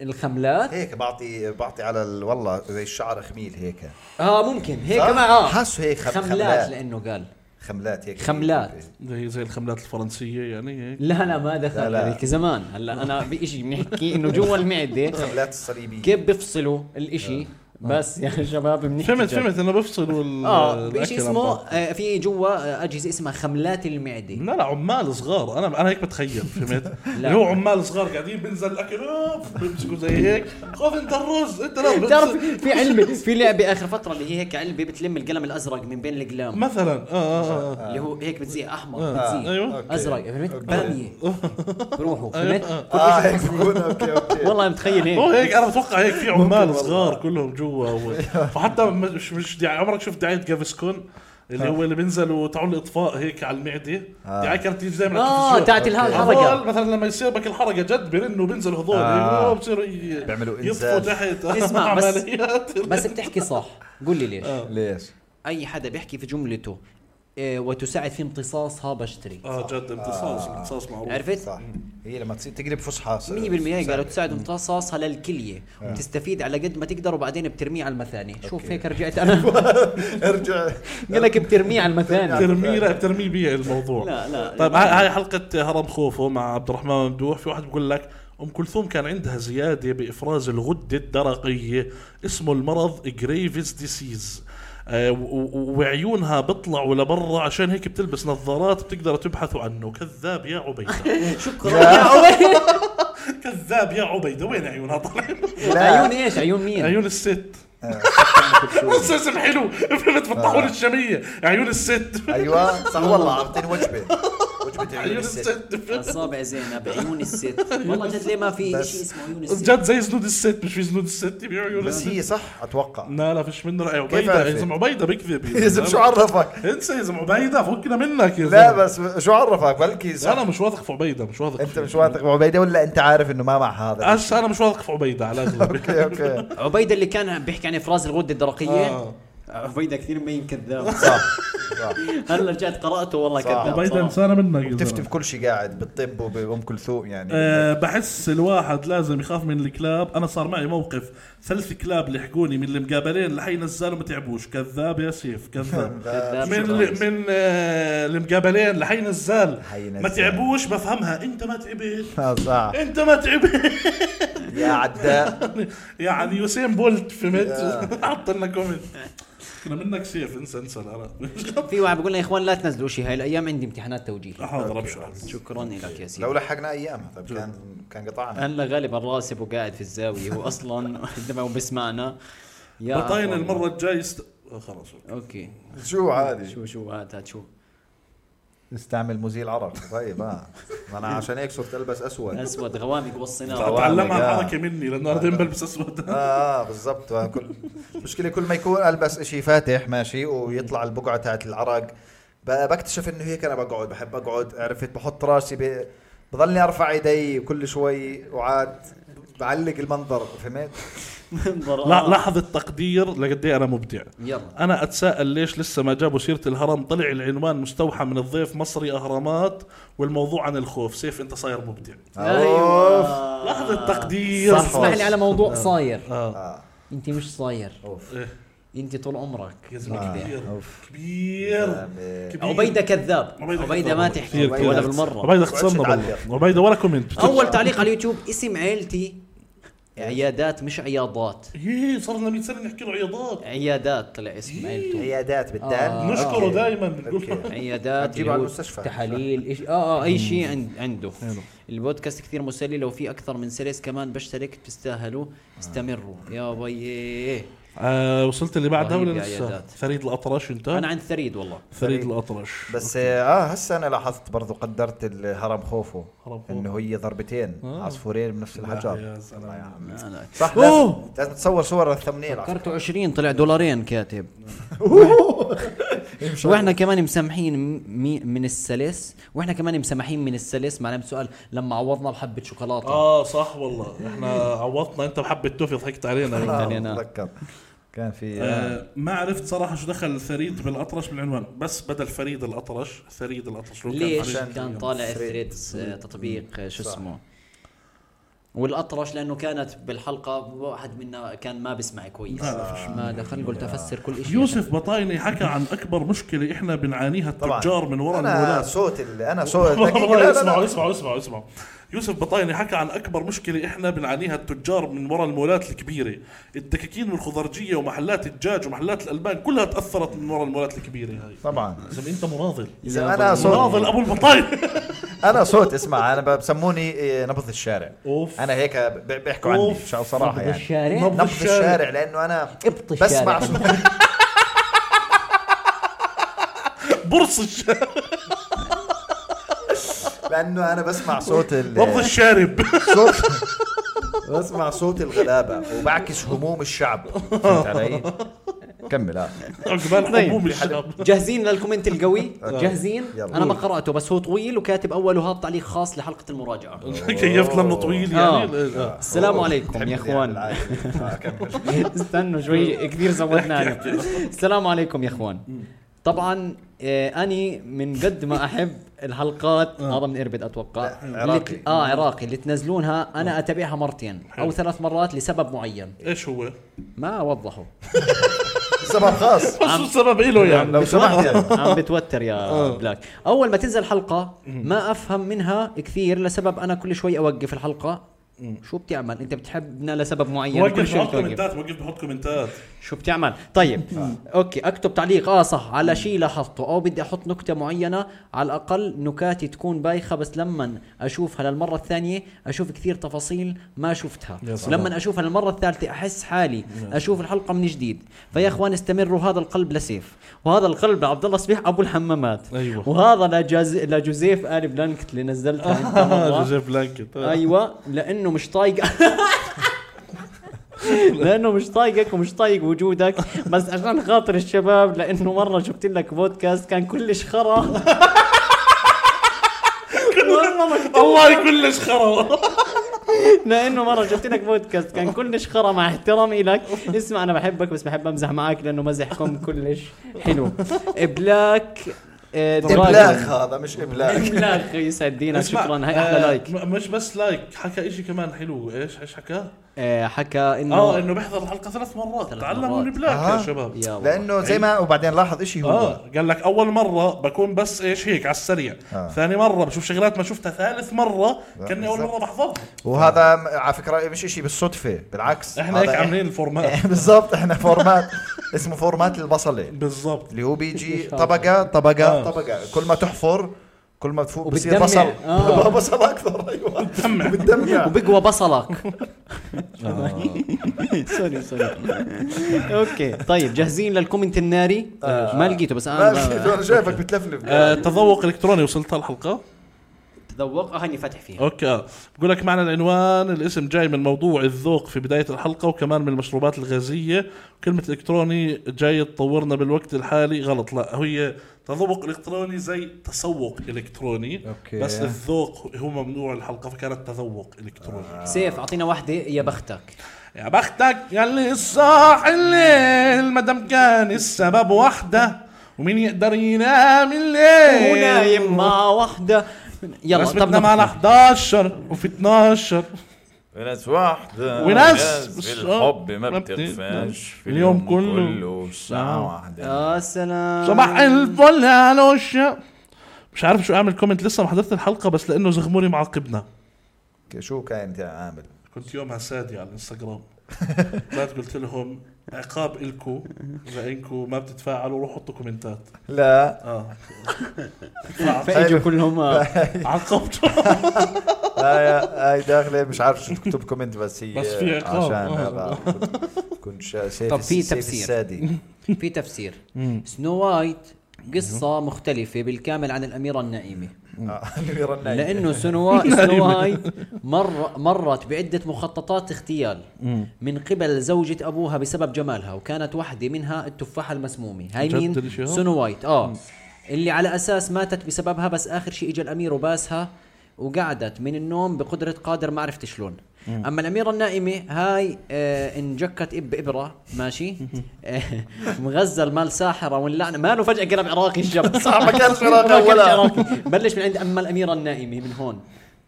A: الخملات
B: هيك بعطي بعطي على ال- والله زي الشعر خميل هيك
A: اه ممكن هيك
B: صح؟
A: مع اه
B: حاسه هيك خم-
A: خملات
B: خملات.
A: لانه قال
B: خملات هيك
A: خملات.
C: زي زي الخملات الفرنسيه يعني هيك
A: لا لا ما دخل
B: لا.
A: هذيك زمان هلا انا بشيء بنحكي انه جوا المعده
B: خملات الصليبيه
A: كيف بيفصلوا الاشي بس يا شباب بنحكي
C: فهمت
A: جد.
C: فهمت انه بفصلوا ال-
A: اه
C: الأكل
A: بشيء
C: عن
A: اسمه
C: بعض.
A: آه في جوا آه، اجهزه اسمها خملات المعده
C: لا لا عمال صغار انا انا هيك بتخيل فهمت؟ اللي هو عمال صغار قاعدين بينزل الاكل اوف بيمسكوا زي هيك خذ انت الرز انت لا
A: بتعرف
C: بتمسك-
A: في علبه في لعبه اخر فتره اللي هي هيك علبه بتلم القلم الازرق من بين القلام
C: مثلا اه اه اه
A: اللي هو هيك بتزيق احمر
C: آه،
A: بتزيق
C: ايوه
B: أوكي.
A: ازرق فهمت باميه روحوا فهمت
B: اه هيك بكون اوكي اوكي
A: والله متخيل
C: هو
A: هيك
C: هيك انا بتوقع هيك في عمال صغار كلهم جوا و-
A: أيوه.
C: فحتى مش مش يعني عمرك شفت دعايه جافسكون اللي هو اللي بينزلوا تعون الاطفاء هيك على المعده
B: آه.
C: دعايه كانت تيجي دائما
A: اه تاعت الها
C: هذول
A: الحركه
C: مثلا لما يصير بك الحركه جد بيرنوا بينزلوا هذول
B: آه.
C: آه. بصيروا ي-
B: بيعملوا
C: يطفوا
B: إنزال.
C: تحت
A: اسمع، بس-
C: عمليات
A: بس بتحكي صح قول لي ليش
B: ليش؟
A: اي حدا بيحكي في جملته آه، وتساعد في امتصاصها بشتري
C: اه جد امتصاص
B: آه.
C: امتصاص معروف
A: عرفت؟ 100%
B: صح هي لما تصير تقلب فصحى صار-
A: هي قالوا تساعد امتصاصها للكليه
C: آه.
A: وبتستفيد على قد ما تقدر وبعدين بترميه على المثانه شوف هيك رجعت انا
B: ارجع
A: قال لك بترميه على المثانه
C: ترميه بترميه بيها الموضوع
A: يعني لا لا
C: طيب ه- هاي حلقة هرم خوفو مع عبد الرحمن ممدوح في واحد بيقول لك أم كلثوم كان عندها زيادة بإفراز الغدة الدرقية اسمه المرض آه، جريفز ديسيز وعيونها بيطلعوا لبرا عشان هيك بتلبس نظارات بتقدر تبحثوا عنه كذاب يا عبيدة كذاب يا عبيدة وين عيونها طالعين
A: عيون ايش عيون مين
C: عيون الست بس اسم حلو فهمت بتطحون الشمية عيون الست
B: ايوه صح والله عارفين وجبه وجبه
C: عيون
B: عيون الست
C: الست فهمت؟
A: اصابع زينب عيون الست والله جد ليه ما في شيء اسمه عيون الست
C: جد زي زنود الست مش في زنود الست يبيعوا عيون
B: بس
C: الست
B: هي صح اتوقع
C: لا لا فيش منه رأي
B: كيف
C: عبيدة
B: عرفت؟
C: يا زلمة عبيدة بكذب
B: يا زلمه شو عرفك؟
C: انسى يا زلمة عبيدة فكنا منك يا زلمة
B: لا بس شو عرفك بلكي صح
C: انا مش واثق في عبيدة مش واثق
B: انت
C: فيه.
B: مش واثق بعبيده ولا انت عارف انه ما مع هذا
C: أس انا مش واثق في عبيدة على الاغلب
B: اوكي اوكي
A: عبيده اللي كان بيحكي عن افراز الغده الدرقيه
C: آه.
A: عبيده كثير مبين كذاب
B: صح صح
A: هلا رجعت قراته والله
B: صح.
A: كذاب
C: عبيدة
A: صراحة.
C: انسانة منك يا
B: بتفتي
C: زلمة
B: بكل شيء قاعد بالطب وبام كلثوم يعني
C: أه بحس الواحد لازم يخاف من الكلاب انا صار معي موقف ثلاث كلاب لحقوني من المقابلين لحي نزلوا ما تعبوش كذاب يا سيف كذاب
A: كذاب
C: من
A: شكراً.
C: من آه، المقابلين لحي نزال
B: لحي
C: ما
B: نزال.
C: تعبوش بفهمها انت ما تعبت
B: آه، صح
C: انت ما تعبت
B: يا عداء
C: يعني يوسين بولت فهمت حط لنا كومنت كنا منك سيف انسى انسى لا لا
A: في واحد بيقول لنا يا اخوان لا تنزلوا شيء هاي الايام عندي امتحانات توجيه
C: حاضر ابشر
A: شكرا لك يا
B: لو
A: سيدي
B: لحقنا ايامها طيب كان كان قطعنا
A: هلا غالبا راسب وقاعد في الزاويه هو اصلا عندما هو بيسمعنا يا
C: بطاين
A: عفو.
C: المره الجاي است... آه، خلاص
A: اوكي
B: آه. شو عادي
A: شو شو هات هات شو
B: نستعمل مزيل عرق طيب اه ما انا عشان هيك صرت البس اسود
A: اسود غوامق والصناعه
B: طبعاً.
C: تعلمها
B: يا.
C: الحركه مني لانه انا دايما بلبس اسود
B: اه بالضبط آه، كل المشكله كل ما يكون البس إشي فاتح ماشي ويطلع البقعه تاعت العرق ب- بكتشف انه هيك انا بقعد بحب اقعد عرفت بحط راسي ب... بضلني ارفع ايدي كل شوي وعاد بعلق المنظر فهمت؟
C: لا لاحظ التقدير لقد ايه انا مبدع
A: يلا
C: انا اتساءل ليش لسه ما جابوا سيره الهرم طلع العنوان مستوحى من الضيف مصري اهرامات والموضوع عن الخوف سيف انت صاير مبدع
A: ايوه
C: لاحظ التقدير
B: صح.
A: اسمح لي على موضوع صاير
C: آه.
B: اه
A: انت مش صاير
B: اوف
A: انت طول عمرك
C: إيه، يا زلمه
B: آه،
C: كبير
B: اوف
C: كبير
B: آه،
C: كبير
A: عبيده كذاب
C: عبيدة
A: عبيده
C: كذاب.
A: ما
C: كثير
A: تحكي
B: كذاب.
A: ولا بالمره
C: عبيدة اختصرنا بالله
B: تعلق.
C: عبيدة ولا كومنت
A: اول تعليق على اليوتيوب اسم عيلتي عيادات مش عياضات
C: ايه صار لنا 100 سنه نحكي له عياضات
A: عيادات طلع اسم
B: إيه.
A: عيلته
B: عيادات
A: آه.
B: بالدال
C: آه. نشكره دايما بنقول
B: أوكي.
A: عيادات
B: هتجيبه
A: اللي
B: على
A: هو
B: المستشفى.
A: تحاليل إيش اه اه اي شيء عند عنده البودكاست كثير مسلي لو في اكثر من سيريس كمان بشترك بتستاهلوا استمروا يا وييه
C: آه وصلت اللي بعدها
A: رهيب
C: ولا
A: يا
C: لسه؟
A: عيادات.
C: فريد الاطرش انت؟
A: انا عند ثريد والله
C: طيب. فريد الاطرش
B: بس اه هسه انا لاحظت برضو قدرت الهرم خوفو
C: هرم خوفو.
B: انه هي ضربتين عصفورين بنفس الحجر
C: يا سلام.
B: الله يا عمي.
A: أنا-
B: صح
C: أوه.
B: لازم لازم تصور صور الثمنيل
A: كرته 20 طلع دولارين كاتب واحنا كمان مسامحين مي- من السلس واحنا كمان مسامحين من السلس مع علامة سؤال لما عوضنا بحبه شوكولاته
C: آه، اه صح والله احنا عوضنا انت بحبه توفي ضحكت علينا
A: يعني أنا.
B: اتذكر كان في
C: آه، ما عرفت صراحه شو دخل ثريد بالاطرش بالعنوان بس بدل فريد الاطرش ثريد الاطرش لو كان
A: ليش
C: فريد.
B: عشان
A: كان طالع
B: ثريد.
A: ثريدز آه، تطبيق آه، شو اسمه والاطرش لانه كانت بالحلقه واحد منا كان ما بيسمع كويس
C: لا، فش-
A: ما دخل قلت افسر كل شيء
C: يوسف بطايني حكى عن اكبر مشكله احنا بنعانيها
B: طبعاً.
C: التجار من وراء
B: انا
C: المولات
B: صوت ال- انا صوت دقيقة، لا،
C: والله
B: لا،
C: اسمعوا
B: لا.
C: اسمعوا اسمعوا اسمعوا يوسف بطايني حكى عن اكبر مشكله احنا بنعانيها التجار من وراء المولات الكبيره الدكاكين والخضرجيه ومحلات الدجاج ومحلات الالبان كلها تاثرت من وراء المولات الكبيره هاي
B: طبعا
C: زلمه انت مناضل
B: اذا انا
C: مناضل
B: صوت
C: ابو البطايني
B: انا صوت اسمع انا بسموني إيه، نبض الشارع
C: اوف
B: انا هيك ب- بيحكوا عني
C: أوف.
B: شو- صراحه
A: نبض
B: يعني
A: الشارع؟
B: نبض الشارع لانه انا
A: ابط
B: بسمع
A: الشارع
B: صوت
C: برص الشارع
B: لانه انا بسمع صوت
C: برص
B: ال
C: الشارب
B: صوت بسمع صوت الغلابه وبعكس هموم الشعب فهمت علي؟ كمل اه
C: عقبال
A: طيب،
C: حموم الشاب
A: جاهزين للكومنت القوي جاهزين
B: آه، يلا.
A: انا ما قراته بس هو طويل وكاتب اوله هذا تعليق خاص لحلقه المراجعه
C: كيفت لانه طويل
A: آه.
C: يعني آه.
A: السلام عليكم يا اخوان استنوا شوي كثير زودنا أنا. السلام عليكم يا اخوان طبعا آه اني من قد ما احب الحلقات هذا من اربد اتوقع
B: لا، عراقي.
A: اللي- اه عراقي اللي تنزلونها انا اتابعها مرتين او
C: حلو.
A: ثلاث مرات لسبب معين
C: ايش هو؟
A: ما وضحوا
B: سبب خاص
C: بس شو السبب له يعني
B: لو سمحت يعني
A: عم بتوتر يا بلاك اول ما تنزل حلقه ما افهم منها كثير لسبب انا كل شوي اوقف الحلقه شو بتعمل انت بتحبنا لسبب معين يعني كل
C: وقف
A: شوي
C: بحط
A: بتوقف
C: كومنتات وقف بحط كومنتات
A: شو بتعمل طيب اوكي اكتب تعليق اه صح على شيء لاحظته او بدي احط نكته معينه على الاقل نكاتي تكون بايخه بس لما اشوفها للمره الثانيه اشوف كثير تفاصيل ما شفتها
C: يا سلام.
A: ولما اشوفها للمره الثالثه احس حالي اشوف الحلقه من جديد فيا اخوان استمروا هذا القلب لسيف وهذا القلب لعبد الله صبيح ابو الحمامات
C: أيوة.
A: وهذا لجز... لجوزيف ال بلانكت اللي نزلتها انت مرة.
C: جوزيف بلانكت
B: طيب.
C: آه.
A: ايوه لانه مش طايق لانه مش طايقك ومش طايق وجودك بس عشان خاطر الشباب لانه مره شفت لك بودكاست كان كلش خرا والله مكتوب
C: الله كلش خرا
A: لانه مره شفت لك بودكاست كان كلش خرا مع احترامي لك اسمع انا بحبك بس بحب امزح معك لانه مزحكم كلش حلو ابلاك آه،
B: ابلاغ
A: دراجون.
B: هذا مش ابلاغ
A: ابلاغ يسعد دينك
C: اسمع،
A: شكرا هاي
C: آه،
A: احلى لايك
C: م- مش بس لايك حكى اشي كمان حلو ايش ايش حكى؟
A: آه، حكى انه
C: اه انه بيحضر الحلقه ثلاث مرات
A: ثلاث
C: تعلموا
A: مرات.
C: من بلاك يا
B: آه.
C: شباب
A: يا والله.
B: لانه زي ما وبعدين لاحظ اشي
C: اه
B: هو
C: قال لك اول مره بكون بس ايش هيك على السريع
B: آه.
C: ثاني مره بشوف شغلات ما شفتها ثالث مره كاني اول
B: بالظبط.
C: مره بحضرها
B: وهذا م- على فكره مش اشي بالصدفه بالعكس
C: احنا هيك
B: هذا إيه؟ إح-
C: عاملين الفورمات
B: بالضبط احنا فورمات اسمه فورمات البصله
C: بالضبط
B: اللي هو بيجي طبقه طبقه
C: آه.
B: طبقه كل ما تحفر كل ما تفوق بصير
A: وبتدمع.
B: بصل
A: آه.
B: بصل اكثر ايوه
C: سمع
B: بتدمع
A: وبقوى بصلك
C: آه.
A: سوري سوري اوكي طيب جاهزين للكومنت الناري ما لقيته بس انا
B: انا شايفك بتلفلف
C: آه، تذوق الكتروني وصلت الحلقه
A: تذوق هاني فاتح فيها
C: اوكي آه. بقول لك معنى العنوان الاسم جاي من موضوع الذوق في بدايه الحلقه وكمان من المشروبات الغازيه كلمه الكتروني جاي تطورنا بالوقت الحالي غلط لا هي تذوق الكتروني زي تسوق الكتروني
B: أوكي.
C: بس الذوق هو ممنوع الحلقه فكانت تذوق الكتروني
A: سيف اعطينا واحدة يا بختك
C: يا بختك يلي الصاح الليل مدام كان السبب وحده ومين يقدر ينام الليل
A: ونايم مع وحدة يلا
C: إيه. بس بدنا
A: طب
C: معنا
A: نحكي.
C: 11 وفي 12
G: وناس واحدة
C: وناس
G: بالحب ما
C: ما
G: بتدفنش
C: بتدفنش.
G: في
C: آه. اليوم
G: اليوم
C: كله. آه.
G: كله الساعة واحدة
A: يا سلام
C: صباح الفل يا لوش مش عارف شو اعمل كومنت لسه ما حضرت الحلقه بس لانه زغموري معاقبنا آه.
B: شو كان عامل
C: كنت يومها سادي على الانستغرام طلعت قلت لهم عقاب الكو اذا انكو ما بتتفاعلوا روحوا حطوا كومنتات
B: لا
C: اه
A: فاجوا كلهم آه.
C: عاقبتوا
B: لا يا هاي داخله مش عارف شو تكتب كومنت بس هي
C: بس في عقاب.
B: عشان
C: آه.
B: هذا كنت شا- سيف
A: طب في
B: الس- سيف
A: تفسير.
B: السادي
A: في تفسير سنو وايت قصة مختلفة بالكامل عن الأميرة النائمة
B: آه، الأميرة النايمة.
A: لانه سنوا سنو هاي مر مرت بعده مخططات اغتيال من قبل زوجة ابوها بسبب جمالها وكانت واحدة منها التفاحة المسمومة هاي
C: جد
A: مين آه.
C: الإشي هذا؟
A: سنو وايت اه اللي على اساس ماتت بسببها بس اخر شيء اجى الامير وباسها وقعدت من النوم بقدرة قادر ما عرفت شلون أما الأميرة النائمة هاي آه انجكت إب إبرة ماشي آه مغزل مال ساحرة واللعنة ماله فجأة قلب عراقي الشاب
E: صح ما كانش
A: ما
E: عراقي
A: كانش
E: ولا
A: عراقي. بلش من عند أما الأميرة النائمة من هون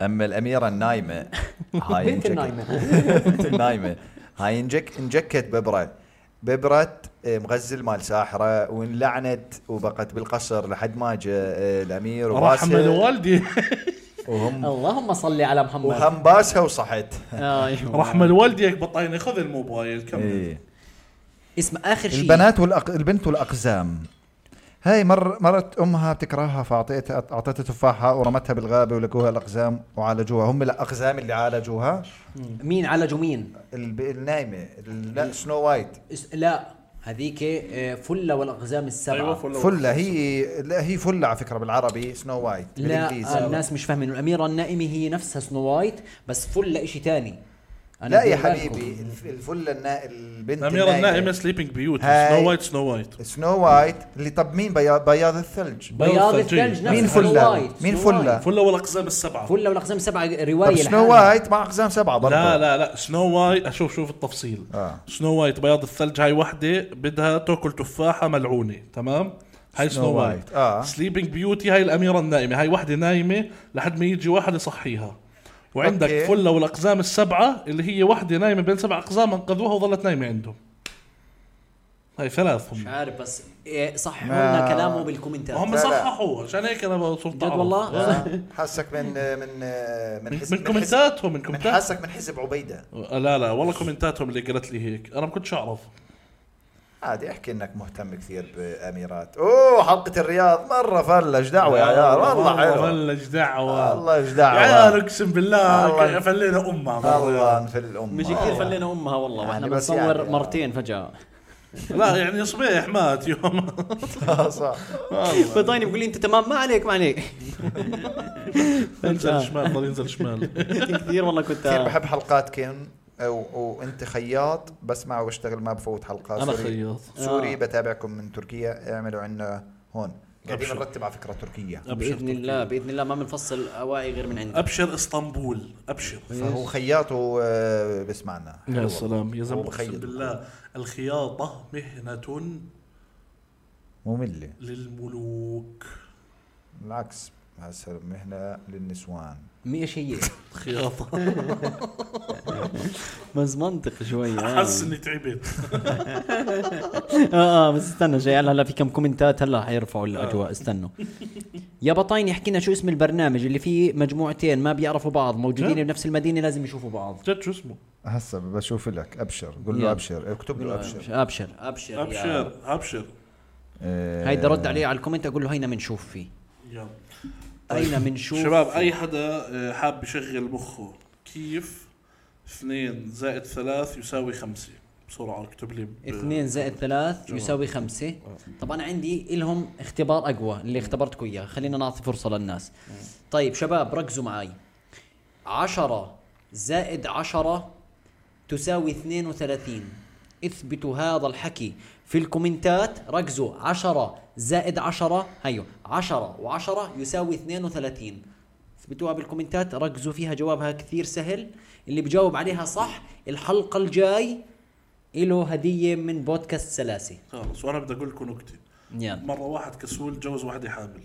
B: اما الاميره النايمه
E: آه،
B: هاي
A: بنت
B: انجكت-
A: النايمة.
B: بنت النايمه هاي انجك انجكت ببره ببرة آه، مغزل مال ساحرة وانلعنت وبقت بالقصر لحد ما جاء آه، الأمير
C: رحم
B: وباسها
C: الوالدي
B: وهم
A: اللهم صل على محمد
B: وهم باسها وصحت
A: أيوة.
C: رحم الوالدي هيك بطيني خذ الموبايل كمل
B: إيه.
A: اسمع آخر شيء
B: البنات والأق... البنت والأقزام هاي مر مرت امها بتكرهها فاعطيتها اعطتها تفاحه ورمتها بالغابه ولقوها الاقزام وعالجوها هم الاقزام اللي عالجوها
A: مين عالجوا مين؟
B: الب... النايمه ال- لا سنو وايت
A: اس- لا هذيك آه، فلة والأقزام السبعة
C: ايوه فل
B: فله هي لا هي فله على فكره بالعربي سنو وايت بالانجليزي
A: لا آه، الناس مش فاهمين الأميرة النائمة هي نفسها سنو وايت بس فلة إشي تاني أنا
B: لا يا
A: بدي أقول
B: حبيبي
A: لكم.
B: الف- الفله النا... البنت
C: الاميره النائمه سليبنج بيوتي
B: إيه. هاي.
C: سنو وايت سنو وايت
B: سنو وايت اللي طب مين بياض, بياض الثلج
A: بياض
C: الثلجية.
A: الثلج نفسه
B: مين
A: سنو
B: فله
A: وايت،
B: مين
A: سنو وايت.
B: فله
C: فله والاقزام السبعه
A: فلة والأقزام السبعة
B: طب
A: رواية
B: سنو
A: لحالها.
B: وايت مع اقزام سبعه برضه
C: لا لا لا سنو وايت شوف شوف التفصيل
B: آه.
C: سنو وايت بياض الثلج هاي وحده بدها تاكل تفاحه ملعونه تمام هاي
B: Snow
C: سنو وايت
B: White. آه.
C: سليبنج بيوتي هاي الاميره النائمه هاي وحده نايمه لحد ما يجي واحد يصحيها وعندك
B: أوكي.
C: فله والاقزام السبعه اللي هي وحده نايمه بين سبع اقزام انقذوها وظلت نايمه عندهم هاي
A: مش
C: ثلاثهم
A: عارف بس إيه، صححوا لنا كلامه بالكومنتات
C: هم
B: لا، لا.
C: صححوه عشان هيك انا بصرت
A: جد
C: أعرف.
A: والله؟
C: آه.
B: حاسك من من من
C: من
B: حزب
C: من
B: من, حزب
C: كومنتاتهم من
B: من
C: كومنتات
B: حاسك من حزب عبيده
C: لا لا والله كومنتاتهم اللي قالت لي هيك انا ما كنتش اعرف
B: عادي احكي انك مهتم كثير باميرات اوه حلقه الرياض مره فلج دعوه يا عيال والله حلو
C: والله دعوة
B: والله ايش
C: يا عيال
B: دعوه
C: اقسم بالله
B: والله.
C: فلينا امها
B: الله في الام
A: مش كثير فلينا امها والله واحنا
B: يعني بس
A: بنصور
B: يعني-
A: مرتين فجاه
C: لا يعني صبيح مات يوم
B: صح
A: فضايني بقول لي انت طيب، تمام ما عليك ما عليك
C: انزل شمال ضل ينزل شمال
A: كثير والله كنت
B: كثير بحب حلقات كين أو- وانت خياط بسمع واشتغل ما بفوت حلقات
C: انا
B: سوري.
C: خياط
B: سوري بتابعكم من تركيا اعملوا عنا هون قاعدين
C: أبشر.
B: نرتب على فكره تركيا
C: أبشر
A: باذن الله باذن الله ما بنفصل اواعي غير من عندي
C: ابشر اسطنبول ابشر
B: فهو خياط آه، وبسمعنا
C: يا سلام يا زلمه
B: هو
C: اقسم
B: مخيط.
C: بالله الخياطة مهنة
B: ممله
C: للملوك
B: بالعكس هسه مهنه للنسوان
A: مش هي
C: خياطة
A: بس منطق شوي آه.
C: حس اني تعبت
A: اه اه بس استنى جاي هلا هلا في كم كومنتات هلا حيرفعوا
C: آه.
A: الاجواء استنوا يا بطاين يحكي لنا شو اسم البرنامج اللي فيه مجموعتين ما بيعرفوا بعض موجودين
C: جد؟
A: بنفس المدينه لازم يشوفوا بعض
C: جد شو اسمه
B: هسه بشوف لك ابشر قول
A: يلا.
B: له ابشر اكتب له ابشر
A: ابشر ابشر يا-
C: ابشر ابشر
B: آه،
A: هيدا رد عليه على الكومنت اقول له هينا بنشوف فيه
C: يلا
A: هينا بنشوف
C: شباب اي حدا آه، حاب يشغل مخه كيف 2 زائد 3 يساوي 5 بسرعه اكتب لي ب-
A: 2 زائد 3 يساوي 5 طب انا عندي لهم اختبار اقوى اللي اختبرتكم اياه خلينا نعطي فرصه للناس طيب شباب ركزوا معي 10 زائد 10 تساوي 32 اثبتوا هذا الحكي في الكومنتات ركزوا 10 زائد 10 هيو 10 و10 يساوي 32 اثبتوها بالكومنتات ركزوا فيها جوابها كثير سهل اللي بجاوب عليها صح الحلقة الجاي له هدية من بودكاست سلاسي
C: خلص وانا بدي اقول لكم نكته
A: يلا
C: مره واحد كسول جوز وحده حامل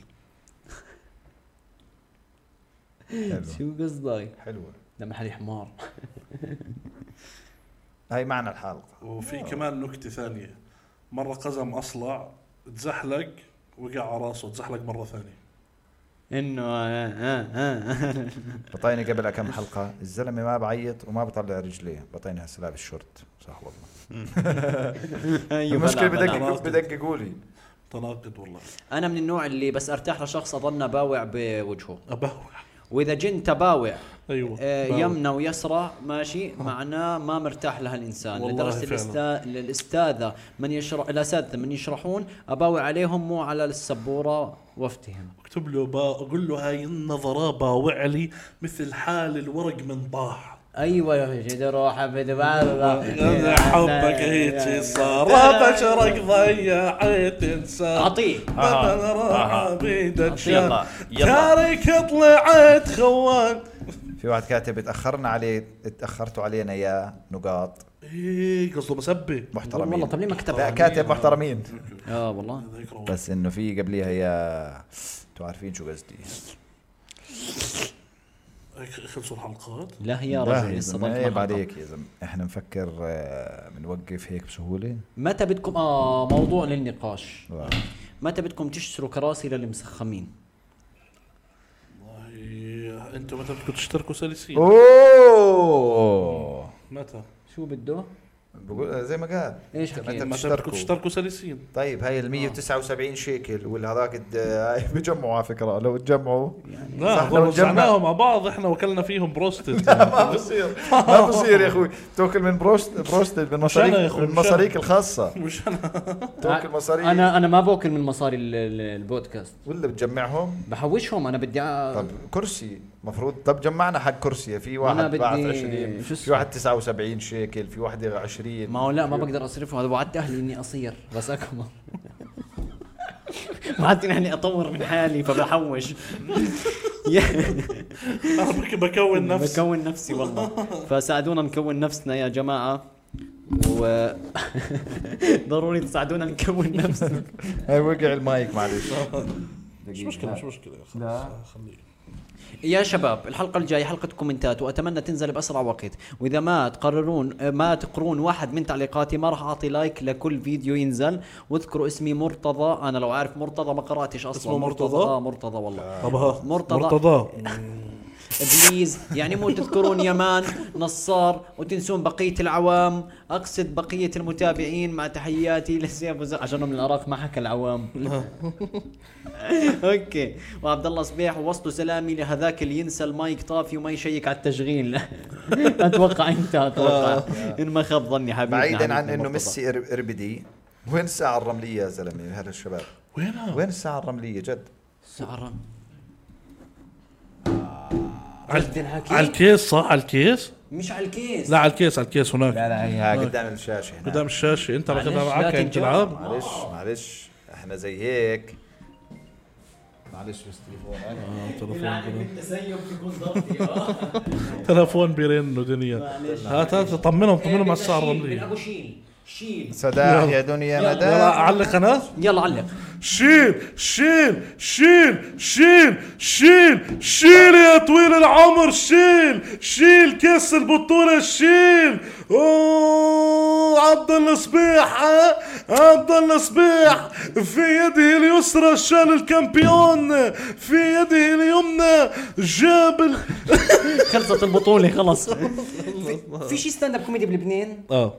A: شو قصدك؟
B: حلوه
A: لما حالي حمار
B: هاي معنى الحلقه
C: وفي كمان نكته ثانيه مره قزم اصلع تزحلق وقع على راسه تزحلق مره ثانيه
A: انه آه، آه، آه.
B: بطيني قبل كم حلقه الزلمه ما بعيط وما بطلع رجليه بطيني هسه لابس شورت صح والله
A: أيوة،
B: المشكله
A: بلع، بلع.
B: بدقق بدققوا لي
C: تناقض والله
A: انا من النوع اللي بس ارتاح لشخص اظن باوع بوجهه
C: ابهوى
A: واذا جنت باوع
C: ايوه
A: آه،
C: باوع.
A: يمنى ويسرى ماشي معناه ما مرتاح لها الانسان
C: والله
A: لدرجه
C: فعلاً.
A: الأستا- الاستاذه من يشرح الاساتذه من يشرحون اباوع عليهم مو على السبوره وافتهم
C: اكتب له با... اقول له هاي النظره باوع لي مثل حال الورق من طاح
A: ايوه جد روحه
C: انا
A: بدبالة
C: حبك هيك صار بشرك ضيعت انسان
A: اعطيه
C: بدل راح بيدك
G: يلا، يلا.
C: تارك طلعت خوان
B: في واحد كاتب اتاخرنا عليه اتاخرتوا علينا يا نقاط
C: ايه قصده مسبه
B: محترمين
A: والله طب ليه ما كتبها
B: لا كاتب محترمين
A: اه والله
B: بس انه في قبليها يا انتوا عارفين شو قصدي
C: خلصوا الحلقات
A: لا يا
B: لا
A: رجل
B: يا
A: لسه ضلت
B: زلمة، عيب
A: محطة.
B: عليك يا زلمه احنا نفكر آه، بنوقف هيك بسهوله
A: متى بدكم اه موضوع للنقاش
B: آه.
A: متى بدكم تشتروا كراسي للمسخمين
C: والله انتم متى بدكم تشتركوا سلسين
B: اوه
C: متى
A: شو بده
B: بقول زي ما قال
A: ايش
B: متى
A: حكيت
C: متى بدكم
B: تشتركوا.
C: تشتركوا سلسين
B: طيب هاي ال 179 شيكل ولا هذاك الد- هاي بجمعوا على فكره لو تجمعوا
C: لا
B: صح، لو
C: هو
B: جمع-
C: رجعناهم مع بعض احنا وكلنا فيهم بروستد
B: ما بصير ما بصير يا اخوي توكل من بروست بروست من مصاريك
C: أنا يا أخوي،
B: من
C: مش أنا.
B: مصاريك الخاصه
C: مش انا
B: توكل مصاريك
A: انا انا آه، ما باكل من مصاري ال- ال- البودكاست
B: ولا بتجمعهم
A: بحوشهم انا بدي أ-
B: طب كرسي مفروض طب جمعنا حق كرسي في واحد
A: بدي-
B: بعت 20
A: شو
B: في
A: اسمه؟
B: واحد 79 شيكل في واحد 20
A: ما هو لا ما بقدر اصرفه هذا وعدت اهلي اني اصير بس اكبر وعدت اني اطور من حالي فبحوش
C: انا بك- بكون نفسي
A: بكون نفسي والله فساعدونا نكون نفسنا يا جماعه و ضروري تساعدونا نكون نفسنا
B: هاي وقع المايك معلش
C: مش مشكله مش مشكله خلص خليه
A: يا شباب الحلقة الجاية حلقة كومنتات وأتمنى تنزل بأسرع وقت وإذا ما تقررون ما تقرون واحد من تعليقاتي ما راح أعطي لايك لكل فيديو ينزل واذكروا اسمي مرتضى أنا لو عارف مرتضى ما قرأتش أصلا
C: اسمه مرتضى؟
A: آه مرتضى والله
C: طب ها
A: مرتضى.
C: مرتضى
A: بليز يعني مو تذكرون يمان نصار وتنسون بقية العوام أقصد بقية المتابعين مع تحياتي لسيف وزق عشانهم من العراق ما حكى العوام اوكي وعبد الله صبيح ووصلوا سلامي لهذاك اللي ينسى المايك طافي وما يشيك على التشغيل اتوقع انت اتوقع ان ما خاب ظني حبيبنا
B: بعيدا آه. عن
A: حبيبنا
B: انه
A: مرتضى.
B: ميسي إر- اربدي وين الساعة الرملية يا زلمة هلا الشباب؟
C: وينها؟
B: وين الساعة الرملية جد؟
A: سعر
C: على على
A: الحكي
C: الكيس صح على الكيس؟
A: مش على الكيس
C: لا على الكيس على الكيس هناك
B: لا لا هي قدام الشاشة هنا
C: قدام الشاشه انت
A: معلش،
C: راكبها
A: لا
C: معك انت
A: تنجرب.
C: تلعب
B: معلش معلش احنا زي هيك معلش بس تليفونك
A: التسيب في جوزارتي
C: تلفون بيرن ودنيا هات هات طمنهم طمنهم على الساعه
A: من
C: الرمليه
A: ابو شيل شيل
B: سداح يا دنيا
C: يلا
B: مدى
C: اعلق انا
A: يلا علق
C: شيل شيل شيل شيل شيل شيل يا طويل العمر شيل شيل كاس البطولة شيل اوه عبد الله صبيح ها؟ عبد الله صبيح في يده اليسرى شال الكامبيون في يده اليمنى جاب ال...
A: خلصت البطولة خلص في شيء ستاند اب كوميدي بلبنان
C: اه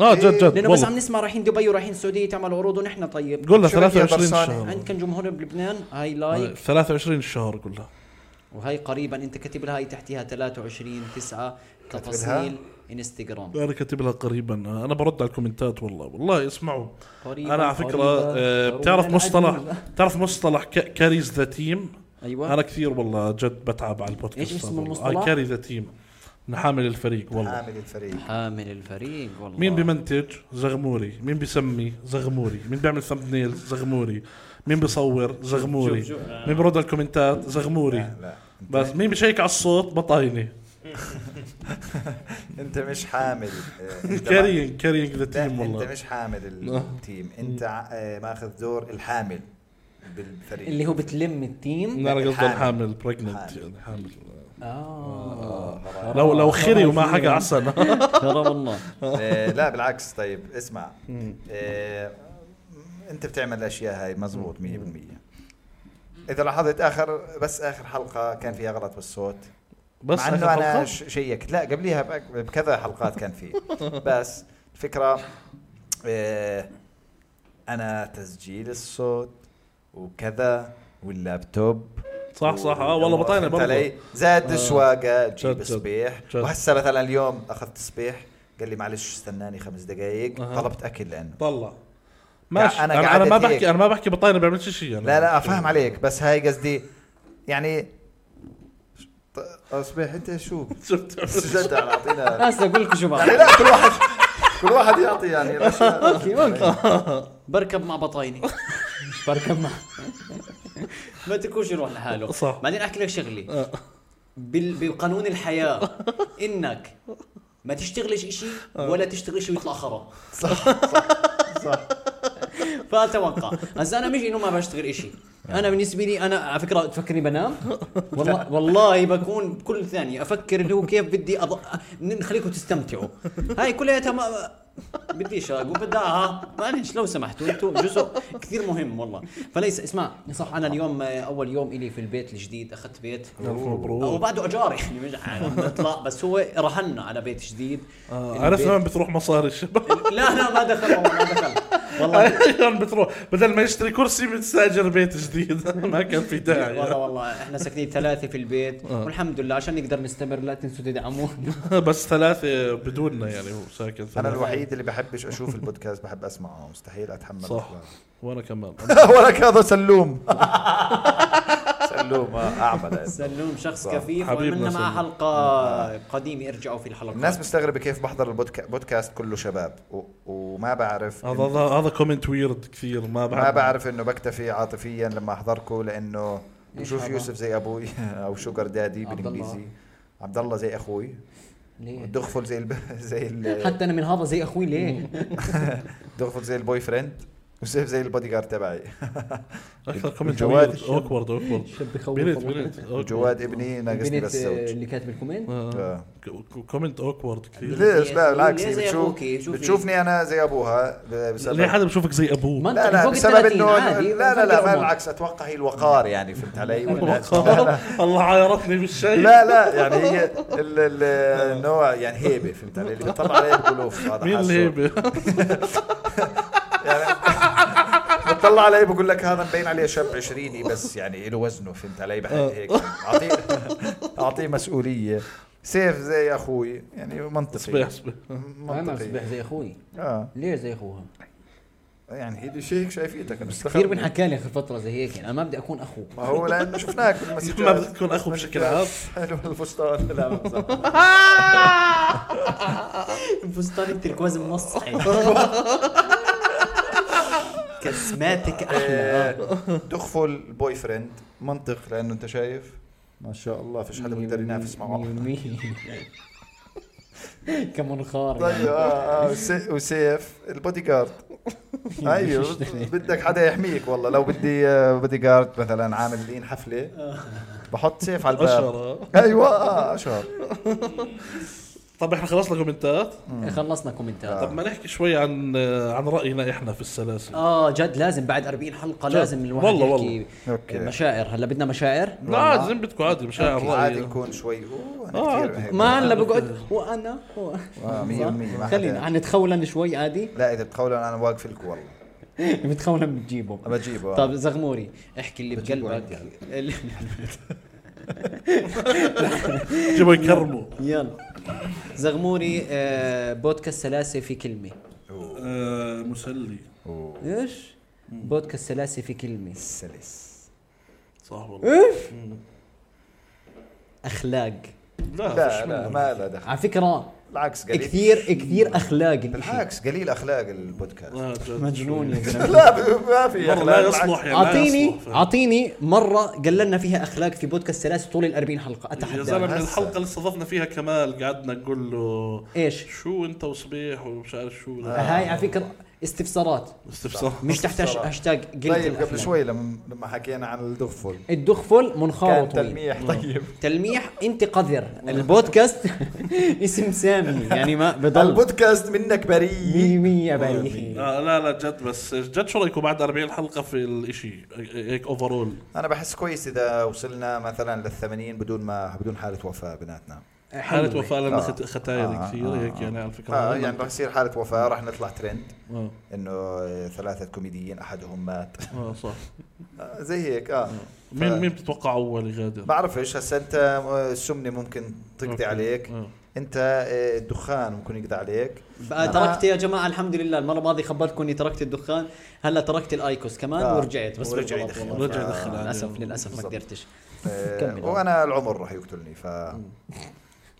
C: اه جد جد
A: لانه بس
C: والله
A: عم نسمع رايحين دبي ورايحين السعودية تعمل عروض ونحن طيب
C: قلنا
B: شو بدك يا
C: 23
B: برصاني؟
C: شهر
A: عندكم جمهور بلبنان هاي لايك
C: 23 شهر قلنا
A: وهي قريبا انت كاتب لها هي تحتها 23 9 تفاصيل انستغرام
C: انا كاتب لها قريبا انا برد على الكومنتات والله والله اسمعوا
A: قريبا
C: انا على فكره
A: قريبا،
C: آه،
A: قريبا
C: بتعرف
A: العدو.
C: مصطلح بتعرف مصطلح كاريز ذا تيم
A: ايوه
C: انا كثير والله جد بتعب على البودكاست آه،
A: إيش اسم المصطلح؟
C: المصطلح؟ كاري ذا تيم نحامل الفريق والله
B: عامل الفريق
A: حامل الفريق والله
C: مين بمنتج زغموري مين بسمي زغموري مين بيعمل ثمبنيل زغموري مين بصور زغموري مين برد على الكومنتات زغموري
B: لا
C: بس مين بشيك على الصوت بطاينه
B: انت مش حامل اه، انت ما-
C: كارينج كارينج
B: لا،
C: ذا تيم
B: انت
C: والله
B: مش حامل
C: لا.
B: التيم انت ع- اه، ماخذ دور الحامل بالفريق
A: اللي هو بتلم التيم
C: انا قصدي
B: حامل.
C: حامل بريجننت يعني حامل
B: آه،
A: اه
C: لو لو خري وما حكى عسل
A: آه. ترى والله
B: اه، لا بالعكس طيب اسمع اه، انت بتعمل الاشياء هاي مزبوط 100% اذا لاحظت اخر بس اخر حلقه كان فيها غلط بالصوت
C: بس
B: مع
C: آخر
B: انه انا
C: حلقة؟
B: ش- شيكت لا قبليها بأك- بكذا حلقات كان فيه بس الفكره آه، انا تسجيل الصوت وكذا واللابتوب
C: صح صح اه والله بطاينه
B: فهمت علي
C: برضه
B: زاد السواقه جيب
C: جد.
B: صبيح
C: جد.
B: وهسه مثلا اليوم اخذت صبيح قال لي معلش استناني خمس دقائق
C: أها.
B: طلبت اكل لانه
C: طلع ماشي
B: أنا
C: انا انا,
B: قعدت
C: ما
B: هيك.
C: بحكي انا ما بحكي بطاينه ما بعملش شيء انا
B: لا لا افهم عليك بس هاي قصدي يعني ط- اصبح انت شو
C: شفت
B: جد عم اعطينا
A: هسه اقول لكم شو
B: يعني
A: بعمل
B: لا كل واحد كل واحد يعطي يعني الاشياء
A: اوكي اوكي بركب مع بطايني بركب مع ما تكونش يروح لحاله
C: صح.
A: بعدين احكي لك شغله بال... بقانون الحياه انك ما تشتغلش اشي ولا تشتغل شيء ويطلع خرا فاتوقع هسا انا مش انه ما بشتغل اشي انا بالنسبه لي انا على فكره تفكرني بنام والله والله بكون كل ثانيه افكر اللي هو كيف بدي أض... نخليكم تستمتعوا هاي كلها ما بديش اقول بدعها معلش لو سمحتوا انتم جزء كثير مهم والله فليس اسمع صح انا اليوم آه، اول يوم الي في البيت الجديد اخذت بيت
C: مبروك
A: وبعده اجار يعني مش عم نطلع بس هو رهنا على بيت جديد
C: آه،
A: البيت-
C: عرفنا وين بتروح مصاري الشباب
A: لا لا ما دخل والله ما دخل والله
C: وين بتروح بدل ما يشتري كرسي بتستاجر بيت جديد ما كان في
A: والله
C: داعي
A: والله احنا ساكنين ثلاثة في البيت
C: آه.
A: والحمد لله عشان نقدر نستمر لا تنسوا تدعمونا
C: بس ثلاثه بدوننا يعني هو ساكن
B: انا
C: ثلاثة.
B: الوحيد اللي بحبش اشوف البودكاست بحب اسمعه مستحيل اتحمل
C: صح.
B: أحلامه.
C: وانا كمان
B: ولك هذا سلوم سلوم آه، اعمل هذا.
A: سلوم شخص كفيف
C: حبيبنا آه.
A: وعملنا معه
C: سلوم.
A: حلقة قديمة ارجعوا في الحلقة
B: الناس مستغربه كيف بحضر البودكاست كله شباب و... وما بعرف
C: هذا هذا هذا كومنت ويرد كثير ما بعرف
B: ما بعرف انه بكتفي عاطفيا لما احضركم لانه
A: إيش
B: بشوف
A: هذا؟
B: يوسف زي ابوي او شوجر دادي
A: عبد
B: بالانجليزي
A: الله. إيه.
B: عبد الله زي اخوي
A: ليه؟
B: الدغفل زي الب... زي ال...
A: حتى انا من هذا زي اخوي ليه؟
B: الدغفل زي البوي فريند وسيف زي البودي جارد تبعي
C: اكثر كومنت
B: الجواد
C: ويرد اوكورد اوكورد
A: شاب بخوف
C: بنت
A: البنت
C: بنت awkward.
B: جواد ابني ناقصني بس زوج
A: اللي كاتب الكومنت
C: آه.
B: آه.
C: ك- كومنت اوكورد كثير
B: ليش لا
A: ليه
B: بالعكس
A: إيه، زي
B: هي بتشوف
A: أبوكي؟ شوفي.
B: بتشوفني انا زي ابوها ب- بسبب
C: ليه حدا بشوفك زي ابوه
A: ما انت
B: لا لا
A: فوق
B: بسبب
A: الثلاثين
B: انه
A: عادي
B: لا لا لا ما
A: بالعكس
B: بالعكس اتوقع هي الوقار يعني فهمت علي
C: الله عايرتني بالشيء
B: لا لا يعني هي ال- ال- النوع يعني هيبه فهمت علي اللي بيطلع عليه بيقول اوف هذا
C: مين
B: حاسه.
C: اللي هيبة؟
B: يعني بتطلع علي بقول لك هذا مبين عليه شاب 20 بس يعني له وزنه فهمت علي بحب
C: آه.
B: هيك اعطيه اعطيه مسؤوليه سيف زي اخوي يعني منطقي
C: صبيح صبيح
A: ما
B: منطقي
A: صبح زي اخوي
B: اه
A: ليه زي اخوها؟
B: يعني هي شيء هيك شايفيتك انا
A: كثير بنحكى لي اخر فترة زي هيك يعني انا ما بدي اكون اخوه
B: ما هو لانه شفناك بالمسجات
C: ما بدك تكون اخو بشكل عام
B: حلو الفستان لا بمزح.
A: فستان التركواز منصحي كسماتك
B: آه،
A: احلى
B: تخفل بوي فريند منطق لانه انت شايف ما شاء الله فيش حدا بيقدر ينافس معه
A: كمنخار
B: طيب
A: يعني.
B: اه اه وس- وسيف البودي جارد ايوه بدك حدا يحميك والله لو بدي آه، بودي جارد مثلا عامل لين حفله بحط سيف على الباب
C: اشهر
B: ايوه آه، اشهر
C: طب احنا خلصنا كومنتات
B: نعم.
A: إيه، خلصنا كومنتات
B: آه.
C: طب ما نحكي شوي عن عن راينا احنا في السلاسل
A: اه جد لازم بعد 40 حلقه لازم الواحد
C: والله،
A: يحكي
B: أوكي.
C: يعني
A: مشاعر هلا بدنا مشاعر
C: لا زين بدكم عادي مش عارف
B: عادي
C: رايي
B: نكون شوي اوه انا كثير
C: آه، عادي.
B: هيك.
A: ما هلا بقعد وانا و-
B: آه، مية بالمية، ما إيه. حدا-
A: خلينا نتخولن شوي عادي
B: لا اذا بتقولوا انا واقف لكم والله
A: بتخولن بتجيبه
B: بجيبه
A: طب زغموري احكي اللي بقلبك
B: يعني.
A: اللي-
C: جيبوا يكرموا
A: يلا زغموري آه، بودكاست سلاسه في كلمه
C: آه، مسلي
A: ايش؟ بودكاست سلاسه في كلمه
B: سلس
C: صح والله
A: اخلاق
C: لا
B: لا
C: آه، فيش إيه،
B: لا
C: منه.
B: ما لا دخل
A: على فكره
B: بالعكس قليل
A: كثير كثير اخلاق الإشي.
B: بالعكس قليل اخلاق البودكاست
C: آه، جد.
A: مجنون يا زلمه
B: لا ب- ما في
C: والله
B: اخلاق
C: لا
B: بالعكس.
C: يصلح يعني لا
A: اعطيني
C: يصلح.
A: اعطيني مره قللنا فيها اخلاق في بودكاست سلاسه طول ال 40 حلقه
C: يا
A: اتحدى
C: زلمه
B: هسا.
C: الحلقه اللي استضفنا فيها كمال قعدنا نقول له
A: ايش؟
C: شو انت وصبيح ومش عارف شو
A: هاي على فكره استفسارات
C: استفسار
A: مش تحت هاش- هاشتاج قلة
B: طيب
A: الأخلاق.
B: قبل شوي لما لما حكينا عن الدغفل
A: الدخفل منخار
B: كان
A: وطويل
B: تلميح طيب
A: تلميح انت قذر البودكاست اسم سامي يعني ما بضل
B: البودكاست منك بريء
A: 100 بالي
C: آه لا لا جد بس جد شو رايكم بعد 40 حلقه في الاشي هيك اوفرول
B: انا بحس كويس اذا وصلنا مثلا لل 80 بدون ما بدون حاله وفاه بيناتنا
C: حاله وفاء لنا
B: آه.
C: خت- ختاير
B: آه،
C: كثير
B: آه،
C: هيك يعني على فكره
B: اه يعني رح يصير حاله وفاه رح نطلع ترند
C: آه،
B: انه آه، ثلاثه كوميديين احدهم مات
C: اه صح
B: آه، زي هيك اه
C: مين
B: ف-
C: مين بتتوقع اول يغادر؟
B: بعرفش هسه انت آه، السمنه ممكن تقضي
C: أوكي.
B: عليك
C: آه.
B: انت آه، الدخان ممكن يقضي عليك
A: بقى آه، تركت يا جماعه الحمد لله المره الماضيه خبرتكم اني تركت الدخان هلا تركت الايكوس كمان
B: آه.
A: ورجعت بس
B: ورجع
A: بالغلط
B: يدخن.
A: والله.
C: رجع يدخن عادي.
A: للاسف للاسف ما
B: آه، بالضبط.
A: قدرتش
B: آه،
A: كمل.
B: وانا العمر راح يقتلني ف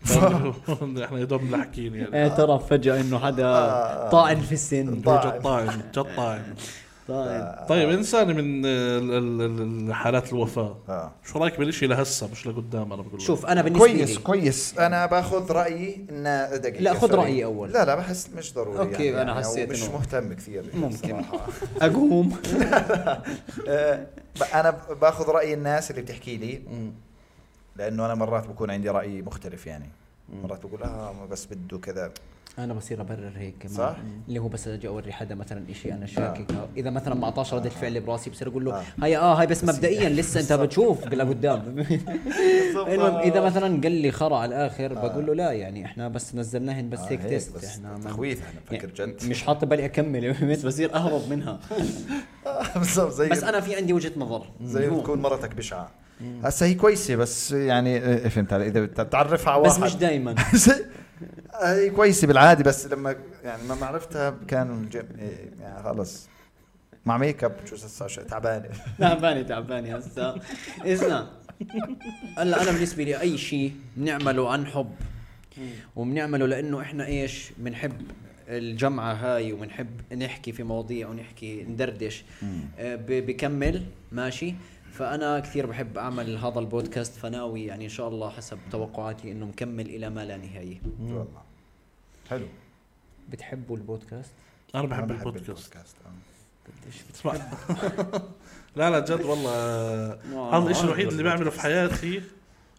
C: احنا يا دوب لاحقين يعني
B: آه،
A: ايه ترى فجاه انه حدا طاعن في السن
B: طاعن.
C: جطاين جطاين
A: طاعن
C: طيب انسان من ال- ال- ال- حالات الوفاه
B: آه.
C: شو رايك بالشيء لهسه مش لقدام انا بقول لك.
A: شوف انا بالنسبه
B: كويس
A: لي
B: كويس انا باخذ رايي انه دقيقه
A: لا، خذ
B: سوري.
A: رأيي أول.
B: لا لا بحس مش ضروري
A: أوكي،
B: يعني
A: أنا
B: يعني
A: حسيت
B: مش
A: إنه-
B: مهتم كثير
A: ممكن.
B: صراحة.
A: اقوم
B: آه، ب- انا ب- باخذ راي الناس اللي بتحكي لي لانه انا مرات بكون عندي راي مختلف يعني مرات بقول اه ما بس بده كذا
A: انا بصير ابرر هيك كمان
B: صح؟
A: اللي هو بس اجي اوري حدا مثلا شيء انا شاكك آه. اذا مثلا ما اعطاش رده فعل براسي بصير اقول
B: آه.
A: له هاي اه هاي بس مبدئيا لسه انت بتشوف لقدام المهم
B: آه.
A: اذا مثلا قال لي خرا على الاخر بقول له لا يعني احنا بس نزلناهن بس هيك تيست
B: آه، بس
A: احنا ما-
B: تخويف احنا بفكر
A: يعني
B: جد
A: مش حاط بالي اكمل فهمت؟ بصير اهرب منها
B: بالضبط آه، زي
A: بس انا في عندي وجهه نظر
B: طيب. زي ما تكون مرتك بشعه هسه هي كويسه بس يعني آه، فهمت علي اذا بدك تعرفها على
A: بس
B: واحد
A: مش دائما
B: هي كويسه بالعادي بس لما يعني لما عرفتها كان الجيم إيه، يعني خلص مع ميك اب شو صار شوي تعبانه
A: تعبانه تعبانه هسه اسمع هلا انا بالنسبه لي اي شيء بنعمله عن حب وبنعمله لانه احنا ايش بنحب الجمعة هاي وبنحب نحكي في مواضيع ونحكي ندردش آه، ب- بكمل ماشي فأنا كثير بحب أعمل هذا البودكاست فناوي يعني إن شاء الله حسب توقعاتي إنه مكمل إلى ما لا نهاية
B: والله حلو
A: بتحبوا البودكاست؟
C: انا
B: أنا
C: بحب البودكاست
B: آه.
C: اسمع لا لا جد والله آه، هذا الشيء الوحيد اللي بعمله في حياتي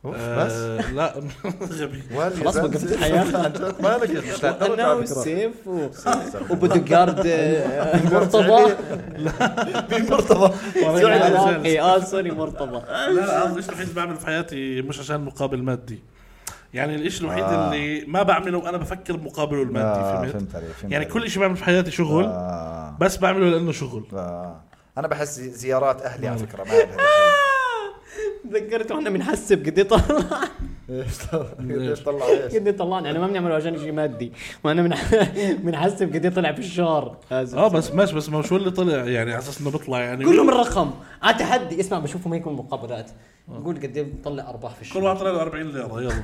B: أوف،
C: آه، لا غبي
A: خلاص وقفت الحياة.
B: عن جد مالك يا أخي، تعترف على
A: أنا
B: فكرة.
A: وسيف و- وبودجارد آه، مرتضى
C: زعل، زعل.
A: عراقي اه سوري مرتضى
C: لا لا هذا الشيء الوحيد اللي بعمله في حياتي مش عشان مقابل مادي يعني الشيء الوحيد
B: آه.
C: اللي ما بعمله وانا بفكر بمقابله
B: آه،
C: المادي فهمت
B: فهمت علي فهمت
C: يعني
B: علي.
C: كل شيء بعمله في حياتي شغل
B: آه،
C: بس بعمله لانه شغل
B: آه. انا بحس زي- زيارات اهلي على فكره ما لها دخل.
A: تذكرت واحنا بنحسب قد ايه طلع
B: ليش طلع ايش؟
A: قد ايه طلعنا احنا ما بنعمله عشان شيء مادي وانا بنحسب قد ايه طلع في الشهر آه، هذا.
C: اه بس ماشي بس ما شو اللي طلع يعني على اساس انه بيطلع يعني
A: كلهم الرقم على تحدي اسمع بشوفهم هيك من المقابلات نقول قد ايه بنطلع ارباح في
C: كل
A: الشهر
C: واحد طلع له 40 ليره يلا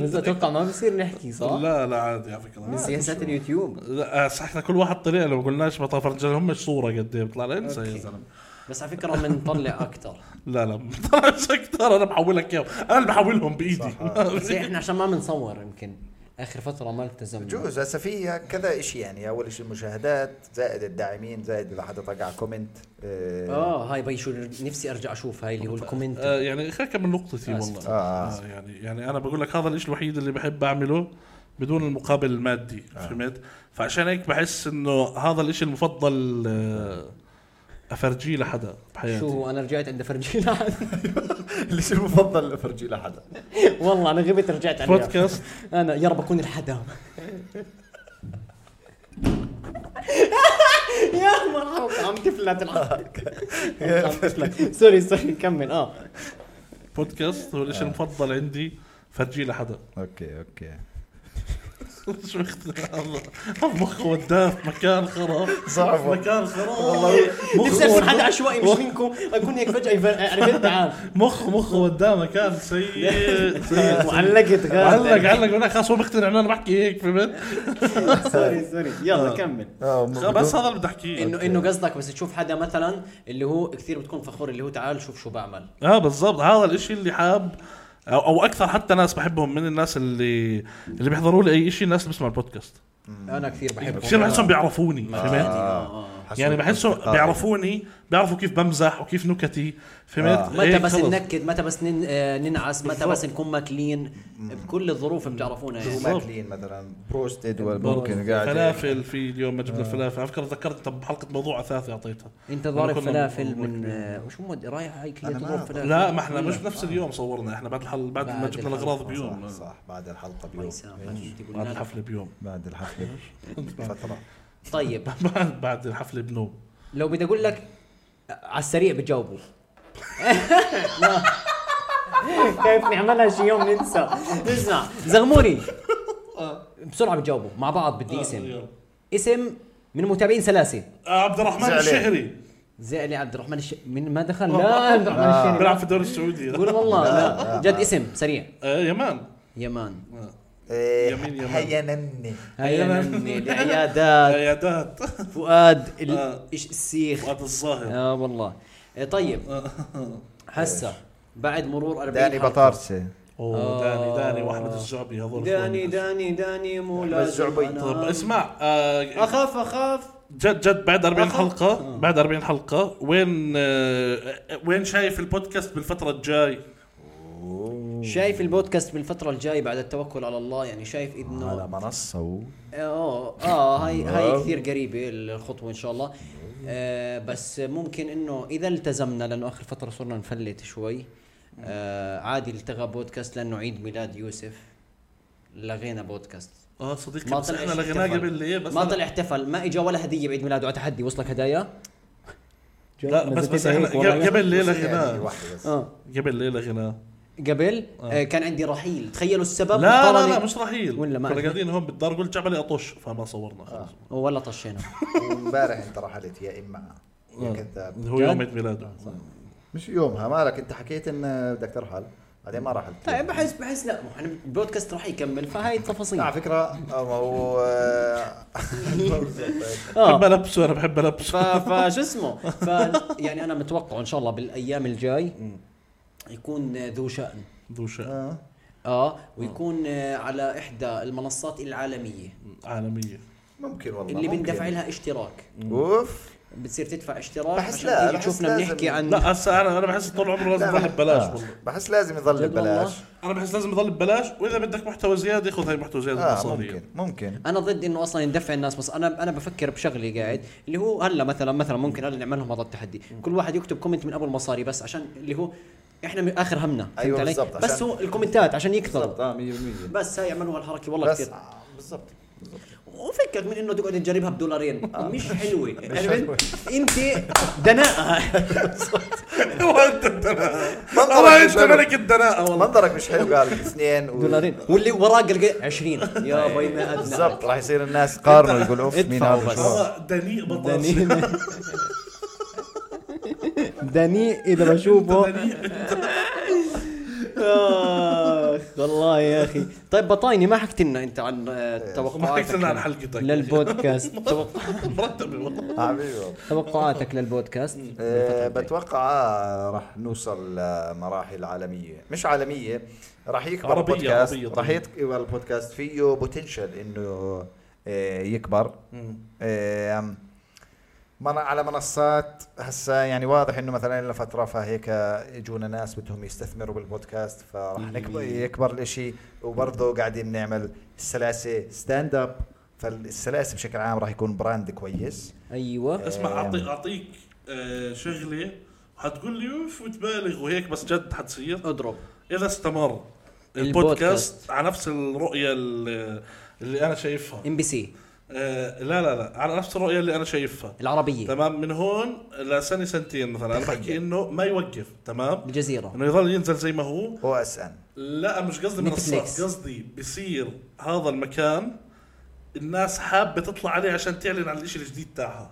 A: بس اتوقع ما بصير نحكي صح؟
C: لا لا عادي على فكره
A: من سياسات اليوتيوب
C: لا آه، صح احنا كل واحد طلع له ما قلناش ما طلع هم صوره قد ايه بيطلع له انسى يا
A: أوكي.
C: زلمه
A: بس على فكره بنطلع اكثر
C: لا لا ما طلعش اكثر انا بحولك اياهم انا اللي بحولهم بايدي
B: آه.
A: بس احنا عشان ما بنصور يمكن اخر فتره ما التزمنا
B: بجوز هسه في كذا شيء يعني اول شيء مشاهدات زائد الداعمين زائد اذا حدا طقع كومنت آه.
A: اه هاي بي شو نفسي ارجع اشوف هاي اللي هو الكومنت
C: آه، يعني خلينا من نقطتي والله
B: آه.
C: آه، يعني يعني انا بقول لك هذا الشيء الوحيد اللي بحب اعمله بدون المقابل المادي
B: آه.
C: فهمت فعشان هيك بحس انه هذا الشيء المفضل آه، افرجيه لحدا بحياتي
A: شو هو انا رجعت عند فرجي لحد
B: اللي شيء مفضل فرجي لحدا
A: والله انا غبت رجعت عليها
C: بودكاست
A: انا يا رب اكون الحدا يا مرحبا عم تفلت
C: آه،
A: الحلقة. عم تفلت. سوري سوري كمل اه
C: بودكاست هو الشيء المفضل عندي فرجيه لحدا
B: اوكي اوكي
C: شو اختلاف الله مخه وداف مكان خراب
B: صعب والله.
C: مكان خراب والله
A: نفسي اكون حدا عشوائي مش منكم اكون هيك فجاه يفر- عرفت تعال
C: مخ مخه وداه مكان سيء سيء
A: وعلقت غلط
C: علق علق هناك خلاص هو مقتنع انه انا بحكي هيك فهمت
A: سوري سوري يلا كمل
B: آه،
C: بس هذا اللي بدي احكيه
A: انه انه قصدك بس تشوف حدا مثلا اللي هو كثير بتكون فخور اللي هو تعال شوف شو بعمل
C: اه بالضبط هذا الاشي اللي حاب او, أو اكثر حتى ناس بحبهم من الناس اللي اللي بيحضروا لي اي شيء الناس اللي بيسمعوا البودكاست
A: انا كثير
B: إيه،
A: بحبه
C: كثير بحسهم بيعرفوني فهمت يعني بحسهم
B: آه.
C: بيعرفوني بيعرفوا كيف بمزح وكيف نكتي
B: آه.
C: فهمت
A: متى
C: هيك
A: بس
C: خلص.
A: ننكد متى بس نن... آه، ننعس متى بس نكون ماكلين بكل الظروف بتعرفونا يعني
B: ماكلين مثلا بروستد ولا
C: برضه
B: ممكن قاعد يعني. آه.
C: فلافل في اليوم ما جبنا فلافل على فكره تذكرت انت بحلقه موضوع اثاثي اعطيتها
A: انت
C: لما
A: ضارب
C: كنا
A: فلافل
C: بنقول
A: من
C: لك.
A: آه، وشو مود رايح هيك
B: أنا ما
A: تضرب
B: أعرف.
A: فلافل
C: لا ما احنا مش بنفس اليوم صورنا احنا بعد الحل بعد ما
A: بعد
C: جبنا
A: الحلقة.
C: الاغراض
B: آه، صح,
C: بيوم
B: صح بعد الحلقه
A: ما
B: بيوم إيه،
A: يسامح، بدي أقول
C: بعد
A: لك.
C: الحفله بيوم
B: بعد الحلقه فتره
A: طيب
C: بعد بعد الحفله بنوم
A: لو بدي اقول لك آه، على السريع بجاوبه
H: كيف نعملها شي يوم ننسى
A: اسمع زغموري
B: آه.
A: بسرعه بتجاوبوا مع بعض بدي اسم اسم من متابعين سلاسي
C: آه، عبد الرحمن
B: زعلان.
C: الشهري
A: زي اللي عبد الرحمن الش... من ما دخل لا عبد الرحمن الشيري
C: بيلعب في الدوري السعودي
A: آه. قول والله لا جد اسم سريع
C: آه، يمان
A: يمان
B: إيه،
C: يمين يمين.
B: هيا نمي
A: هيا
C: أنا-
A: نمني العيادات
C: عيادات
A: فؤاد ال-
C: آه.
A: إيش السيخ
C: وقت الظاهر
A: اه والله آه، طيب هسه بعد مرور 40
B: داني
A: حلقة.
B: بطارسه
C: اوه داني داني واحمد الزعبي هذول
A: داني
C: اخواننا.
A: داني داني مو
B: بس
A: لازم
B: زعبي.
A: أنا-
C: طب اسمع آه،
A: اخاف اخاف
C: جد جد بعد 40
A: آخر- آه.
C: حلقة بعد 40 حلقة وين آه، وين شايف البودكاست بالفترة الجاي؟
A: شايف البودكاست بالفترة الجاية بعد التوكل على الله يعني شايف
C: نعم.
B: على
A: انه
B: منصه
A: اه اه هاي هاي كثير قريبة الخطوة ان شاء الله آه بس ممكن انه اذا التزمنا لانه اخر فترة صرنا نفلت شوي آه عادي التغى بودكاست لانه عيد ميلاد يوسف لغينا بودكاست
C: اه صديقي
A: ما
C: بس
A: طلع
C: احنا
A: احتفل.
C: لغيناه قبل ليه بس
A: ما طلع احتفل ما اجى ولا هدية بعيد ميلاده على تحدي وصلك هدايا
C: لا بس بس احنا قبل- قبل ليه
B: يعني
C: لغيناه
A: اه
C: قبل ليه لغيناه
A: قبل آه كان عندي رحيل تخيلوا السبب
C: لا لا
A: طرني-
C: لا مش رحيل
A: ولا ما
C: كنا
A: أدري. آه.
C: قاعدين هون بالدار قلت جعبلي اطش فما صورنا خلاص
A: ولا طشينا
B: امبارح انت رحلت يا اما يا كذاب
C: هو يوم عيد ميلاده
B: مش يومها مالك انت حكيت ان بدك ترحل بعدين ما رحلت
A: طيب بحس بحس لا احنا البودكاست راح يكمل فهاي التفاصيل
B: على فكره هو
C: بحب
A: اه
C: البسه انا بحب
A: ف-
C: البسه
A: فشو اسمه ف يعني انا متوقع ان شاء الله بالايام الجاي يكون ذو شان
C: ذو شأن
B: آه.
A: اه ويكون آه، على احدى المنصات العالميه
C: عالمية
B: ممكن والله
A: اللي
B: ممكن.
A: بندفع لها اشتراك
B: اوف
A: بتصير تدفع اشتراك
B: بحس
A: عشان
B: لا،
A: تيجي
B: بحس
A: تشوفنا
B: لازم-
A: بنحكي عن
C: لا هسه انا انا بحس طول عمره لازم اروح ببلاش
B: آه.
C: والله
B: بحس لازم يضل
A: جد
B: ببلاش
C: انا بحس لازم يضل ببلاش واذا بدك محتوى زيادة خذ هاي محتوى زيادة
B: اه
C: مصارية
B: ممكن ممكن
A: انا ضد انه اصلا ندفع الناس بس انا انا بفكر بشغلي قاعد اللي هو هلا مثلا مثلا ممكن هلا نعملهم هذا التحدي كل واحد يكتب كومنت من ابو المصاري بس عشان اللي هو احنا من اخر همنا فهمت
B: أيوة
A: علي؟
B: بالضبط،
A: بس
B: عشان-
A: هو الكومنتات عشان يكثروا
B: بالضبط اه 100%
A: بس هاي يعملوا هالحركه والله
B: بس
A: كثير
B: آه، بالضبط
A: وفكك من انه تقعد تجربها بدولارين آه، مش يعني حلوه عرفت؟ انت دناءه
C: وانت الدناءة
B: منظرك
C: والله
B: مش
C: انت
B: حلو.
C: ملك الدناءة والله
B: منظرك مش حلو قال اثنين و...
A: دولارين واللي وراه قلقة 20 يا
C: أيوة.
A: باي ما ادنى
B: بالضبط راح يصير الناس يقارنوا يقولوا اوف مين
A: ادفعوا
B: هذا
A: بس.
B: شو
C: هذا دنيء بطاطس
A: دنيء دنيء اذا بشوفه اخ والله يا اخي طيب بطايني ما حكت لنا انت عن آه،
C: إيه، ما حكيت لنا عن
A: توقعاتك يعني.
C: حلقتك
A: للبودكاست توق-
C: مرتبة والله
B: حبيبي والله.
A: توقعاتك للبودكاست
C: إيه،
B: آه، بتوقع آه، راح نوصل لمراحل عالميه مش عالميه راح يكبر
C: عربية،
B: البودكاست
C: عربية طبعاً.
B: راح يكبر البودكاست فيه بوتنشل انه آه، يكبر آم، من على منصات هسا يعني واضح انه مثلا لفتره فهيك اجونا ناس بدهم يستثمروا بالبودكاست فراح نكبر يكبر الاشي وبرضه قاعدين نعمل السلاسه ستاند اب فالسلاسه بشكل عام راح يكون براند كويس
A: ايوه
C: اسمع اعطي اعطيك آه، شغله حتقول لي اوف وتبالغ وهيك بس جد حتصير
A: اضرب
C: اذا استمر
A: البودكاست.
C: البودكاست على نفس الرؤيه اللي اللي انا شايفها
A: ام بي سي
C: آه، لا لا لا على نفس الرؤيه اللي انا شايفها
A: العربيه
C: تمام من هون لسنه سنتين مثلا انا بحكي انه ما يوقف تمام
A: الجزيره
C: انه يضل ينزل زي ما هو
B: او اس ان
C: لا مش قصدي منصات
A: نتفليكس.
C: قصدي بصير هذا المكان الناس حابه تطلع عليه عشان تعلن عن الشيء الجديد تاعها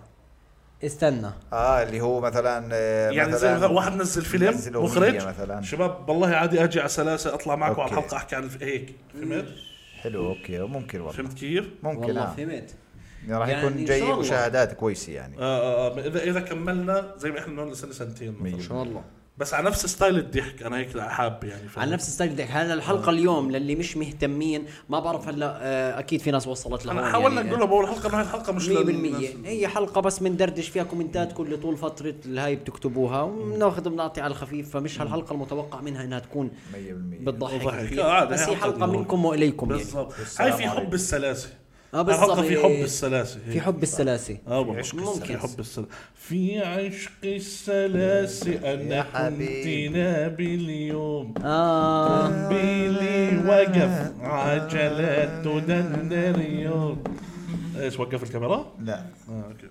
A: استنى
B: اه اللي هو مثلا آه،
C: يعني زي
B: مثلاً
C: مثلا واحد نزل
B: نزل
C: فيلم
B: أغنية
C: مخرج
B: مثلاً.
C: شباب والله عادي اجي على سلاسه اطلع معكم على
B: أوكي.
C: الحلقه احكي عن الف- هيك فهمت؟
B: حلو اوكي ممكن والله
C: فهمت كيف؟
B: ممكن
A: والله
B: آه.
A: فهمت
B: يعني راح
A: يعني إن
B: يكون
A: شاء
B: جاي
A: الله.
B: مشاهدات كويسه يعني
C: آه آه، آه اذا اذا كملنا زي ما احنا قلنا سنه سنتين
A: ان
C: مثلا
A: شاء الله
C: بس على نفس ستايل الضحك انا هيك حاب يعني فهمت؟
A: على نفس ستايل بدك هلا الحلقه اليوم للي مش مهتمين ما بعرف هلا آه، اكيد في ناس وصلت لهون
C: انا حاولنا
A: يعني،
C: نقولها باول حلقه انه هاي الحلقه
A: 100%
C: مش
A: هي حلقة بس بندردش فيها كومنتات كل طول فترة الهاي بتكتبوها وناخذ بنعطي على الخفيف فمش هالحلقة المتوقع منها انها تكون
B: 100%
A: بتضحك
C: بتضحك.
A: كثير،
C: آه، عادي،
A: بس
C: هي
A: هي
C: حلقة
A: حلقة منكم واليكم يعني
C: بالضبط هاي في حب السلاسه
A: آه،
C: هاي الحلقه في حب
A: بالضبط.
C: السلاسه هيك.
A: في حب السلاسة
C: اه والله
B: عشق
A: ممكن.
C: في حب السلاسة في عشق السلاسة
B: يا
C: أنا
B: حبيبي.
C: كنت نابي اليوم
A: اه
C: بيلي وقف عجلات تدندر يوم ايش وقف الكاميرا؟
B: لا
C: اه اوكي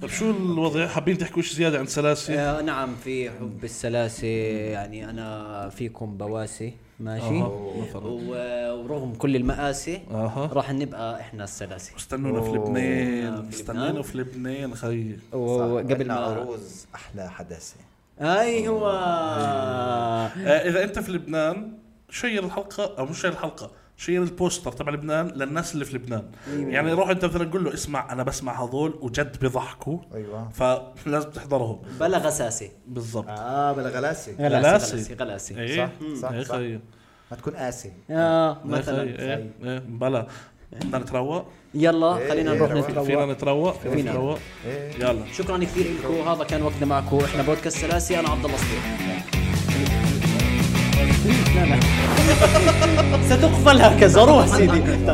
C: طيب شو الوضع حابين تحكوا شيء زياده عن سلاسي
A: آه نعم في حب السلاسة يعني أنا فيكم بواسي ماشي و- ورغم كل المآسي
C: أها.
A: راح نبقى إحنا السلاسة
C: استنونا في
A: آه،
C: لبنان
A: في
C: استنونا في لبنان خيي
A: وقبل
B: عنا
A: ما
B: عروز احلى حداثه
A: أيوة
C: آه، اذا انت في لبنان شير الحلقه او مش شير الحلقه شير البوستر تبع لبنان للناس اللي في لبنان يعني روح انت مثلا قول له اسمع انا بسمع هذول وجد بيضحكوا
B: ايوه
C: فلازم تحضرهم
A: بلا غساسة
C: بالضبط
B: اه بلا غلاسه
C: غلاسة.
A: غلاسة غلاسة
C: ايه
B: صح،
C: ايه
B: صح.
C: خيي
B: ما تكون قاسي
A: آه
C: ايه خيي
A: مثلا
C: ايه ايه بلا بدنا نتروق
A: يلا خلينا
B: إيه،
A: نروح
B: روح.
C: فينا
A: نتروق
C: نتروق فينا
A: فينا.
C: نتروق
B: إيه؟
C: يلا
A: شكرا كثير لكم هذا كان وقتنا معكم احنا بودكاست سلاسي انا عبد الله صبيح لا لا ستقفل هكذا روح سيدي